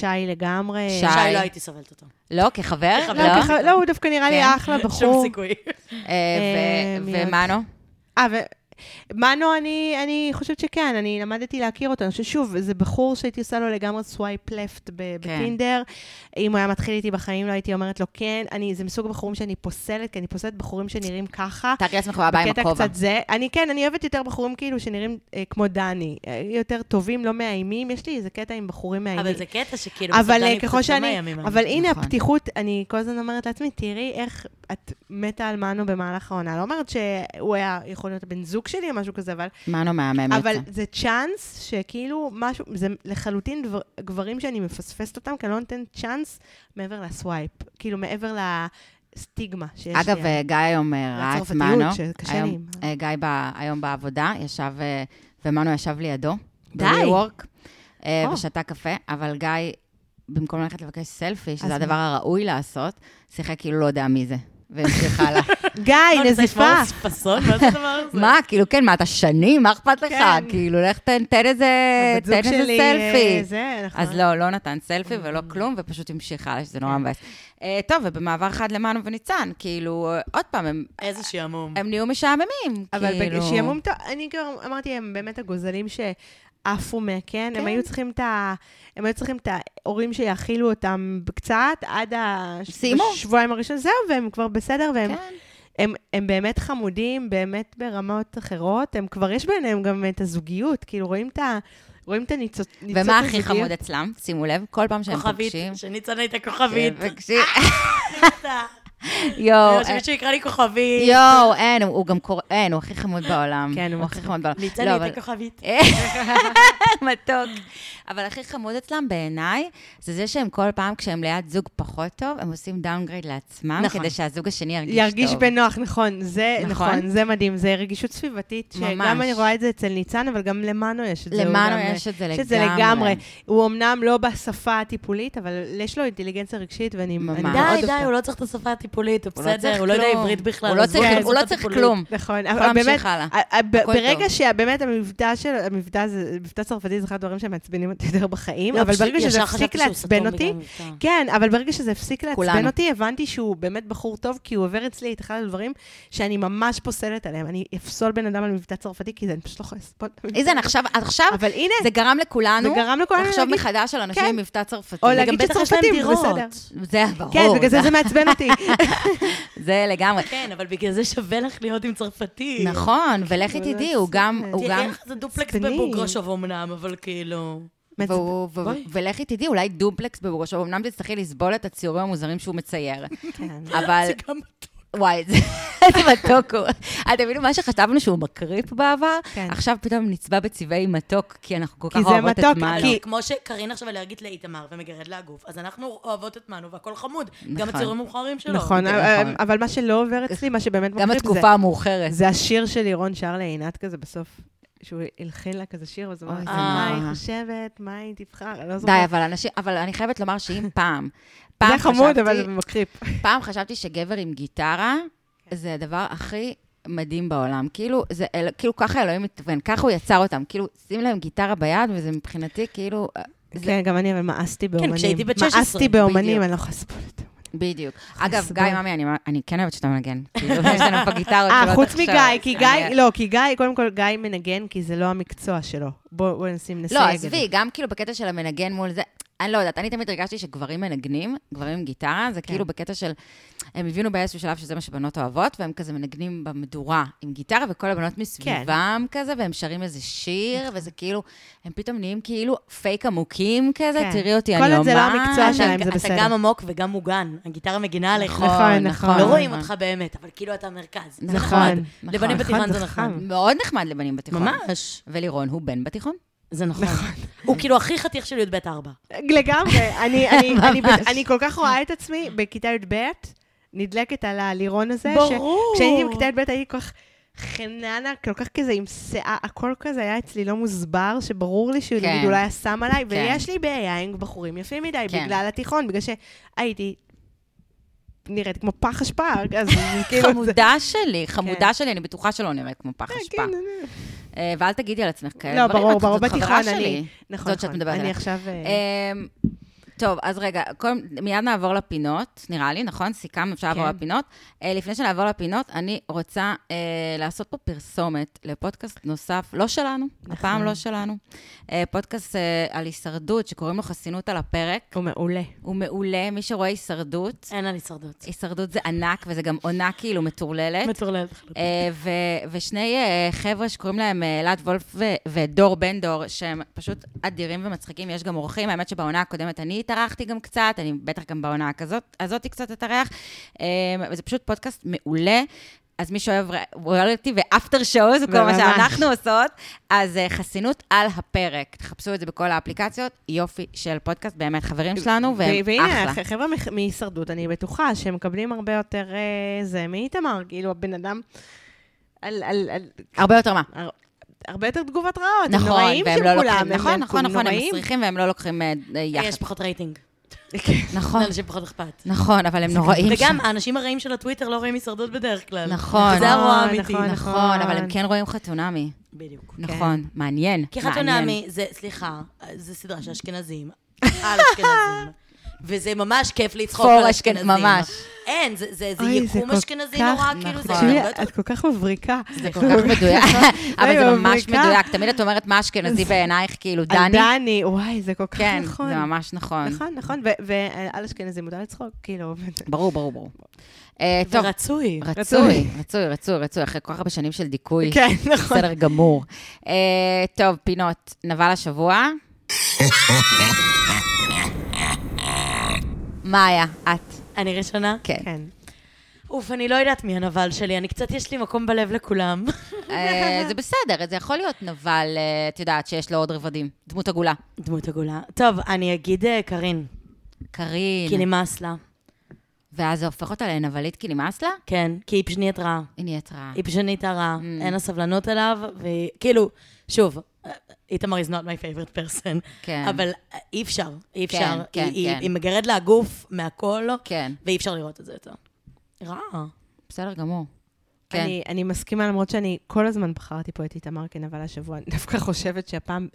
B: שי לגמרי.
A: שי.
C: שי, לא הייתי סובלת אותו.
A: לא, כחבר?
C: כחבר,
B: לא,
A: לא.
B: ככה- לא, הוא דווקא נראה לי
A: כן.
B: אחלה
C: שום
B: בחור.
C: סיכוי.
A: אה, ו-
B: אה, מי עוד?
A: ומנו?
B: אה, ו... מנו, אני, אני חושבת שכן, אני למדתי להכיר אותו. אני חושבת ששוב, זה בחור שהייתי עושה לו לגמרי סווייפ לפט ב-
A: כן.
B: בטינדר. אם הוא היה מתחיל איתי בחיים, לא הייתי אומרת לו כן. אני, זה מסוג הבחורים שאני פוסלת, כי אני פוסלת בחורים שנראים ככה.
A: תארי לעצמך הוא היה בא עם
B: בקטע
A: הכובע.
B: קצת זה. אני כן, אני אוהבת יותר בחורים כאילו שנראים אה, כמו דני. אה, יותר טובים, לא מאיימים. יש לי איזה קטע עם בחורים מאיימים.
C: אבל זה קטע שכאילו,
A: כאילו,
B: אבל
C: בסוף
B: אה,
C: דני
B: ככל
C: קצת לא
B: שאני,
C: מאיימים עליו.
B: אבל הנה
A: נכון.
B: הפתיחות, אני כל הזמן אומרת לעצמי, תראי איך את מתה על מנו במהלך העונה. לא אומרת שהוא היה יכול להיות הבן זוג שלי או משהו כזה, אבל,
A: מנו מהמם
B: אבל
A: יוצא.
B: זה צ'אנס שכאילו משהו, זה לחלוטין דבר, גברים שאני מפספסת אותם, כי אני לא נותנת צ'אנס מעבר לסווייפ, כאילו מעבר לסטיגמה שיש לי.
A: אגב, אה, גיא היום אה, ראה את
B: והצרפתיות,
A: מנו.
B: שקשה
A: היום-
B: לי עם-
A: אה, גיא ב- היום בעבודה, ישב, אה, ומנו ישב לידו.
B: די.
A: ב-WeWork, אה,
B: או.
A: ושתה קפה, אבל גיא, במקום ללכת לבקש סלפי, שזה
B: מה?
A: הדבר הראוי לעשות, שיחק כאילו לא יודע מי זה. והמשיך הלאה. לא,
B: גיא,
C: זה לא כמו
B: נזיפה.
C: פסון, מה זה הדבר הזה?
A: מה, כאילו, כן, מה, אתה שני? מה אכפת לך?
B: כן.
A: כאילו, לך תן תן איזה
B: הבת
A: תן
B: זוג
A: איזה
B: שלי, אה,
A: סלפי.
B: זה, אה. נכון.
A: אז לא, לא נתן סלפי ולא כלום, ופשוט המשיך הלאה, שזה
B: כן.
A: נורא מבאס. אה, טוב, ובמעבר חד למנו וניצן, כאילו, אה, עוד פעם, הם-
C: איזה שעמום.
A: הם נהיו משעממים,
B: כן. אבל
A: כאילו.
B: כאילו... שיעמום טוב, אני כבר אמרתי, הם באמת הגוזלים שעפו מה, כן? הם היו צריכים את ה... הם היו צריכים את ההורים שיאכילו אותם קצת, עד
A: סיימו.
B: השבועיים הראשון, זהו, והם כבר בסדר, והם
A: כן.
B: הם, הם באמת חמודים, באמת ברמות אחרות, הם כבר, יש ביניהם גם את הזוגיות, כאילו, רואים את ה... רואים את הניצוץ... ניצוץ
A: ומה הכי
B: הזוגיות.
A: חמוד אצלם? שימו לב, כל פעם שהם
C: כוכבית,
A: פוגשים...
C: שניצן הייתה כוכבית.
A: פוגשים-
C: אה,
A: יואו,
C: לא,
A: אה,
C: שמישהו יקרא לי כוכבית.
A: יואו, אין, הוא הוא גם קורא, אין, הוא הכי חמוד בעולם.
B: כן, הוא
A: הוא הכי
B: מצחיק.
A: חמוד בעולם.
C: ניצן
A: לא,
C: הייתה
A: אבל-
C: כוכבית.
A: מתוק. אבל הכי חמוד אצלם בעיניי, זה זה שהם כל פעם, כשהם ליד זוג פחות טוב, הם עושים דאונגרייד לעצמם,
C: נכון.
A: כדי שהזוג השני ירגיש טוב.
B: ירגיש בנוח, נכון, זה
A: נכון?
B: נכון, זה מדהים, זה רגישות סביבתית,
A: ממש.
B: שגם אני רואה את זה אצל ניצן, אבל גם למנו יש את זה. הוא
A: למנו
B: גם,
A: יש את זה
B: יש את זה
A: לגמרי.
B: לגמרי. הוא אמנם לא בשפה הטיפולית, אבל יש לו אינטליגנציה רגשית, ואני
A: ממש.
B: אני
A: די,
B: מאוד
C: די,
B: אוהבת.
C: די, הוא לא צריך את השפה הטיפולית, הוא
A: הוא לא
C: בסדר,
A: צריך
C: הוא לא יודע
A: כלום.
C: עברית בכלל.
A: הוא לא
C: עזבו
A: צריך-
C: את
A: הוא לא
C: השפה
A: צריך
C: הטיפולית.
A: כלום.
B: נכון,
A: יכול
B: אבל
A: להמשיך
B: באמת,
A: הלאה.
B: ה- ה- ב-
A: הכל טוב.
B: ברגע שבאמת המבטא של, המבטא זה, מבטא צרפתי זה אחד הדברים שמעצבנים אותי יותר בחיים,
C: לא,
B: אבל
C: פשוט
B: ברגע שזה
C: ישר
B: הפסיק
C: חשבתי שהוא
B: לעצבן
C: סתום
B: אותי,
C: בגלל מבטא.
B: כן, אבל ברגע שזה הפסיק לעצבן
A: כולנו.
B: אותי, הבנתי שהוא באמת בחור טוב, כי הוא עובר אצלי את אחד הדברים שאני ממש פוסלת עליהם. אני אפסול בן אדם על מבטא צרפתי, כי זה אני פשוט לא יכולה לסבול. את המבטא.
A: איזן, עכשיו, עכשיו,
B: אבל הנה,
A: זה גרם לכולנו,
B: זה גרם לכולנו
A: לחשוב
B: להגיד-
A: מחדש על אנשים
B: כן.
A: עם מבטא צרפתי.
B: או
A: זה
B: להגיד
C: גם בטח יש להם
B: שצרפתים, זה
C: דירות.
B: בסדר.
A: גם- זה ברור.
B: כן, בגלל זה זה מעצבן אותי.
A: זה לגמרי.
C: כן, אבל בגלל זה שווה לך להיות עם צרפתי.
A: נכון, ולכי תדעי, הוא גם, הוא
C: תראה
A: גם,
C: איך זה דופלקס
B: עצבני.
C: בבוגרשוב אמנם, אבל כאילו...
A: והוא- והוא-
C: בואי.
A: ולכי תדעי, אולי דופלקס בראשו, אמנם תצטרכי לסבול את הציורים המוזרים שהוא מצייר,
B: כן.
A: אבל...
C: זה גם...
A: וואי, זה- איזה מתוק הוא. אתם מבינים, מה שחשבנו שהוא מקריפ בעבר,
B: כן.
A: עכשיו פתאום נצבע בצבעי מתוק, כי אנחנו כל
B: כי
A: כך
B: זה
A: אוהבות את
B: מתוק,
A: מנו.
B: כי-
C: לא. כמו שקרין עכשיו אלרגית לאיתמר ומגרד לה הגוף, אז אנחנו אוהבות את מנו והכל חמוד.
A: נכון.
C: גם הציורים המאוחרים שלו.
B: נכון,
A: זה
B: אבל-
A: נכון.
B: אבל מה שלא עובר אצלי, מה שבאמת
A: גם
B: מקריב, זה-
A: התקופה המאוחרת.
B: זה השיר שלירון שר לעינת כזה בסוף. שהוא הלחין לה כזה שיר, אז הוא אמר,
A: אוי, זה
B: מה
A: נורא.
B: היא חושבת, מה היא תבחר, אני לא
A: די,
B: זוכרת.
A: אבל אנשים, אבל אני חייבת לומר שאם פעם,
B: זה
A: פעם
B: חמוד, אבל זה
A: חשבתי,
B: מקריפ.
A: פעם חשבתי שגבר עם גיטרה
B: כן.
A: זה הדבר הכי מדהים בעולם. כאילו, זה, אל- כאילו ככה אלוהים מתכוון, ככה הוא יצר אותם. כאילו, שים להם גיטרה ביד, וזה מבחינתי כאילו, אה, זה-
B: כן, גם אני, אבל מאסתי באומנים.
C: כשהייתי בת 16,
B: מאסתי באומנים,
A: בדיוק.
B: אני לא יכולה לסבול את זה.
A: בדיוק. אגב,
B: לסבול.
A: גיא, ממי, אני- אני כן אוהבת שאתה מנגן. כאילו, יש לנו בגיטרות
B: אה,
A: שלא
B: חוץ
A: תחשוב. כן.
B: מגיא, כי גיא, לא, כי גיא, קודם כל, גיא מנגן, כי זה לא המקצוע שלו. בואו נשים, נסייג
A: לא,
B: את זה.
A: עזבי, גם כאילו בקטע של המנגן מול זה. אני לא יודעת, אני תמיד הרגשתי שגברים מנגנים, גברים עם גיטרה,
B: כן.
A: זה כאילו בקטע של... הם הבינו באיזשהו שלב שזה מה שבנות אוהבות, והם כזה מנגנים במדורה עם גיטרה, וכל הבנות
B: כן.
A: מסביבם כזה, והם שרים איזה שיר,
B: נכון.
A: וזה כאילו... הם פתאום נהיים כאילו פייק עמוקים כזה,
B: כן.
A: תראי אותי,
B: כל
A: אני אומן.
B: עוד זה לא המקצוע שלהם. זה
C: אתה
B: בסדר.
C: גם עמוק וגם מוגן, הגיטרה מגינה עליך.
B: נכון, נכון.
C: לא רואים אותך באמת, אבל כאילו אתה המרכז. זה
A: נכון,
C: נחמד.
A: נכון.
C: לבנים
B: נכון,
C: בתיכון זה
B: זה
C: נחמד.
B: חכם.
A: מאוד נחמד לבנים בתיכון.
C: ממש.
A: ולירון הוא בן בתיכון?
C: זה נכון. הוא כאילו הכי חתיך של י"ב 4.
B: לגמרי. אני, אני, אני, ב- אני כל כך רואה את עצמי בכיתה י"ב, נדלקת על הלירון הזה.
C: ברור.
B: ש... כשהייתי בכיתה י"ב הייתי כל כך חננה, כל כך כזה עם שיער, הכל כזה היה אצלי לא מוסבר, שברור לי שהוא
A: כן.
B: נגיד אולי שם עליי, ויש לי בעיה עם בחורים יפים מדי,
A: כן.
B: בגלל התיכון, בגלל שהייתי... נראית כמו פח אשפה, אז זה כאילו... זה-
A: חמודה שלי, חמודה שלי, אני בטוחה שלא נראית כמו פח אשפה.
B: כן,
A: אה, ואל תגידי על עצמך כאלה
B: לא,
A: דברים,
B: ברור,
A: את-
B: ברור,
A: זאת חברה
B: בתיכון
A: שלי.
B: אני- נכון,
A: זאת שאת
B: נכון.
A: מדברת
B: אני
A: עליה.
B: עכשיו, אה,
A: אמ, טוב, אז רגע, קודם, מיד נעבור לפינות, נראה לי, נכון? סיכמנו, אפשר לעבור
B: כן.
A: לפינות. אה, לפני שנעבור לפינות, אני רוצה אה, לעשות פה פרסומת לפודקאסט נוסף, לא שלנו,
B: נכון.
A: הפעם לא שלנו. אה, פודקאסט אה, על הישרדות, שקוראים לו חסינות על הפרק.
B: הוא מעולה.
A: הוא מעולה, מי שרואה הישרדות,
C: אין על הישרדות.
A: הישרדות זה ענק, וזה גם עונה כאילו מטורללת.
C: מטורלל.
A: אה, ו- ושני אה, חבר'ה שקוראים להם אה, אלעד וולף ו- ודור בן דור, שהם פשוט אדירים ומצחיקים, יש גם אורחים, האמת שבעונה הקודמת אני התארחתי גם קצת, אני בטח גם בעונה הזאת, הזאת קצת אתארח, אה, וזה פשוט פודקאסט מעולה. אז מי שאוהב ריאליטי ואפטר שואו, זה כל מה
B: וממש.
A: שאנחנו עושות, אז אה, חסינות על הפרק. תחפשו את זה בכל האפליקציות, יופי של פודקאסט, באמת חברים שלנו, והם
B: ו- והנה,
A: אחלה.
B: הח- חבר'ה מח- מהישרדות, אני בטוחה שהם מקבלים הרבה יותר אה, זה מאיתמר, כאילו הבן אדם... על, על, על,
A: הרבה יותר מה.
B: הר- הרבה יותר תגובות רעות, הם
A: נכון,
B: נוראים
A: והם
B: שם
A: לא
B: כולם,
A: לוקחים, נכון,
B: הם כאילו
A: נכון, נכון, הם
B: נוראים.
A: מסריחים והם לא לוקחים אה, אה, יחס.
C: יש פחות רייטינג.
B: כן.
A: נכון,
C: לאנשים פחות אכפת.
A: נכון, אבל הם נוראים. שם.
C: וגם האנשים הרעים של הטוויטר לא רואים הישרדות בדרך כלל.
A: נכון.
C: זה הרוע האמיתי.
B: נכון,
A: נכון, אבל הם
B: נכון.
A: כן רואים חתונמי.
C: בדיוק. כן.
A: נכון, מעניין.
C: כי
A: מעניין.
C: חתונמי זה, סליחה, זה סדרה של אשכנזים, על אשכנזים. וזה ממש כיף לצחוק
A: פור
C: על
A: אשכנ-
C: אשכנזים.
A: ממש.
C: אין, זה, זה, זה
B: אוי, זה
C: יקום
B: כל
C: אשכנזי
B: כך-
C: נורא, כאילו,
A: נכון.
C: זה הרבה
B: תקשיבי,
C: יותר...
B: את כל כך מבריקה.
A: זה כל כך מדויק, אבל
B: לא,
A: זה ממש
B: מבריקה.
A: מדויק. תמיד את אומרת מה אשכנזי בעינייך, כאילו,
B: על
A: דני.
B: דני, וואי, זה כל כך
A: כן,
B: נכון.
A: זה ממש נכון.
B: נכון, נכון, ו- ועל אשכנזי מותר לצחוק, כאילו.
A: ברור, ברור, ברור. אה, טוב,
C: רצוי.
A: רצוי, רצוי, רצוי, רצוי, אחרי כל כך הרבה שנים של דיכוי.
B: כן, נכון.
A: בסדר גמור. אה, טוב, פינות, נבל השבוע. מאיה, את.
C: אני ראשונה?
A: כן.
B: כן.
C: אוף, אני לא יודעת מי הנבל שלי, אני קצת, יש לי מקום בלב לכולם.
A: אה, זה בסדר, זה יכול להיות נבל, אה, את יודעת, שיש לו עוד רבדים. דמות עגולה.
C: דמות עגולה. טוב, אני אגיד אה, קארין, כי
A: קארין.
C: נמאס לה.
A: ואז זה הופך אותה לנבלית כי נמאס לה?
C: כן, כי היא פשוט נהיית רעה.
A: היא נהיית רעה.
C: היא פשוט נהייתה רעה, אין לה סבלנות אליו, והיא, כאילו, שוב, אה, איתמר is not my favorite person,
A: כן.
C: אבל אה, אי אפשר, אי אפשר.
A: כן, כן, כן.
C: היא, היא, היא מגרד לה הגוף מהכל,
A: כן.
C: ואי אפשר לראות את זה יותר. רעה.
A: בסדר גמור. כן.
B: אני, אני מסכימה, למרות שאני כל הזמן בחרתי פה את איתמר כנבל השבוע, אני דווקא חושבת שהפעם...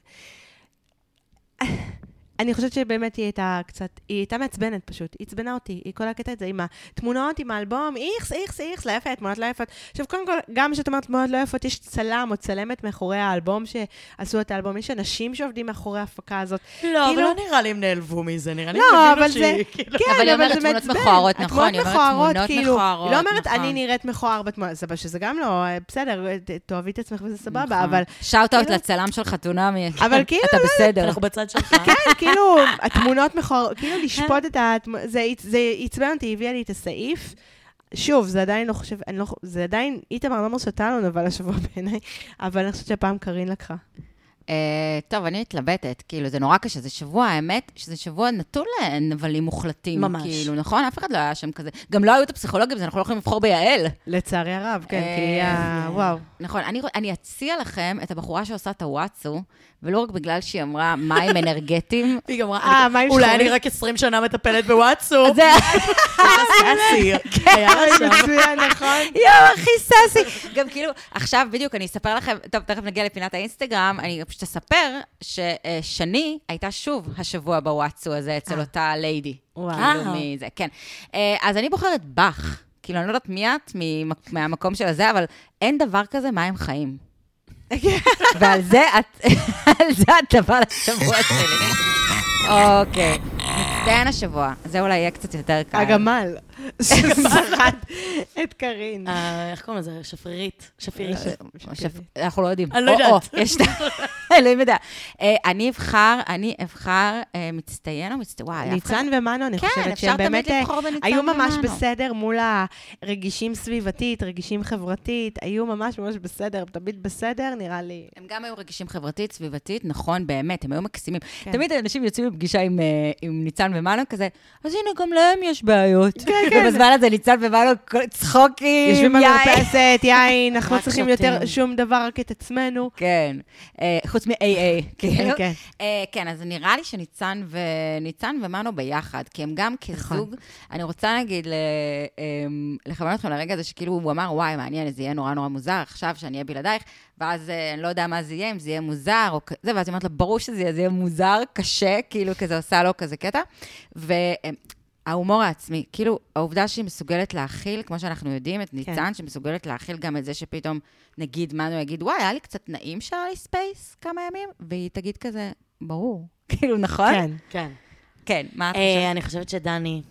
B: אני חושבת שבאמת היא הייתה קצת, היא הייתה מעצבנת פשוט, היא עצבנה אותי, היא כל הקטע הזה עם התמונות, עם האלבום, איכס, איכס, איכס, לא יפה, תמונות לא יפות. עכשיו, קודם כל, גם כשאת אומרת תמונות לא יפות, יש צלם או צלמת מאחורי האלבום שעשו את האלבום, יש אנשים שעובדים מאחורי ההפקה הזאת.
C: לא, אבל
B: כאילו-
C: לא נראה לי הם נעלבו מזה, נראה לי
B: לא,
C: הם
B: אבל
C: הבינו
B: זה...
C: שהיא... כאילו-
B: כן,
A: אבל היא אומרת
B: זה
A: תמונות
B: מעצבן.
A: מכוערות, נכון, היא אומרת תמונות
B: כאילו,
A: מכוערות,
B: היא לא אומרת,
A: נכון.
B: אני נראית מכוער בתמונה, סבבה, שזה גם לא, בסדר, ת- תאהבי את עצמך וזה סבבה, אבל...
A: שאוט אאוט
B: כאילו-
A: נכון. לצלם של חתונמי.
B: אבל כאילו,
A: אתה
B: לא
A: בסדר.
C: אנחנו בצד שלך.
B: כן, כאילו, התמונות מכוערות, כאילו לשפוט את ה... זה עצ- זה עצבן אותי, הביאה לי את הסעיף. שוב, זה עדיין לא חושב, אני לא, חו- זה עדיין, איתמר לא מרשתה לנו נבל השבוע בעיניי, אבל אני חושבת שהפעם קארין לקחה.
A: אה, טוב, אני מתלבטת, כאילו, זה נורא קשה, זה שבוע, האמת, שזה שבוע נתון לנבלים מוחלטים.
C: ממש.
A: כאילו, נכון? אף אחד לא היה שם כזה. גם לא היו את הפסיכולוגים, אז אנחנו לא יכולים לבחור ביעל.
B: לצערי הרב, כן,
A: אה,
B: כי היא ה... וואו.
A: נכון, אני, אני אציע לכם את הבחורה שעושה את הוואטסו, ולא רק בגלל שהיא אמרה מים אנרגטיים.
C: היא גם
B: אה,
C: אמרה,
B: מה
C: "אני-
B: עם
C: אולי
B: שחורים?"
C: אני רק 20 שנה מטפלת בוואטסאפ.
A: זה
C: ססי. היה לה
B: אוי,
C: שם.
A: אה,
B: מצוין, נכון?
A: יואו, הכי סאסי. גם כאילו, עכשיו בדיוק, אני אספר לכם, טוב, תכף נגיע לפינת האינסטגרם, אני פשוט אספר ששני הייתה שוב השבוע בוואטסו הזה אצל אותה ליידי.
B: וואו.
A: כאילו, מזה, כן. אה, אז אני בוחרת בך. כאילו, אני לא יודעת מי את ממק- מהמקום של הזה, אבל אין דבר כזה מים חיים. ועל זה את, על זה את דבר לשבוע שלי. אוקיי. מצטיין השבוע. זה אולי יהיה קצת יותר קל.
B: הגמל, שסחט את קארין.
C: אה, איך קוראים לזה? שפרירית. שפירית.
A: שפ- אה, אנחנו לא יודעים.
C: אני לא
A: או,
C: יודעת.
A: או, יש אלוהים יודע. אה, אני אבחר, אני אבחר אה, מצטיין או מצטיין? וואי, אף אחד-
B: ניצן ומנו, אני
A: כן,
B: חושבת
A: אפשר
B: שהם
A: תמיד
B: באמת אה,
A: לבחור בניצן
B: היו ממש
A: ומנו.
B: בסדר מול הרגישים סביבתית, רגישים חברתית, היו ממש ממש בסדר, הם תמיד בסדר, נראה לי.
A: הם גם היו רגישים חברתית, סביבתית, נכון, באמת, הם היו מקסימים.
B: כן.
A: תמיד אנשים יוצאים מפגישה עם, אה, עם ניצן ומנו כזה, אז הנה, גם להם יש בעיות. ובזמן הזה ניצן ומנו כל- צחוקים,
B: כן, יושבים
A: יין.
B: במרפסת, יין, אנחנו לא
C: רק
B: צריכים
C: שותים.
B: יותר שום דבר, רק את עצמנו.
A: כן, אה, חוץ מ-AA, כאילו.
B: כן.
A: אה, כן, אז נראה לי שניצן ו... ניצן ומנו ביחד, כי הם גם
B: נכון.
A: כזוג. אני רוצה להגיד, ל- אמ, לכוון אתכם לרגע הזה שכאילו הוא אמר, וואי, מעניין, זה יהיה נורא נורא מוזר עכשיו שאני אהיה בלעדייך, ואז אה, אני לא יודע מה זה יהיה, אם זה יהיה מוזר או כזה, ואז היא אומרת לה, ברור שזה יהיה, זה יהיה מוזר, קשה, כאילו כזה עושה לו כזה קטע. אמ, וההומור העצמי, כאילו, העובדה שהיא מסוגלת להכיל, כמו שאנחנו יודעים, את ניצן, כן. שמסוגלת להכיל גם את זה שפתאום, נגיד, מנו יגיד, וואי, היה לי קצת נעים שהיה לי ספייס כמה ימים, והיא תגיד כזה, ברור. כאילו, נכון?
B: כן.
C: כן.
A: כן, מה את חושבת?
C: אה, אני חושבת שדני,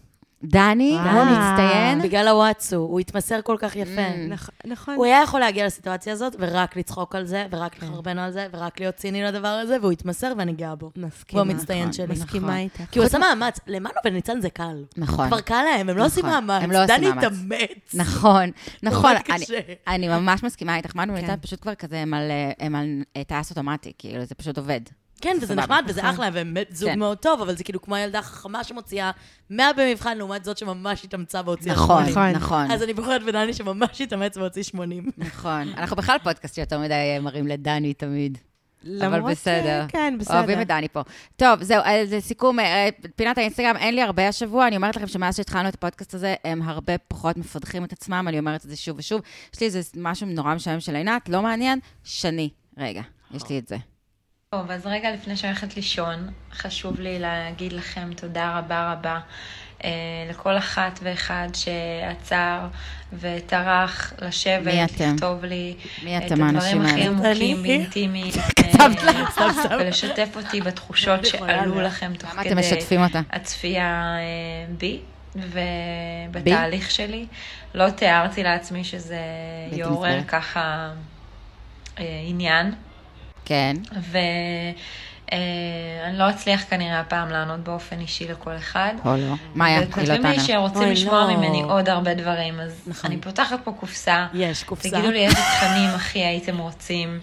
A: דני, נכון,
B: וואו.
A: הוא מצטיין.
C: בגלל הוואטסו, הוא התמסר כל כך יפה.
A: Mm.
B: נכ- נכון.
C: הוא היה יכול להגיע לסיטואציה הזאת, ורק לצחוק על זה, ורק
A: כן.
C: לחרבן על זה, ורק להיות ציני לדבר הזה, והוא התמסר ואני גאה
A: נכון.
C: בו.
B: מסכימה.
C: הוא המצטיין שלי.
B: מסכימה איתך.
C: כי הוא עשה מאמץ, למנו וניצן זה קל.
A: נכון.
C: כבר קל להם, הם לא עושים
A: נכון,
C: מאמץ.
A: הם לא עושים
C: דני
A: מאמץ.
C: התאמץ.
A: נכון, נכון. אני-
C: קשה.
A: אני ממש מסכימה איתך, מנו וניצן
B: כן.
A: פשוט כבר כזה, הם על, אה, הם על אה, טייס אוטומטי, כאילו, זה פשוט עובד.
C: כן, וזה
A: סבבה.
C: נחמד, וזה אחלה, והם באמת זוג
A: כן.
C: מאוד טוב, אבל זה כאילו כמו הילדה החכמה שמוציאה 100 במבחן, לעומת זאת שממש התאמצה והוציאה
A: נכון,
C: 80.
B: נכון.
A: נכון.
C: אז אני בוחרת בדני שממש התאמץ והוציא 80.
A: נכון. אנחנו בכלל פודקאסט שיותר מדי אה, מראים לדני תמיד. אבל
B: למרות ש-
A: בסדר.
B: כן, בסדר.
A: אוהבים את דני פה. טוב, זהו, אז לסיכום, אה, פינת האינסטגרם, אין לי הרבה השבוע. אני אומרת לכם שמאז שהתחלנו את הפודקאסט הזה, הם הרבה פחות מפדחים את עצמם, אני אומרת את זה שוב ושוב. יש לי איזה משהו נורא משעמם של עינת, לא מעניין, שני. רגע, יש לי את זה.
B: אה,
F: טוב, אז רגע לפני שאני הולכת לישון, חשוב לי להגיד לכם תודה רבה רבה אה, לכל אחת ואחד שעצר וטרח לשבת,
A: מי אתם?
F: לכתוב לי
A: מי
F: את
A: אתם האנשים
F: הדברים הכי
A: האלה?
F: עמוקים
C: אני?
F: ואינטימיים, אה, ולשתף אותי בתחושות שעלו לכם תוך
A: למה
F: כדי
A: אתם משתפים אותה?
F: הצפייה אה, בי. ובתהליך שלי, לא תיארתי לעצמי שזה
A: בלתי
F: יעורר
A: נסבל.
F: ככה אה, עניין.
A: כן.
F: ואני לא אצליח כנראה הפעם לענות באופן אישי לכל אחד.
A: או לא. מאיה, היא לא
F: וכותבים לי
A: תענה.
F: שרוצים
C: אוי,
F: לשמוע
C: לא.
F: ממני עוד הרבה דברים, אז
C: נכון.
F: אני פותחת פה קופסה.
C: יש, קופסה.
F: תגידו לי איזה תכנים הכי הייתם רוצים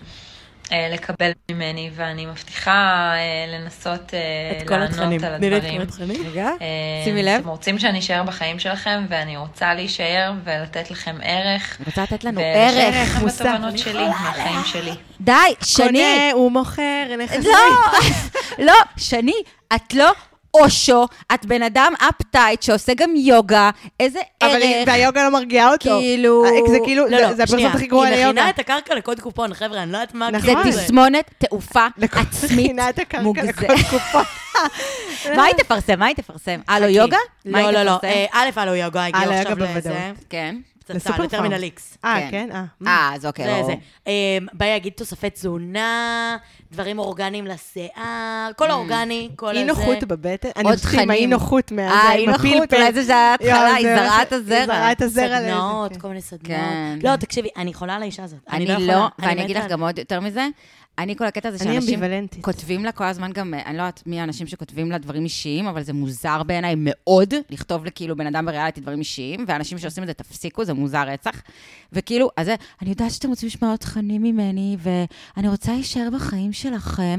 F: אה, לקבל ממני, ואני מבטיחה אה, לנסות אה,
C: את כל
F: לענות על
C: התכנים.
F: הדברים.
C: תני לי את כל התכנים.
B: רגע.
F: אה,
A: שימי לב.
F: אתם רוצים שאני אשאר בחיים שלכם, ואני רוצה להישאר ולתת לכם ערך.
A: רוצה לתת לנו
F: ולשתף
A: ערך.
F: אתכם
B: מוסף.
F: בתובנות שלי, מהחיים שלי.
A: די, שני.
B: קונה, הוא מוכר, נכסים.
A: לא, לא, שני, את לא אושו, את בן אדם אפטייט שעושה גם יוגה, איזה
B: אבל היא-
A: ערך.
B: והיוגה לא מרגיעה אותו.
A: כאילו-
B: אה, זה כאילו,
C: לא,
B: זה-
C: לא,
B: זה הפרסומת
C: שנייה.
B: הכי גרועה
C: היא מכינה
B: ליוגה.
C: את הקרקע לקוד קופון, חבר'ה, אני לא יודעת מה
B: נכון.
A: זה
C: הקטע הזה.
A: תסמונת תעופה
B: לכל-
A: עצמית
B: מכינה את הקרקע
A: מוגזמת.
B: לכל תקופה.
A: מה היא תפרסם? מה היא תפרסם? הלו יוגה? מה
C: לא,
A: היא
C: לא, לא.
A: תפרסם?
C: אה, א', הלו יוגה, הגיעו
B: הלו
C: עכשיו
B: יוגה
C: לזה.
B: בוודאות.
A: כן.
C: פצצה, לטרמינל איקס.
B: אה, כן? אה.
A: אה, אז אוקיי.
C: זה
A: ברור.
C: זה. אמ, באי יגיד תוספי תזונה, דברים אורגניים לשיער, כל האורגני, כל הזה.
B: אי נוחות בבטן, אני
A: עוד
B: מסכים, האי
A: תכנים.
B: נוחות מה...
A: אה,
B: זה,
A: אי
B: עם
A: נוחות,
B: הפלפל.
A: אולי זה שההתחלה,
B: יואו,
A: היא
B: זה
A: זרעה
B: ממש-
A: את הזרע.
B: היא זרעה את הזרע לאיזה.
C: סדנאות, כל מיני
A: כן.
C: סדנאות. לא, תקשיבי, אני חולה על האישה הזאת.
A: אני
C: יכולה,
A: לא, ואני אגיד
C: מתה
A: לך גם עוד יותר מזה, אני כל הקטע הזה
B: אני
A: שאנשים
B: אמביוולנטית.
A: כותבים לה כל הזמן גם, אה, אני לא יודעת מי האנשים שכותבים לה דברים אישיים, אבל זה מוזר בעיניי מאוד, לכתוב לכאילו בן אדם בריאליטי דברים אישיים, ואנשים שעושים את זה, תפסיקו, זה מוזר רצח. וכאילו, אז זה, אני יודעת שאתם רוצים לשמוע עוד תכנים ממני, ואני רוצה להישאר בחיים
B: אוקיי,
A: שלכם.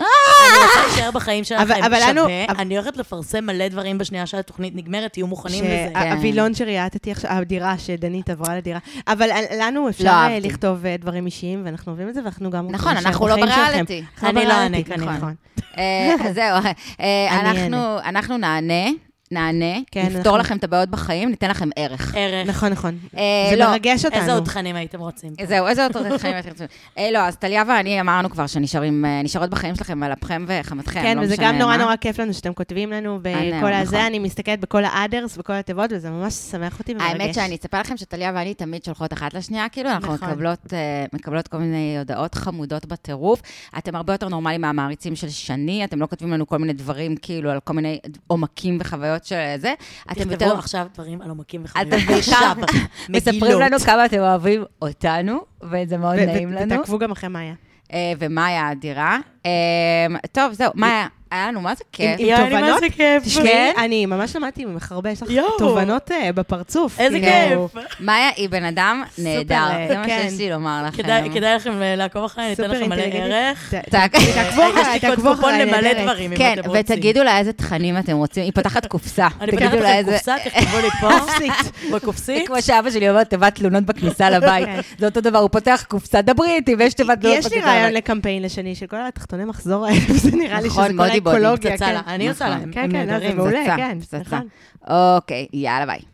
C: אני רוצה להישאר בחיים שלכם
B: אבל- אבל לנו- אבל-
C: שווה. אני הולכת לפרסם מלא דברים בשנייה שהתוכנית נגמרת, תהיו מוכנים לזה.
B: אה,
A: כן.
B: שהווילון שריאטתי עכשיו, הדירה שדנית עברה לדירה, אבל אל- לנו אפשר אה,
A: לא אהבתי.
B: לכתוב אה, דברים אישיים, ואנחנו אוהבים את זה, ואנחנו גם... רוצים
A: נכון,
B: להישאר
A: אנחנו לא
B: בחיים שלכם.
A: בריאליטי. נכון.
B: אנחנו
C: אני לא
B: בריאליטי,
C: אענה, כנראה.
B: נכון.
A: אה, אז זהו, אה,
B: אני
A: אנחנו- אנחנו נענה. נענה,
B: כן,
A: נפתור
B: אנחנו-
A: לכם את הבעיות בחיים, ניתן לכם ערך.
C: ערך.
B: נכון, נכון.
A: אה,
B: זה
A: לא,
B: מרגש אותנו.
C: איזה עוד תכנים הייתם רוצים?
A: אה, זהו, איזה עוד חיים אתם רוצים? אה, לא, אז טליה ואני אמרנו כבר שנשארים, אה, נשארות בחיים שלכם על אפכם וחמתכם,
B: כן,
A: לא
B: וזה
A: משנה
B: גם נורא
A: מה.
B: נורא כיף לנו שאתם כותבים לנו
A: נכון.
B: בכל הזה, אני מסתכלת בכל האדרס וכל התיבות, וזה ממש שמח אותי ומרגש.
A: האמת שאני אספר לכם שטליה ואני תמיד שולחות אחת לשנייה, כאילו, אנחנו
B: נכון.
A: מקבלות, אה, מקבלות כל מיני הודעות חמודות בטירוף. אתם הרבה יותר נורמליים מהמעריצים של שני, אתם לא כותבים לנו כל מיני דברים, כאילו, על כל מיני עומקים וחוויות של זה. אתם יותר
C: תכתבו עכשיו דברים על עומקים וחברים.
A: אתם בעיקר
C: עכשיו,
A: מספרים
C: מגילות.
A: לנו כמה אתם אוהבים אותנו, וזה מאוד
B: ו-
A: נעים
B: ו-
A: לנו.
B: ותעקבו גם אחרי מאיה.
A: אה, ומאיה האדירה. אה, טוב, זהו, מאיה, היה לנו מה זה כיף.
B: עם
C: יאללה, מה
A: לא?
B: תובנות?
C: זה כיף. כן?
B: תשמעי, אני ממש למדתי ממך הרבה, יש לך
C: יואו.
B: תובנות אה, בפרצוף.
C: איזה
A: לא,
B: כאילו,
C: כיף.
A: מאיה היא בן אדם נהדר,
B: אה,
A: זה מה
B: כן.
A: שיש לי לומר לכם.
C: כדאי כדאי לכם אה, לעקוב אחריי, ניתן
B: סופר
C: לכם מלא
B: אינטליגנטית.
C: ערך.
A: תעק-
B: ת-
C: אה,
B: תעקבו אחריי,
C: יש לי
B: תעקבו
C: קוד קופון
B: אחריי,
C: למלא
B: נהדרת.
C: דברים, אם
A: כן,
C: אתם רוצים.
A: ותגידו לה איזה תכנים אתם רוצים, היא פותחת קופסה.
C: אני פותחת
A: תגידו לה
C: לכם
A: איזה-
C: קופסה, תכתבו לי פה.
A: זה
C: בקופסית.
A: כמו שאבא שלי אומר, תיבת תלונות בכניסה לבית. זה אותו דבר, הוא פותח קופסה, דברי איתי, ויש תיבת
C: לא,
A: תלונות
B: יש
A: בכניסה
B: לי
A: לבית.
B: רעיון לקמפיין לשני של כל התחתוני מחזור האלה, זה נראה לי
A: נכון,
B: שזה כל
A: בודי בודי,
B: האקולוגיה.
C: פצצה
B: כן.
C: לה. אני עושה
A: נכון.
C: להם.
B: כן, כן, אז זה
A: נהדרים,
B: מעולה,
A: פצצה,
B: כן,
A: פצצה.
B: נכון.
A: אוקיי, יאללה ביי.